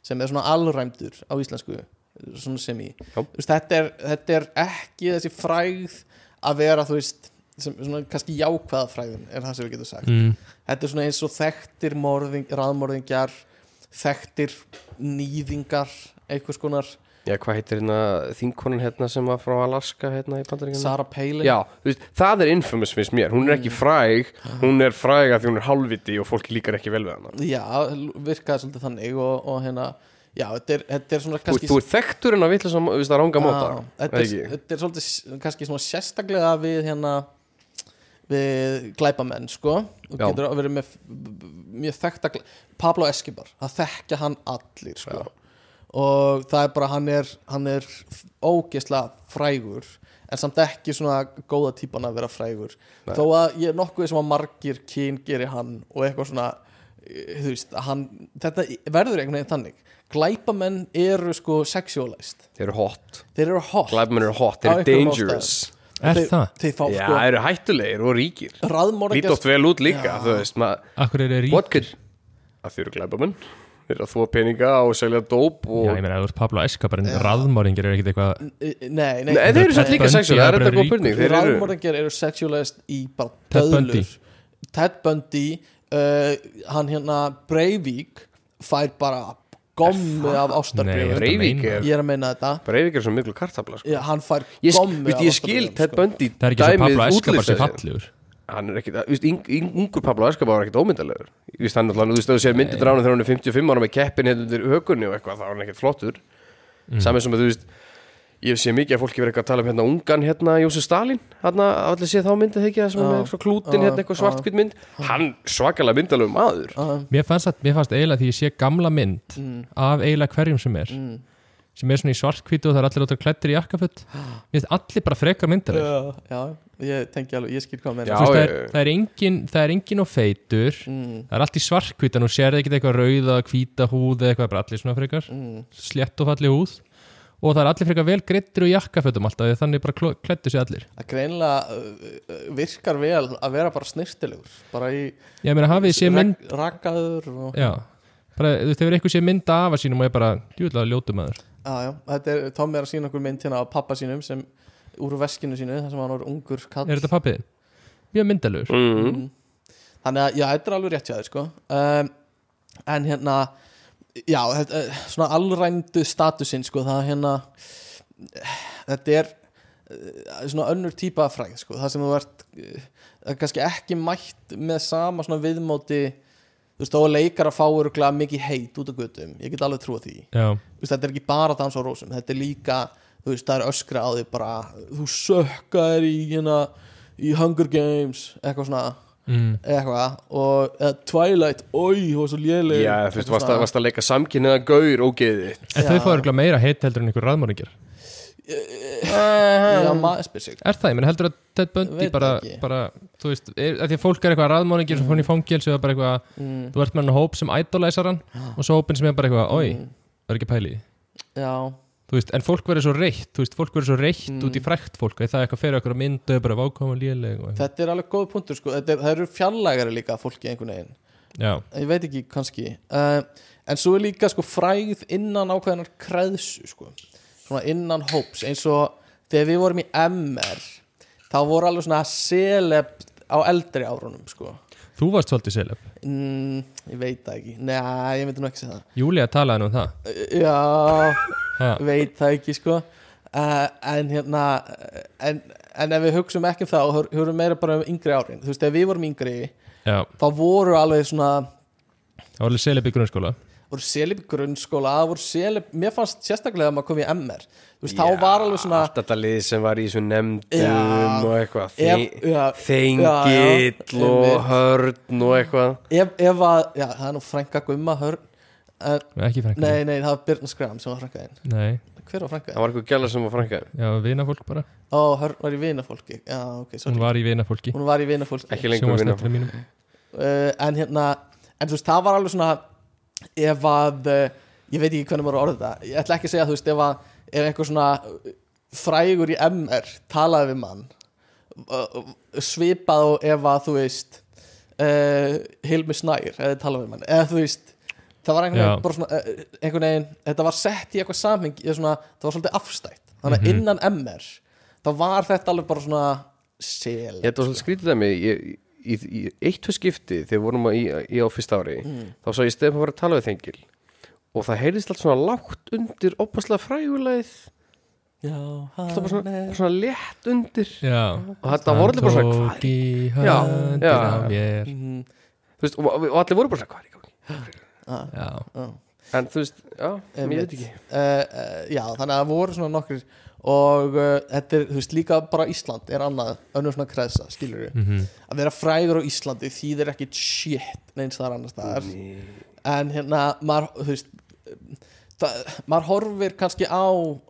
Sem er svona alræmdur á íslensku Svona sem í
Já.
Þú veist, þetta, er, þetta er ekki þessi frægð Að vera, þú veist sem, svona, Kannski jákvæða fræðin Er það sem við getum sagt
mm.
Þetta er svona eins og þekktir morðing, raðmorðingjar Þekktir nýðingar Einhvers konar
Já, hvað heitir hérna, þingkonan hérna sem var frá Alaska hérna í bandaríkjum?
Sarah Palin
Já, þú veist, það er infamous finnst mér Hún er
Mm.
ekki fræg,
Ah.
hún er fræg að því hún er hálfviti og fólki líkar ekki vel við hana
Já, virkaði svolítið þannig og, og hérna, já, þetta er, þetta er svona
Þú,
kannski Ah.
þú er þekktur en að vitla sem, þú veist, að ranga
Já,
móta
þetta, er- þetta er svolítið s- kannski svona sérstaklega við hérna við glæpamenn sko og
Já.
getur verið með mjög þekkta glæ- Pablo Escobar, það þekkja hann allir sko og það er bara hann er, hann er ógeðslega frægur en samt ekki svona góða típan að vera frægur þó að ég er nokkuð sem að margir kyn gerir hann og eitthvað svona eh, þú veist, að hann, þetta verður einhvern veginn þannig glæpamenn eru sko sexualized,
Þeir eru hot
þeir eru hot
Glæbmenn eru hot, þeir
Á
eru
einhverjum
dangerous
Er
þeir,
það?
þeir fá
Já,
sko
þeir eru hættulegir og ríkir Lít
raðmorðingjast
oft vel út líka, þú veist maður
Akkur er það rík?
What could að þeir eru glæbamenn Þeir eru að þvó peninga og selja dóp og...
Já, ég meina, ef þú ert Pablo Escobar en raðmóringir er ekkit eitthvað
nei, nei,
Nei, þeir eru satt
Ted
líka
Bundy,
sexuál, það
það
er
er
þetta
bara
góð
ríkur.
purning Þeir eru
raðmorðingjar eru sexualized í bara
Ted
döðlur.
Bundy.
Ted Bundy uh, hann hérna Breivik fær bara gommu af
Nei,
ástarbrífum
Breivik-
Breivik er
ég er að meina þetta
Breivik er svo miklu kartabla sko.
Já, hann fær
Ég,
gommu
viðst,
af
ég skil
ástarbréfum,
Ted
sko.
Bundy
Það er ekki svo
dæmið
Pablo Escobar sem
útlistað sér.
fallegur
hann er ekki, viðst, yng, yng, ungur Pablo Escobar var ekkit ómyndalegur viðst, hann alltaf, þú veist, þú sér myndir drána þegar hann er 55 ára með keppin hérna undir hökunni og eitthvað, þá var hann ekkit flottur mm. samið sem að þú veist ég sé mikið að fólki verið eitthvað að tala um hérna ungan hérna Jósef Stalin, hann að allir sé þá myndið ekki það sem er með eitthvað klútin hérna eitthvað svartkvitt mynd hann svakalega myndalegu maður
Mér fannst, að, mér fannst eiginlega því ég sé gamla mynd
Mm.
af eiginlega hverjum sem er
Mm.
sem er svona í svartkvítu og það er allir ótrúlega klættir í jakkafutt Mér finnst allir bara frekar myndar
Já, já, ég tengi alveg, ég skil hvað hann meina
Já.
Þú veist, það,
já, já.
er, það, er engin, það er engin og feitur
Mm,
það er allt í svarkvítan og sér ekkert eitthvað rauða, hvíta húð eða eitthvað, bara allir svona frekar
mm.
slétt og falli húð og það er allir frekar vel greittur og jakkafötum alltaf því að þannig bara kló- klæddu sér allir
Það greinilega uh, uh, virkar vel að vera bara snirtilegur bara í
ég meina hafið sér mynd
rak- rakaður og
já, bara, þú veist, hefur eitthvað sér mynd af að sínum og ég bara, djúðlega ljótum aður
Já, já, þetta er, Tommi er að sína okkur mynd hérna af pappa sínum sem úr veskinu sínu, þar sem hann var ungur kall
er þetta pappiðin? mjög myndalur
mm.
Þannig að, já, þetta er alveg rétt hjá þér, sko um, En hérna, já, þetta, eh, svona allrændu statusinn, sko, það hérna eh, Þetta er eh, svona önnur típa af fræð, sko Það sem þú ert eh, það er kannski ekki mætt með sama svona viðmóti Þú veist, þó að leikar að fá öruglega mikið heit út á götum Ég get alveg trúa því
já,
Þú veist, þetta er ekki bara dans á rósum þetta er líka, þú veist, það er öskra á því bara, þú sökkaðir í hérna, í Hunger Games eitthvað svona,
mm.
eitthvað og eða Twilight, oi, hún var svo léleg
já, þú veist, varst að, varst að leika samkynniða gaur og geðið
en
Já.
þau fá örgulega meira heitt heldur en ykkur raðmóringir
Já, maður spyr sig
er það, ég menn heldur að Ted Bundy
Veit
bara,
ekki.
bara þú veist, er, að því að fólk er eitthvað raðmóningir
Mm.
sem fann í fangils eða bara eitthvað, þú ert með hann hóp sem idolizer hann
Ah.
og svo hópin sem er bara eitthvað, oi,
Mm.
það er ekki pæli í því."
Já,
þú veist, en fólk verður svo reitt, þú veist, fólk verður svo reitt
Mm.
út í frækt fólk, að það er eitthvað fyrir okkur að mynda og bara vákama léleg og eitthvað,
þetta er alveg góð punktur, sko þetta er, það eru fjarlægari líka að fólki einhvern veginn
já,
ég veit ekki, kannski uh, en svo er líka, sko, fræð innan ákveðinar kreðsu, sko svona innan hóps, eins og þegar við vorum í MR þá voru alveg svona selebt á eldri árunum, sko
þú varst svolítið selef
mm, ég veit það ekki, neða, ég myndi nú ekki segja það Eh,
Júlia talaði nú um það,
Já,
Ha.
veit það ekki sko uh, En hérna eh, en, en ef við hugsum ekki um það og hör- hörum meira bara um yngri árin Þú veist, ef við vorum yngri
já,
þá voru alveg svona
það var alveg selef í grunnskóla
voru selib í grunnskóla það voru selib, mér fannst sérstaklega að maður kom í MR Þú veist,
Já,
þá var alveg svona
allt þetta lið sem var í svo nefndum
Já.
og eitthvað
Ef- já. Já,
þengill
já.
og
Einmitt.
hörn og eitthvað
ef, ef að, já, það er nú frænka gumma hörn en,
ekki frænka,
Nei, nei, það var Byrna Skram sem var frænkaðinn
Nei.
Hver var
það
frænkaðinn?
var eitthvað gæla sem var frænkaði
já, vinafólk bara,
Ó, hörn var í vinafólki Já, ok, sorry
hún var í vinafólki
Hún var í vinafólki
ekki
sem
lengur
var
vinna
snettur mínum
uh, en hérna en þú veist, það var alveg svona ef að, uh, ég veit ekki hvernig maður orðið það ég ætla ekki að segja, þú veist, ef að ef einhver svona uh, frægur í MR talaði við mann uh, uh, svipað og ef að þú veist uh, Hilmi Snær eða talaði við mann, eða þú veist það var einhvern
Já.
veginn, bara svona, uh, einhvern veginn þetta var sett í eitthvað samheng eða svona, það var svolítið afstætt, þannig að innan MR þá var þetta alveg bara svona sel,
Ég þetta var svolítið skrítið að mig ég, í, í eitt og skipti þegar vorum að í, í á fyrsta ári
Mm.
þá sá ég stefn að fara að tala við þengil og það heyrðist allt svona lágt undir opaslega frægulegð
já, hann
alltaf bara svona,
er-
svona létt undir
já,
og þetta voru allir bara svona hvað er
tók
í-
í
Já,
höndina
já.
á mér
Mhm. Ah,
þú veist, og, og allir voru bara svona hvað er í gangi
já,
Já.
En þú veist, já, ég
Einmitt.
veit ekki
uh, uh, já, þannig að það voru svona nokkrir og uh, þetta er, þú veist, líka bara Ísland er annað, önnur svona kreðsa skilur við,
Mhm.
að vera frægur á Íslandi þýðir ekkit shit neins þar annars staðar en hérna, maður, þú veist það, maður horfir kannski á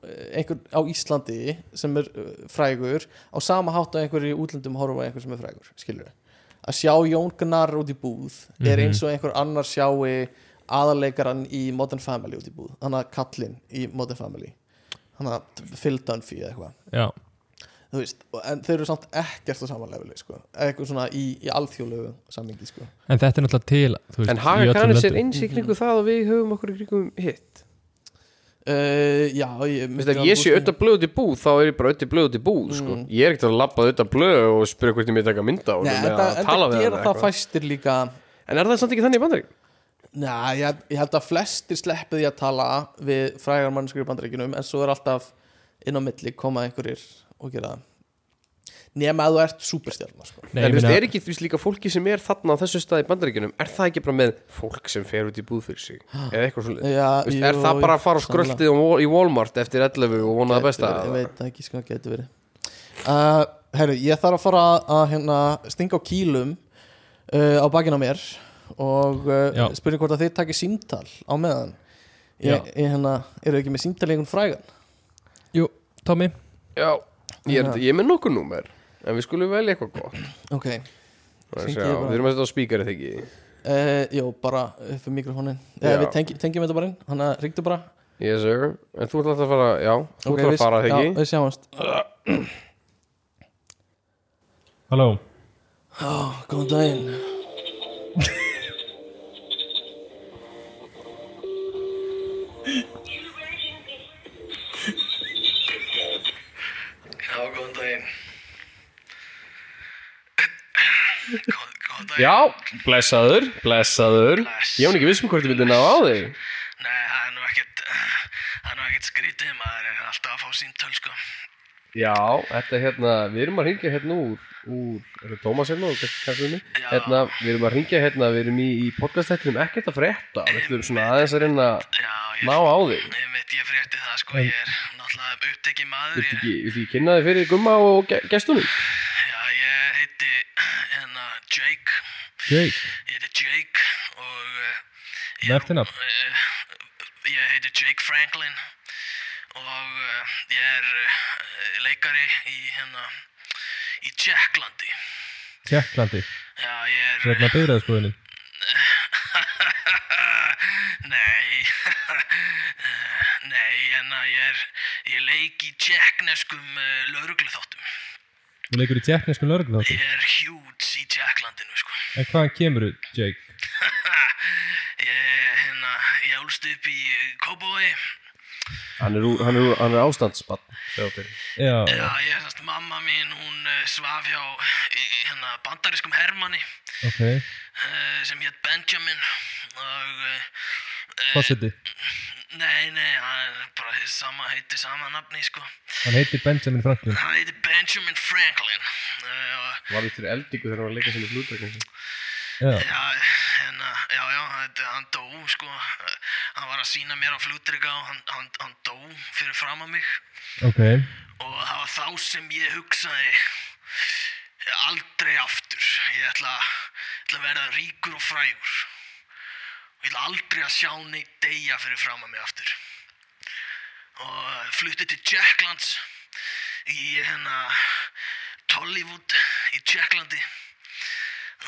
eh, einhver á Íslandi sem er eh, frægur á sama hátt á einhverju útlöndum horfa á einhver sem er frægur, skilur við að sjá Jón Gnar út í búð er eins og einhver annar sjái aðarleikaran í Modern Family út í búð hann að kallinn í Modern Family hann að Phil Dunphy eða eitthvað
já,
þú veist, og- en þeir eru samt ekkert á samanlefli, sko, eitthvað svona í, í alþjóðlegu sammingi, sko
en þetta er náttúrulega til þú veist,
En
í
haga
öllum
kannins er
löndum.
eins í kringu það og við höfum okkur í kringum hitt
uh, já, ég
Þú veist, ef ég sé auðvitað blöð út í búð þá er ég bara auðvitað blöð út í búð, sko Ég er ekkert að labba auðvitað blöð og spyrja hvort ég mér taka mynda og
Nei,
að
þetta,
tala
þetta
við
gera
hana
það
eitthvað.
fæstir líka
En er það samt ekki þannig í bandarík?
Næ, ég, ég held að flestir sleppi því að tala við frægar mannskur í bandaríkinum en svo er alltaf inn á milli koma einhverjir og gera það nema að þú ert superstjarnar sko.
Nei,
en
ég
þú veist,
meina-
er ekki þú veist, líka fólki sem er þarna á þessu staði í bandaríkjunum er það ekki bara með fólk sem fer út í búð fyrir sig eða eitthvað svolítið
Já,
Vist, er það bara að fara á skröltið í Walmart eftir 11 og vona það besta
Ég veit það ekki sko, getur verið uh, Herru, ég þarf að fara að hérna, stinga á kýlum uh, á bakinn á mér og uh,
Já.
spurning hvort að þeir taki símtal á meðan ég,
Já.
ég, hérna, eru ekki með símtal í einhvern frægan
Jú, Tommy,
Já, ég er, ég er með nokkuð númer En við skulum velja eitthvað gott
Ok,
Það er að segja,
Syngdu ég bara.
Við erum að setja á spíkari þegar ekki
uh, jú, bara upp fyrir mikrofónin uh,
Já.
Við tengi, tengjum þetta bara inn, hann að ringdu bara
Yes sir En þú ætlar alltaf að fara, já Þú ætlar að
við-
fara þegar
Já,
ekki
við sjáumst
halló
Góðan daginn Já, góðan daginn Góð- Góðan daginn
Já, blessaður, blessaður
Bless.
Ég hún ekki vissum hvort ég vildi ná á þig
Nei, það er nú ekkert Það er nú ekkert skrítið maður er alltaf að fá símtöl sko
Já, þetta er hérna, við erum að ringja hérna úr, úr er það Tómas hérna og kannski hérna Hérna, við erum að ringja hérna, við erum í, í podcastættinum ekkert að frétta Við ætlum svona aðeins að reyna að
Já, ég,
ná á þig
ég veit, ég frétti það sko, ég er náttúrulega upptekið maður,
Viltu ekki,
ég,
viltu ekki kynna þig fyrir gumma og ge- gestunum?
já, ég heiti hérna Jake,
Jake,
ég heiti Jake og uh,
með eftirnafn
ég heiti Jake Franklin og uh, ég er uh, leikari í hérna, í Tjekklandi,
Tjekklandi,
já, ég er...
reyna byrðaðskóðinu
Nei Nei, hérna ég er ég leik í tjekkneskum uh, laurugluþáttum
Þú leikur í tjekknesku lörgláttu
Ég er hjúts í Tjekklandinu sko
En hvaðan kemur þú, Jake?
Ég, hérna, ég álst upp í Kóbói
Hann er, úr- hann er, úr- hann er ástandsbann Þetta
Já,
Já, ég er sannst mamma mín, hún uh, svaf hjá í, í, hérna, bandarískum hermanni
ok
uh, sem hétt Benjamin og uh,
Fossetti,
nei, nei, hann er bara hið sama, heiti sama nafni sko
hann heitir Benjamin Franklin
Hann heiti Benjamin Franklin uh, og
var eftir eldingu þegar hann var að leika sinni flugtækning
Já,
Já, hérna, já, já, þetta, hann dó, sko, Eh, hann var að sína mér á flutryga og hann, hann, hann dó fyrir fram að mig
ok
og það var þá sem ég hugsaði eh, aldrei aftur, ég ætla, ætla að verða ríkur og frægur og ég ætla aldrei að sjá neitt deyja fyrir fram að mig aftur og eh, flutti til Jacklands í hérna Tollywood í Jacklandi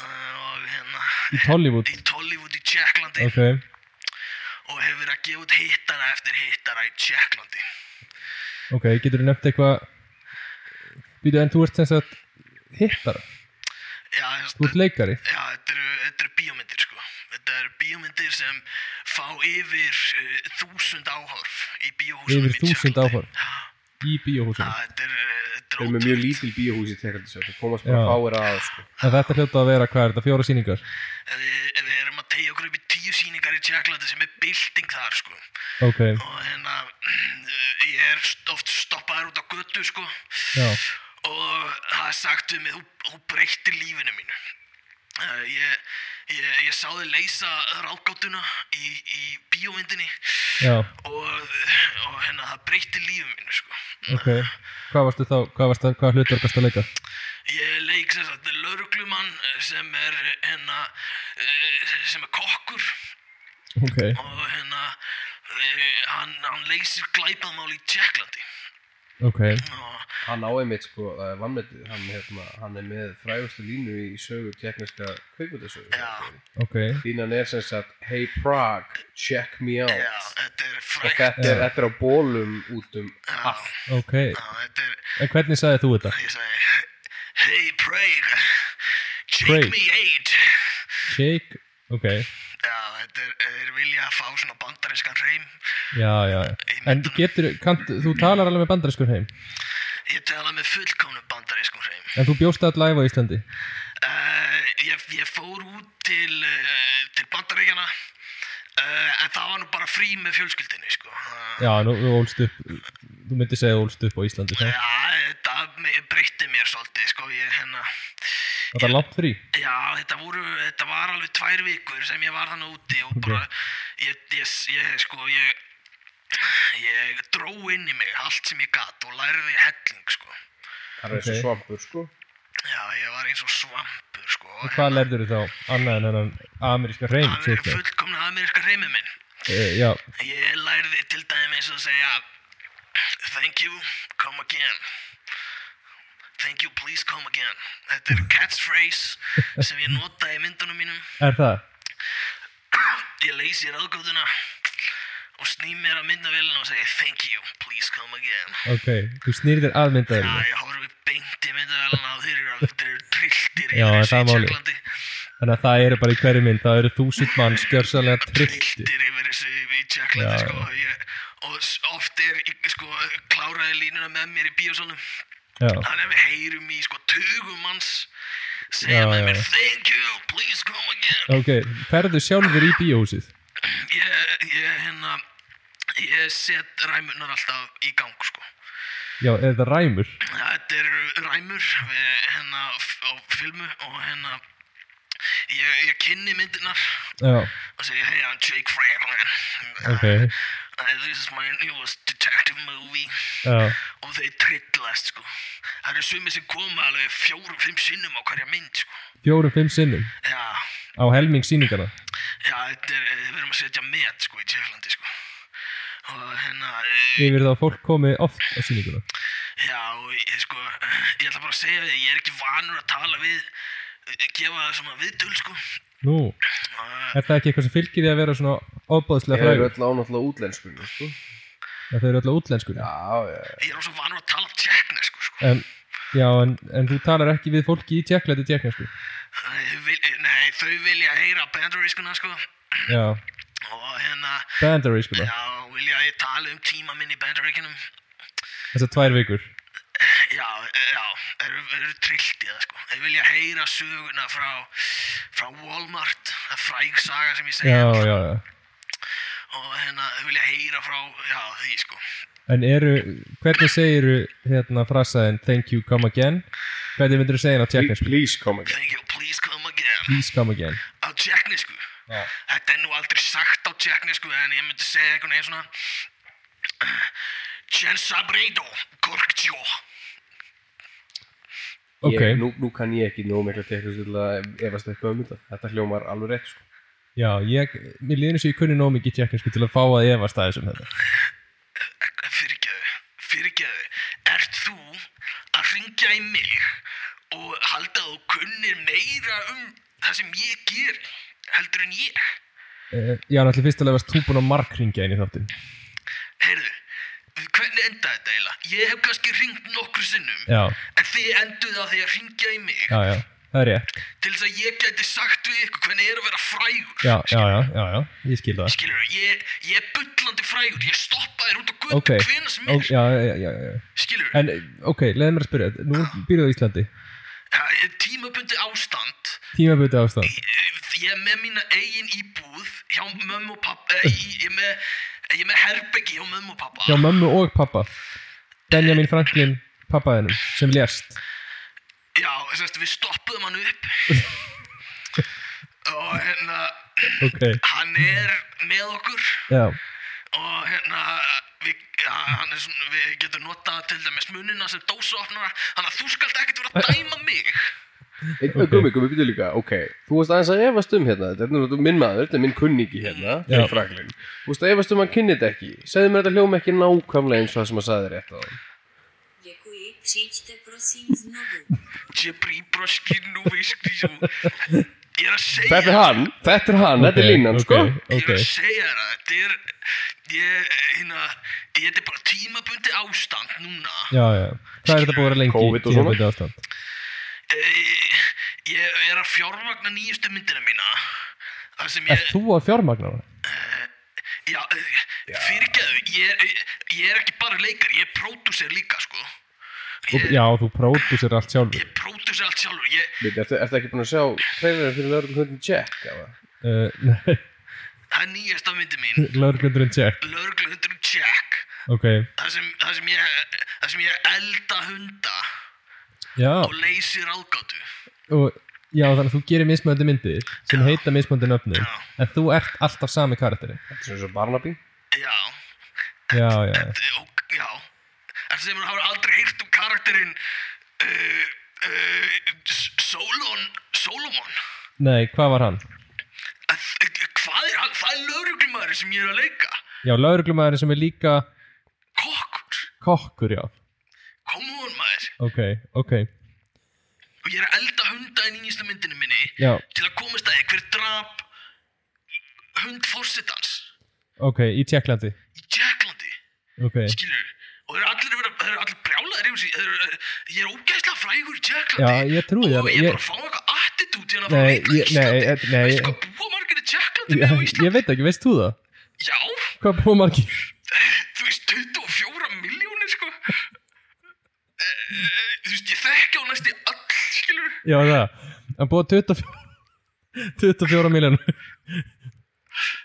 og hérna
Í Tollywood,
í Tollywood í Tjekklandi
ok
og hefur verið að gefa út hittara eftir hittara í Tjekklandi.
Ok, getur þú nefnt eitthvað Býtu, en þú ert sem sagt hittar
Já, þess-
Þú ert leikari
já þetta, eru, þetta eru bíómyndir sko. Þetta eru bíómyndir sem fá yfir uh, þúsund áhorf í bíóhúsunum
Yfir
í
þúsund
Tékklandi.
áhorf Í
Já,
bíóhúsinu
þetta er, uh, þetta er
Þeir eru með mjög lítil bíóhús í tekandi sér Það komast bara
Já.
fáir að sko.
En þetta hljóta að vera, hvað er þetta, fjóra sýningar
ótrúlegt. Við, við erum að tegja okkur upp í tíu síningar í Tjekklandi sem er bilding þar sko.
Ok,
Og hérna, uh, ég er st- oft stoppaður út á götu sko.
já,
og það er sagt við mig, þú, þú breytir lífinu mínu Eh, Ég, ég, ég sá þið leysa rákátuna í, í bíómyndinni
Já,
og, og hérna það breytti lífið mínu sko.
ok Hvað varstu þá, hvað, varstu, hvað hlutur varstu að leika?
Ég leik sem sagt lauruglumann sem er hérna eh, sem er kokkur
Ok,
og hérna eh, hann, hann leysir glæpaðmál í Tjekklandi
ok,
og
Hann á einmitt sko, það er vannmetið hann, hérna, hann er með frægustu línu í sögu tekniska kveikmyndasögu
Já.
ok
Línan er sem sagt Hey Prague, check me out
já, þetta er
Og
frækt
þetta er, þetta er á bólum út um allt
Ok,
Já, þetta er
en hvernig sagði þú þetta?
ég segi Hey Prague, shake
Prague.
me eight
Shake, ok,
Já, þetta er, þeir vilja að fá svona bandarískan reym
já, já já. En getur, kannt, þú talar alveg með bandariskur heim
Ég tala með fullkomnum bandarískum reym
En þú bjóst að live á Íslandi
uh, ég, ég fór út til, uh, til bandaríkjana uh, En það var nú bara frí með fjölskyldinni, sko uh,
Já, nú þú ólst upp Þú myndir segja þú ólst upp á Íslandi það?
Já, þetta me- breytti mér svolítið, sko, ég hérna
Þetta er langt frí
Já, þetta voru, þetta var alveg tvær vikur sem ég var þannig úti og bara, ég, ég, ég, sko, ég, ég dró inn í mig allt sem ég gat og lærði helling, sko.
Það er eins og
Ok.
svampur sko
Já, ég var eins og svampur, sko.
Og Hvað lærður þú þá annað en hennan ameríska hreim?
Það er fullkomna ameríska reymi minn.
Uh, já,
Ég lærði til dæmis að segja, thank you, come again. Thank you, please come again. Þetta er catchphrase sem ég nota í myndunum mínum.
er það?
Ég leysi ráðgóðuna og sný mér að myndavélina og segi Thank you, please come again
Ok, þú snýrðir þér að
Já,
myndaðurinn
ég horfi beint í myndavélina og þeir eru aldrei trilltir
Já,
í
það er málið.
Tjekklandi
Þannig að það eru bara í hverju mynd Það eru þúsund mann skjörsalega trillti
Trilltir yfir þessu í Tjekklandi
Já,
sko, ég, og s- oft er ég, sko, kláraði línuna með mér í bíósalum
Já,
þannig að við heyrum í sko tugum manns segja
Já,
með
já.
mér Thank you, please come again
ok, ferðu sjálfur í bíóhúsið
Ég, ég, hérna ég set ræmunar alltaf í gang sko
Já, er það ræmur?
Þetta er ræmur við hérna f- á filmu og hérna ég, ég kynni myndirnar
Já,
og segi hey I'm Jake Franklin
ok
uh, this is my newest detective movie
Já,
og þeir trillast sko það eru sumir sem koma alveg fjórum, fimm sinnum á hverja mynd sko
fjórum, fimm sinnum
já,
Á helming sýningana
já þetta er, við erum að setja met sko í Tjeflandi sko og hérna eh,
Yfir þá fólk komið oft á sýninguna
Já, og ég, sko, ég ætla bara að segja því, ég er ekki vanur að tala við, eh, gefa það svona viðtöl, sko.
Nú,
Uh,
er það ekki eitthvað sem fylgir því að vera svona ofbóðslega
Það eru
frægur?
öll á náttúrulega útlenskunni sko
Að þau eru öll á útlenskur
Já, já, já.
ég er svo vanur að tala tjekknesku, sko.
En, já, en, en þú talar ekki við fólki í tjekklæti tjekklæti
Nei, þau vil, nei, þau vilja heyra bandarískuna, sko,
Já,
og hérna,
bandari sko
já, vilja að ég tala um tíma minn í bandaríkinum.
Þessar tvær vikur
Já, já, þeir eru- þeir eru trillt í það, sko. Þau vilja heyra söguna frá, frá Walmart, það er fræg saga sem ég segja,
Já, já, já
og hérna, þau vilja heyra frá, já, því, sko.
En eru, hvernig segiru hérna frasaðin Thank you, come again Hvernig myndirðu segja hann á tjekklæti?
Please come again
Thank you, please come again.
Please come again
á tjekknesku
Já.
þetta er nú aldrei sagt á tjekknesku en ég myndi segja einhvern veginn svona Chensabreido Gorkjó
Ok,
ég, nú, nú kann ég ekki nóg mikla teknist til að efast eitthvað um þetta Þetta hljómar alveg rétt sko
já, ég, mér líður eins og ég kunni nóg mikið tjekklæti til að fá að efast aðeins um þetta
fyrirgeðu, fyrirgeðu Eh, ert þú að ringja í mig og halda að þú kunnir meira um það sem ég ger heldur en ég
Eh, Já, náttúrulega fyrst alveg varst þú búin að markringja inn í þáttin
heyrðu, hvernig enda þetta eiginlega ég hef kannski ringt nokkru sinnum
Já,
en þið enduð á því að ringja í mig
já, já, það er rétt
til þess að ég gæti sagt við ykkur hvernig er að vera frægur
Já, já, já, já, já, ég skil það
skilur, ég, ég er bullandi frægur ég stoppa þér út á
Ok,
götu okay. hvena sem
Ó,
er,
já, já, já, já.
skilur
En, ok, leiði mér að spyrja Nú býrðu á Íslandi,
það er tímabundi ástand
tímabuti ástand
ég er með mína eigin íbúð hjá mömmu og pappa eh, í- ég er með, ég er með herbeggi hjá mömmu og pappa
Hjá mömmu og pappa Benjamin Franklin, pappaðinum Sem lést
já, sérst, við stoppuðum hann upp og hérna
ok,
hann er með okkur
já,
og hérna við, hann er svona, við getum notað til dæmis munina sem dósaopnara þannig að þú skalt ekkert vera að dæma mig
okay. Gumi, gumi, býtu líka, ok Þú veist aðeins að efast um hérna Þetta er náttúrulega minn maður, þetta er minn kunningi hérna
Já.
Jake Franklin. Þú veist að efast um að hann kynni þetta ekki Segðu mér þetta hljóma ekki nákvæmlega eins og það sem að sagði þér rétt á
Děkuji, přijďte prosím znovu.
Jebri broski nú viskri svo ég er að segja
Þetta er hann, þetta er hann, þetta er línan,
ok,
sko
Ég er
ok
að segja þér að þetta er ég, hérna, þetta er bara tímabundi ástand núna
já, já, hvað er þetta búið að vera lengi
COVID og svona?
tímabundið ástand
e, ég er að fjármagna nýjustu myndina mína það sem
er
ég,
þú að fjármagna hana?
já, já. fyrirgeðu ég, ég, ég er ekki bara leikar, ég er pródúser líka sko
Og- já, þú pródúsir allt sjálfur
ég pródúser allt sjálfur ég,
Býtu, ertu, ertu ekki búin að sjá trailerinn fyrir lögum hundin Jack, eða?
uh, nei,
það er nýjasta myndi mín
lörglundurinn Jack
lögreglundur Jack
ok,
það sem, það sem ég það sem ég elda hunda
já
og leysi ráðgátu
og, já, þannig að þú gerir mismöndi myndir sem heita mismöndi nöfnum en þú ert alltaf sami karakteri
Þetta er sem svo Barnaby
já,
já, já, já.
d- og, já það sem hún hafa aldrei heyrt um karakterinn uh, uh, S- Solon Solomon
nei, hvað var hann?
Að- að- hvað er hann, það er lögreglumæður sem ég er að leika
já, lauruglumæðurinn sem er líka
kokkur,
kokkur, já
come on maður
ok, ok,
og ég er að elda hunda í nýjastu myndinu minni
já,
til að komast að hver drap hund fórsetans
ok, í Tjekklandi
í Jacklandi
ok,
skilur og þeir eru allir, að vera, þeir eru allir brjálaðir yfir sig þeir, eru- ég er ógæslega frægur í Jacklandi
Já, ég trúi
og
þér.
ég er
Ég-
bara að fá eitthvað attitút hérna að fara að
Nei,
leika í
ég- nei,
Íslandi
eh, nei.
veistu hvað búa margir í
ég,
Jacklandi með á Íslandi
ég veit ekki, veist þú það?
já,
hvað búið margir?
þú veist 24 miljónir sko Eh, eh, þú veist, ég þekki á næstu all skilur
já, það, hann búið 24 24 miljonur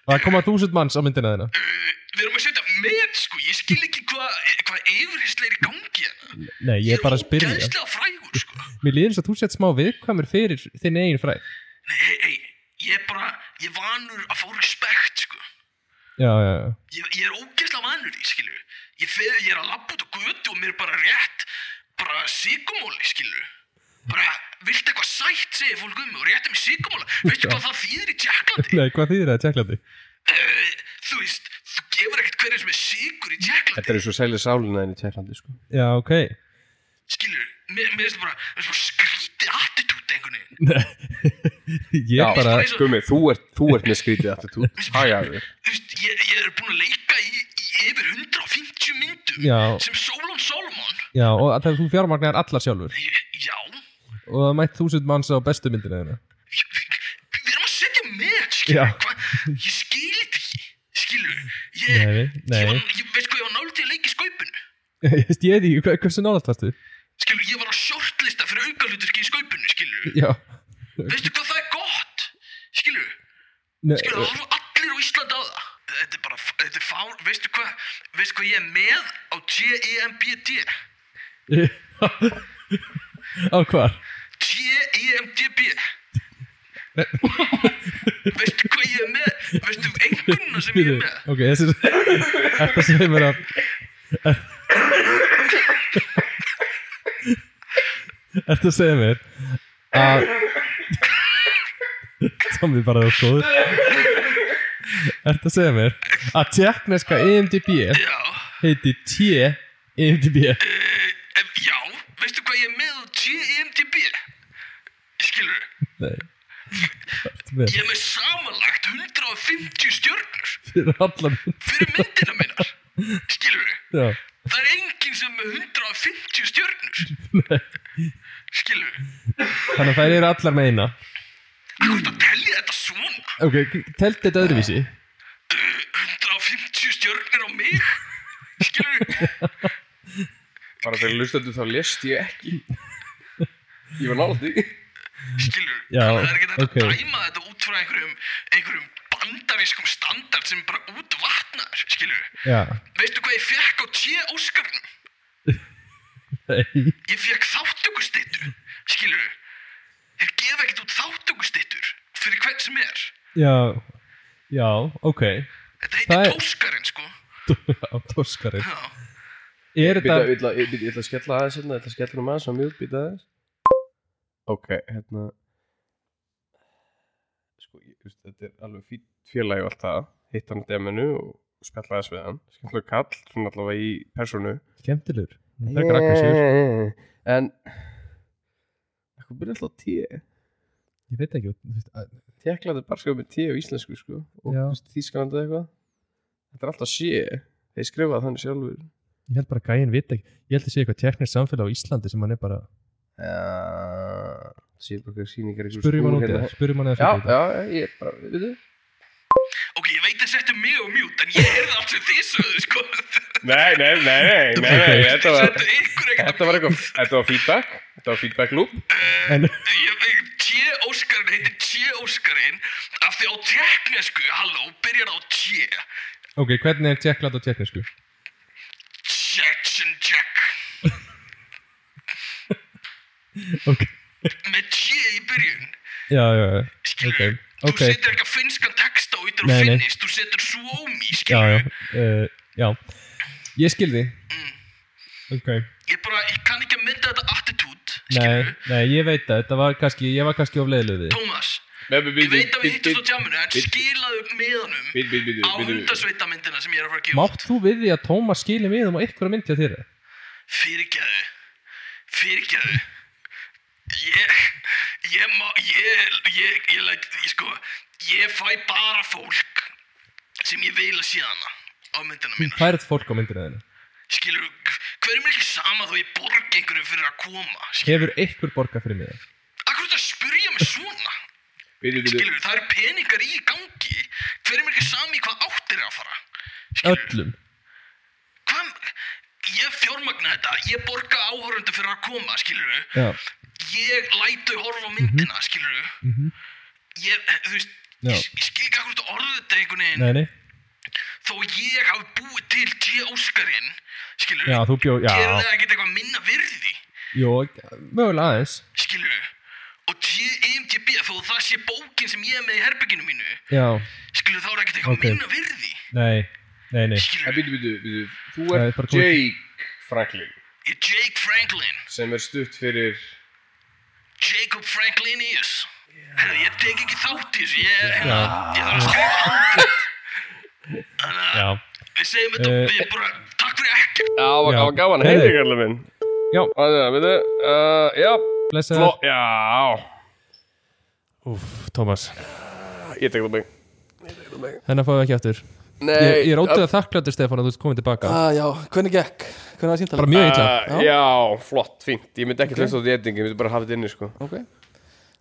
það koma þúsund manns á myndina þina
Eh, við erum að setja með sko ég skil ekki hvað hva yfirhisleir í gangi hérna
nei, ég er bara að spyrja
ógæslega frægur sko
mér líður eins og þú sett smá viðkvæmur fyrir þinn eigin fræð
nei, hei, hei, ég er bara ég er vanur að fá respekt sko
já, já, já,
ég, ég er ógeðslega vanur í, skilju ég, fer, ég er að labba út á götu og mér er bara rétt bara sigumóli, skilju bara, viltu eitthvað sætt, segir fólk um mig og réttum í sigumóla, veistu hvað það þýðir í Jacklandi
nei, hvað þýðir það, Tjekklandi?
uh, þú veist, þú gefur ekkert hverjum sem er sigur í
Þetta
Jacklandi
er eins og selja sálina þín í Tjekklandi, sko
já, ok
skilju, mér mér finnst það bara, mér finnst bara skrítið attitút einhvern veginn
ég er bara,
eins og-
Gumi, sko, þú ert, þú ert með skrítið attitút Hægjaður
Þú veist, ég, ég er búin að leika í, í yfir 150 myndum
Já.
sem Solon Solomon
já, og þegar þú fjármagnar allar sjálfur
ég, já,
og það mætt þúsund manns á bestu myndina þina
ég, við, við erum að setja með, skilju
Já.
hva, ég skil þetta ekki, skilju ég,
Nei, nei.
ég, var, ég veist hvað ég var nálægt í að leika í skaupinu
ég veist, ég veit ekki, hvað- hversu nálægt varstu?
skilju, ég var á shortlista fyrir aukaluturki í skaupinu, skilju
já,
veistu hvað það er gott, skilju
Nei,
skilju, það horfa allir á Íslandi á það þetta er bara, þetta er fár, veistu hvað veistu hvað ég er með á E T-E-M-B-D
á hvar?
E T-E-M-D-B veistu hvað ég er með veistu einhverjuna sem ég
Býðu,
er með
ok, þessi Þetta segir mér að Þetta segir mér að Tommi bara þú góður Þetta segir mér að E tjekkneska IMDB
já
heiti T E IMDB
Ef, já, veistu hvað ég er með E á TMDB? Skilur,
Nei Þetta er
ég er með samanlagt 150 stjörnur
fyrir allan
fyrir myndina minnar. Skilur,
Já,
það er enginn sem er með 150 stjörnur. Skilur,
þannig að þær eru allar með eina
hvað er að telja þetta svona?
Ok, telti þetta öðruvísi
150 stjörnur á mig? Skilur,
Bara fyrir lustandi þá lest ég ekki Ég var náldi
skilur,
Já,
þannig að það er ekki þetta
ok.
að dæma þetta út frá einhverjum, einhverjum bandarískum standard sem er bara útvatnar, skilur.
Já,
Veistu hvað ég fekk á tíu Óskarnum?
nei
Ég fekk þáttökustittu, skilur Þeir gefa ekkert út þáttökustittur fyrir hvern sem er
Já, já, ok
Þetta
Það
heitir
er-
Tóskarinn sko
Já, Tóskarinn
Já.
Er
Býta,
þetta
ég ætla- ég- ég ætla að skella aðeins hérna, ég ætla að skella um aðeins á mjút, býta aðeins Ok, hérna Sko, ég, veist, þetta er alveg fýtt félagi og allt það Hitt hann á deminu og spjalla aðeins við hann Skemmtilega kall, svona allavega í personu
skemmtilegur? Frekar aggressífur.
En Eitthvað byrja alltaf á T
Ég veit ekki þú veist, að-
Tekla þetta bara skrifa með T á íslensku, sko Og
Já.
þú veist, þýskalandi eða eitthvað Þetta er alltaf sé Þeir skrifa þannig sjálfur
Ég held bara að gæinn veit ekki Ég held að sé eitthvað teknir samfélag á Íslandi sem hann er bara
Já Sér bara hvað sýningar einhver
Spurjum hann
skúr
út í
hérna.
það Spurjum hann eða
Já,
fyrir
já, ég er bara, við þau
Ok, ég veit að setja mig og mjút En ég heyrði allt sem þið sögðu sko
Nei, nei, nei, nei, nei, nei þetta, var,
Settu ykkur ekkert
þetta var eitthvað, þetta var feedback Þetta var feedback loop
En
Ég veit, T. Óskarinn heitir T. Óskarinn Af því á teknesku, halló, byrjar á T.
ok, hvernig er tjekklat á teknisku?
Section check
Ok,
Með T í byrjun
já, já, já Ok,
Skilur,
ok,
þú setur eitthvað finskan texta og yttir
Nei,
og
nei.
finnist, þú setur suomi,
já,
skilur
já uh, Já, ég skilði Ok,
Ég bara, ég kann ekki að mynda þetta attitút,
nei,
skilur
nei, ég veit það Þetta var kannski, ég var kannski ofleiðileg við þig.
Tómas,
Nei, við
ég veit að við hittast á tjáminu en skilaðu miðanum
Býtu, býtu,
á hundasveitamyndina sem ég er að fara að gefa út
Mátt þú við því að Tómas skilja miðum á ykkur að myndja þér?
Fyrirgæðu Fyrirgæðu Ég Ég má Ég Ég, ég læt ég, Sko Ég fæ bara fólk Sem ég vil að sé hana Á myndina
Þú
mína
færð fólk á myndina þínu.
Skilur Hverjum er ekki sama þó ég borg einhverjum fyrir að koma Skilur
Hefur ykkur borgað fyrir miða?
Akkur þetta spyrja mig svona
Býtu, býtu,
Skilur Það eru peningar í gangi Hverjum er ekki sama í hvað áttir að fara Skilur
Öllum.
Hvað Ég fjármagna þetta, ég borga áhorfundu fyrir að koma, skilur
Já,
ég lætu horfa á
Mhm.
myndina, mm -hmm. skilur ég, þú veist
Já.
ég, ég skil ekki akkur orðið þetta einhvern veginn
nei, nei.
þó ég hafi búið til T. Óskarinn skilur,
Já, þú bjó,
gerir
já.
það ekkert eitthvað minna virði
Jó, mögulega aðeins.
skilur og T. IMDB, þó það sé bókin sem ég er með í herbygginu mínu
Já,
skilur, þá er ekkert eitthvað
Ok.
minna virði
nei, nei, nei.
skilur,
býtu, býtu, býtu Þú
Nei,
ert
bara komið-
Jake Franklin
ég er Jake Franklin
sem er stutt fyrir
Jacob Franklinius Herra, ég tek ekki þátt í þessu, ég, hérna, ég þarf að skrifa handið Þannig að
Já.
Við segjum þetta,
Eh,
við bara, takk fyrir ekki
Já, það var
Já.
gaman, gaman,
Heyrðu.
heyrðu kallar minn
Já.
Það er, býtu, uh, já, fló,
Blessaður.
já
Úf, Tómas.
Ég tek það mig
Þennan fáum við Hérna ekki aftur. Ég, ég er ótrúlega þakklættur, Stefán, að þú ert komin tilbaka.
ah, Já, hvernig gekk? Hvernig var
Bara
síntalið?
mjög illa.
Uh, já, flott, fínt Ég myndi ekki okay. hlusta á því ending, ég myndi bara hafa þetta inni sko.
Ok,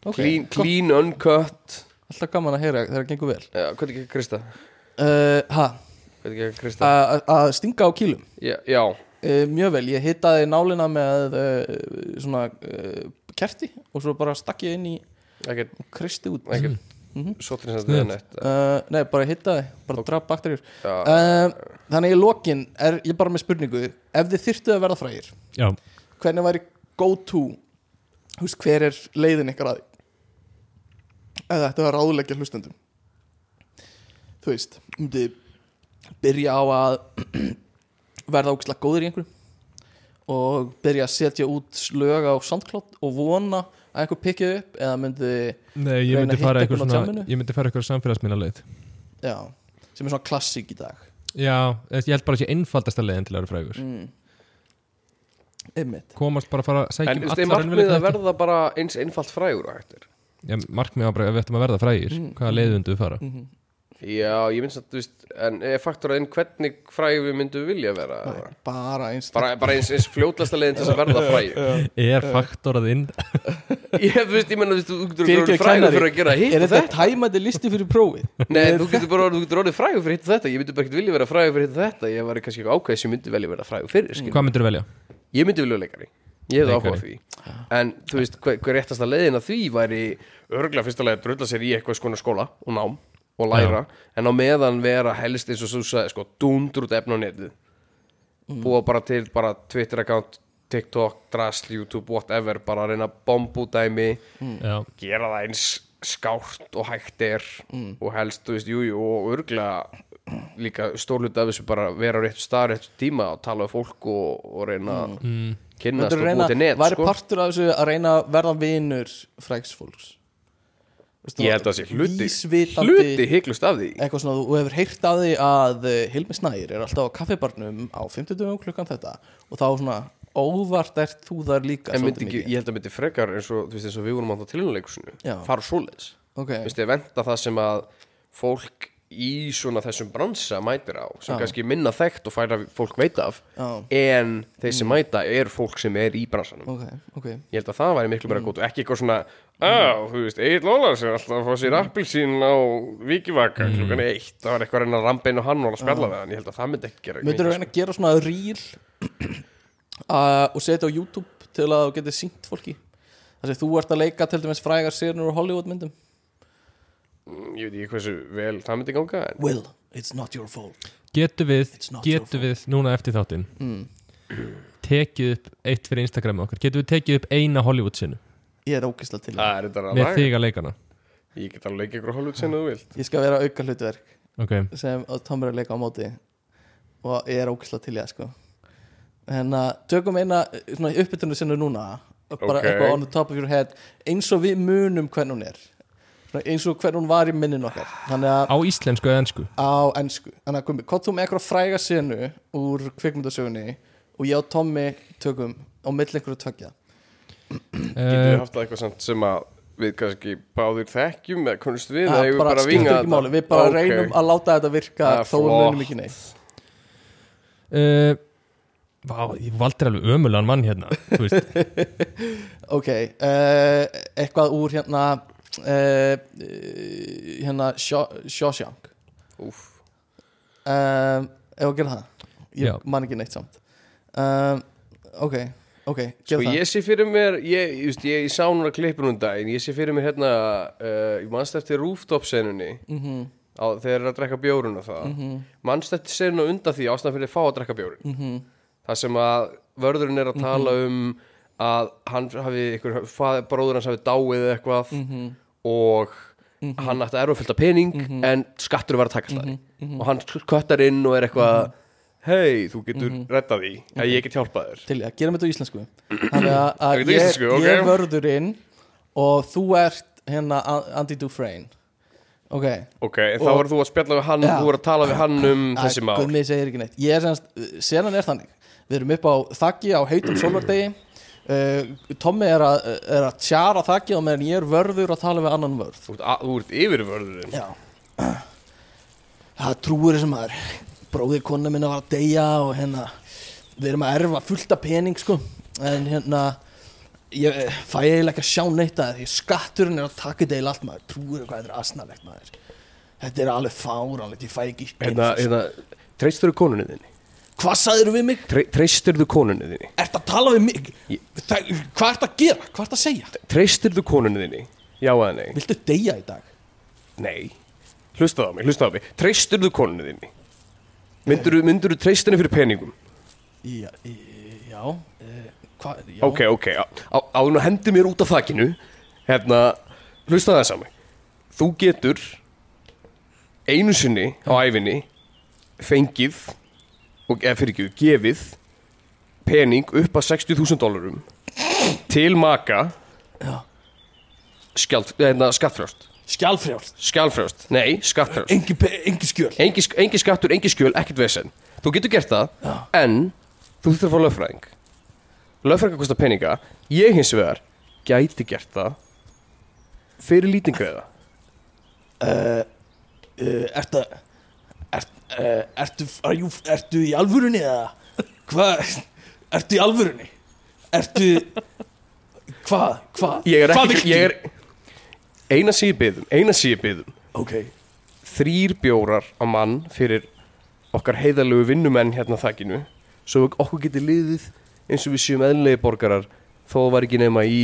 okay.
Clean,
gott.
clean uncut
Alltaf gaman að heyra þegar það gengur vel
Já, Hvernig ekki Krista?
uh, ha,
Hvernig ekki Krista?
að- Að stinga á kýlum
Já, já,
uh, Mjög vel, ég hittaði nálina með uh, svona uh, kerti og svo bara stakk ég inn í
ekkert
kristi út uh,
ekkert Sottir sem þetta er nett
Eh, Nei, bara hittaði, bara draf bakterjur
Já.
uh, Þannig í lokin er ég bara með spurningu Ef þið þyrftuð að verða frægir
Já.
hvernig væri go to þú veist, hver er leiðin ykkar að því eða þetta var ráðleggja hlustendum þú veist myndi byrja á að verða ógislega góður í einhverju og byrja að setja út slög á SoundCloud og vona að einhver pikið upp eða myndi,
Nei, ég
Reyna
myndi
að hitta
fara
einhvern
eitthvað
á
svona,
djamminu.
ég myndi fara eitthvað samfélagsminna leið.
já sem er svona klassík í dag
Já, ég held bara að sé einfaldasta leiðin til að vera frægur.
einmitt,
Komast bara að fara að
En
sækja um
þú veist, er
allar
markmið
raunveruleika
að
þætti.
verða bara eins einfalt frægur og hættir?
Já, markmið var bara, ef við ættum að verða frægir, hvaða leið vindum við fara?
Já, ég minnst að, þú veist, en er faktor að inn hvernig frægur við myndum vilja vera? eða?
bara eins
Bara, bara eins, eins fljótlasta leiðin til þess að verða frægur
Er faktorað inn?
Ég, þú veist, ég menna, þú veist, þú getur
Fyrirgefðu,
orðið frægur fyrir
kennari,
að gera hitt
er
og
þetta
þetta
tæmandi listi fyrir prófið
Nei, þú getur bara orðið, þú getur orðið frægur fyrir hitt og þetta Ég myndi bara ekkert vilja vera frægur fyrir hitt og þetta Ég var kannski eitthvað ákveð sem ég myndi velja vera frægur fyrir, skil
Hvað myndir velja?
ég myndi vilja leikari ég hefði áhuga á því
Leikari.
en þú veist hver, hver réttasta leiðin að því væri örgla fyrsta leið að drulla sér í eitthvað skona skóla og nám og læra en á meðan vera helst eins og svo sagði sko dundur út efna á netið búa bara til bara Twitter account TikTok, Drasl, YouTube, whatever bara að reyna að bombu dæmi
Já.
gera það eins skárt og hægt er
Mm.
og helst, þú veist, jújú jú, og örglega líka stórluta af þessu bara vera á réttu stað, réttu tíma og tala við fólk og, og reyna að kynnast
Mm. Myndirðu
og
reyna-
búið til net
væri
sko.
partur af þessu að reyna að verða vinur frægs fólks Veistu,
ég held að sé hluti
vísvitandi-
hluti hygglust af því
eitthvað svona, þú hefur heyrt að því að eh, Hilmi Snær er alltaf á kaffibarnum á 50 klukkan þetta og þá svona óvart ert þú þar líka
en
svolítið
myndi ekki,
mikið.
ég held að myndi frekar eins og, þú veist, eins og við vorum á það tilhjónuleikusinu
Já.
fara svoleiðis
Ok.
Þú veist, ég venda það sem að fólk í svona þessum bransa mætir á sem
Já.
kannski er minna þekkt og færa fólk veit af
Já.
en þeir sem mæta er fólk sem er í bransanum
ok, ok,
ég held að það væri miklu meira
Mm.
gótt og ekki eitthvað svona á, þú veist, Egil Ólafs er alltaf að fá sér
Mm.
appilsín á vikivaka klukkan eitt, það var eitthvað að reyna að rambein og hann var að
Ah.
spjalla við hann, ég held að það sko. myndi ekki gera
myndir þú reyna að gera svona reel uh, og setja á YouTube til að þú getur sínt fólki þar sem þú ert að leika til dæmis frægar sérnur og Hollywood myndum
ég veit ekki hversu vel það myndi ganga en
Will, it's not your fault
getum við,
It's not your Hmm.
getum við núna eftir þáttinn tekið upp eitt fyrir Instagramið okkar getum við tekið upp eina Hollywood sinu
ég er ógisla til
það er þetta að
með
laga,
þig að leikana
ég get alveg ekki ykkur hálfut sem þú vilt
ég skal vera auka hlutverk
okay.
sem Tom er að leika á móti og ég er ógæsla til ég sko. en að tökum eina eh, svona uppbytunni sinni núna bara
Ok.
eitthvað on the top of your head eins og við munum hvern hún er Svona eins og hvern hún var í minnin okkar þannig að
á íslensku eða ennsku
á ennsku þannig að komi, hvað þú með eitthvað fræga senu úr kvikmyndasögunni og ég og Tommy tökum á milli einhverju tvekja Eh.
Getur við
uh,
haft það eitthvað samt sem að við kannski báðir þekkjum eða kunnst við eða
Það
eigum við bara að
skiptir
vinga
ekki máli, við bara reynum að láta þetta virka
Það er
þó við munum
flott.
ekki neitt
uh, vá, ég valdur alveg ömulegan mann hérna þú veist,
Ok, uh, eitthvað úr hérna uh, hérna Shaw- Shawshank uh, Ef að gera það Ég
Já.
man ekki neitt samt uh, Ok, ok,
Sko
gera það
ég sé fyrir mér, ég, just, ég, ég sá núna klippur um daginn, ég sé fyrir mér hérna, uh, ég manst eftir rooftop senunni á, þegar er að drekka bjórun og það, mm -hmm. manst eftir senuna undan því ástæðan fyrir að fá að drekka bjórun. Mm -hmm. Það sem að vörðurinn er að tala um að hann hafi, ykkur, fað, bróður hans hafi dáið eða eitthvað og hann ætti að erfa að pening en skattur var að taka slagi og hann köttar inn og er eitthvað, hei, þú getur mm rettað því, að ég get hjálpað þér.
Til ég, gerum þetta á íslensku Þannig að- að
Ekki
ég,
íslensku, ok.
ég er vörðurinn og þú ert hérna A- Andy Dufresne Ok,
Ok, en þá
Og-
verður þú að spjalla við hann
Já.
Þú verður að tala við hann um þessi
Æ,
mál
Gummi segir ekki neitt Ég er semst, senan er þannig Við erum upp á þakki á heitum sólvardegi uh, Tommi er að, er að tjara þakki og meðan ég er vörður að tala við annan vörð
Þú ert að- Þú ert yfirvörðurinn
Já Það trúir þessum maður Bróðir kona minna var að deyja og hérna Við erum að erfa fullt af pening sko En hérna Ég eh, fæ eiginlega ekki að sjá neitt að því skatturinn er að taka þetta eiginlega allt maður Trúir hvað þetta er asnalegt maður Þetta er alveg fáránlegt, ég fæ ekki
Hérna, hérna, treystur þú konunni þinni?
Hvað sagðir við mig?
Tre, treystur þú konunni þinni?
Ert að tala við mig? Það, hvað ert að gera? Hvað ert að segja?
Treystur þú konunni þinni? Já eða nei?
Viltu deyja í dag?
Nei Hlustaðu á mig, hlustaðu á mig Treystur þú konunni þinni? Myndur þú, myndur þú treystinni fyrir peningum?
Já, e- já, e, hva, já.
Ok, ok, á- á- áður en að hendi mér út af þakinu Hérna, hlustaðu þess á mig Þú getur Einu sinni á æfinni Fengið og, Eða fyrir ekki, gefið Pening upp að 60.000 dólarum Til maka
Já.
Skjald, hérna, skattfrjást
Skjálfrjálst,
Skjálfrjást, nei, skattfrjást
engi, pe- engi skjöl
engi, sk- engi skattur, engi skjöl, ekkert vesen þú getur gert það, en þú þurftur að fá lögfræðing lögfræðing kostar peninga, ég hins vegar gæti gert það fyrir lítingreða
uh, Eh, Ertu ert, uh, ertu, are you, ertu í alvörunni eða Hvað Ertu í alvörunni Ertu Hvað Hvað
ég er
Hvað
ekki,
viltu?
ég er eina sem ég byðum, eina sem ég byðum
Ok
þrýr bjórar á mann fyrir okkar heiðalegu vinnumenn hérna á þakkinu, svo okkur getur liðið eins og við séum eðlilegi borgarar þó það var ekki nema í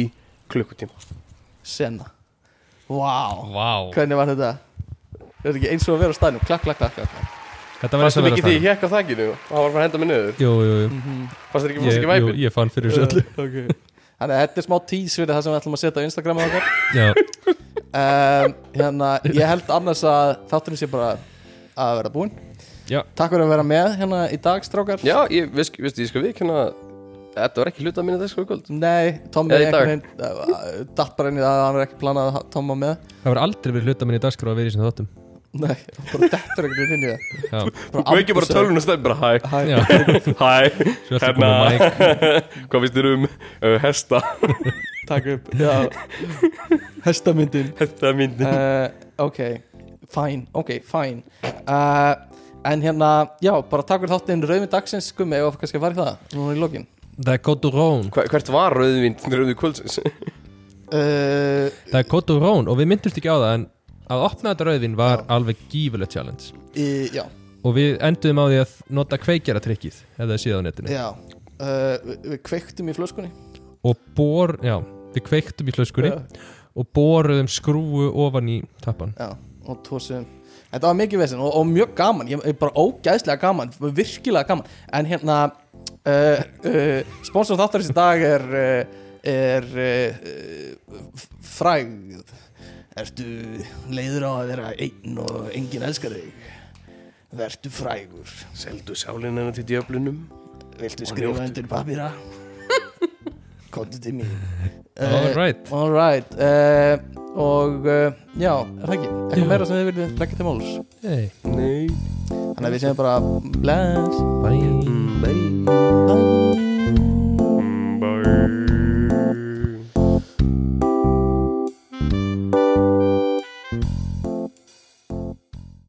klukkutíma
Senna Vá
vá,
Hvernig var þetta Þetta er ekki eins og að vera á staðnum Klakk, klakk, klakk, klakk
þetta var eins
Fannst
og
þér
vera
ekki því
það
ég hekk á þakkinu og það var bara að henda mig niður?
jú, jú, jú.
Mhm. Fannst þér ekki, fannst
Ég,
ekki
jú,
væpið?
ég fann fyrir þessu öllu
Þannig að þetta er smá tís fyrir það sem við ætlum að setja á Instagramið okkar
Já.
um, hérna, Ég held annars að þátturinn sé bara að vera búinn
Já.
Takk fyrir að vera með hérna í dag, strákar
Já, ég, veist, veist, ég skal viðkynna að Þetta var ekki hluta mínu þessu kvöld
Nei, Tommi
Eða í dag.
einhvern veginn uh, datt bara inn í það að hann er ekki planað að ha- Tomma með
Það var aldrei verið hluta minni í dagskrá að vera í sinna þáttum
Nei, hann bara dettur einhvern veginn inn í það
Já,
Þú kveikir bara tölun og stefn bara hæ
já,
Hæ,
Svo ertu
hérna
kominn á
Hvað finnst þér um uh, hesta
Takk upp Já. Hestamyndin
Hesta myndi
uh, Ok, fine, ok, fine uh, En hérna, já, bara takk fyrir þáttinn Rauðmi dagsins, gummi, ef kannski að fara í það Núna í lokin
það er Coturón
Hvert var rauðvín rauðvín kvöldsins?
uh,
Það er Coturón og við myndumst ekki á það en að opna þetta rauðin var alveg gífulegt challenge
í, Já,
og við endum á því að nota kveikjara trikkið ef það er síðan á netinu
já uh, við, við kveiktum í flöskunni
og bor, já, við kveiktum í hlöskunni og boruðum skrúu ofan í tappan
Já, og tósum Þetta var mikið vesinn og, og mjög gaman Ég er bara ógæðslega gaman, virkilega gaman En hérna uh, uh, Sponsor þáttarins í dag er uh, Er uh, uh, f- Frægð Ertu leiður á að vera einn Og enginn elskar þig Vertu frægur
Seldu sálinn hennar til djöflunum
Viltu skrifa undir papíra Kontu til mín
All right.
All right uh, Og uh, já, er það ekki Eitthvað meira sem þið viljið leggja til málus
Hey,
Nei
Þannig að við séum bara bless
bye
Nei
Bye.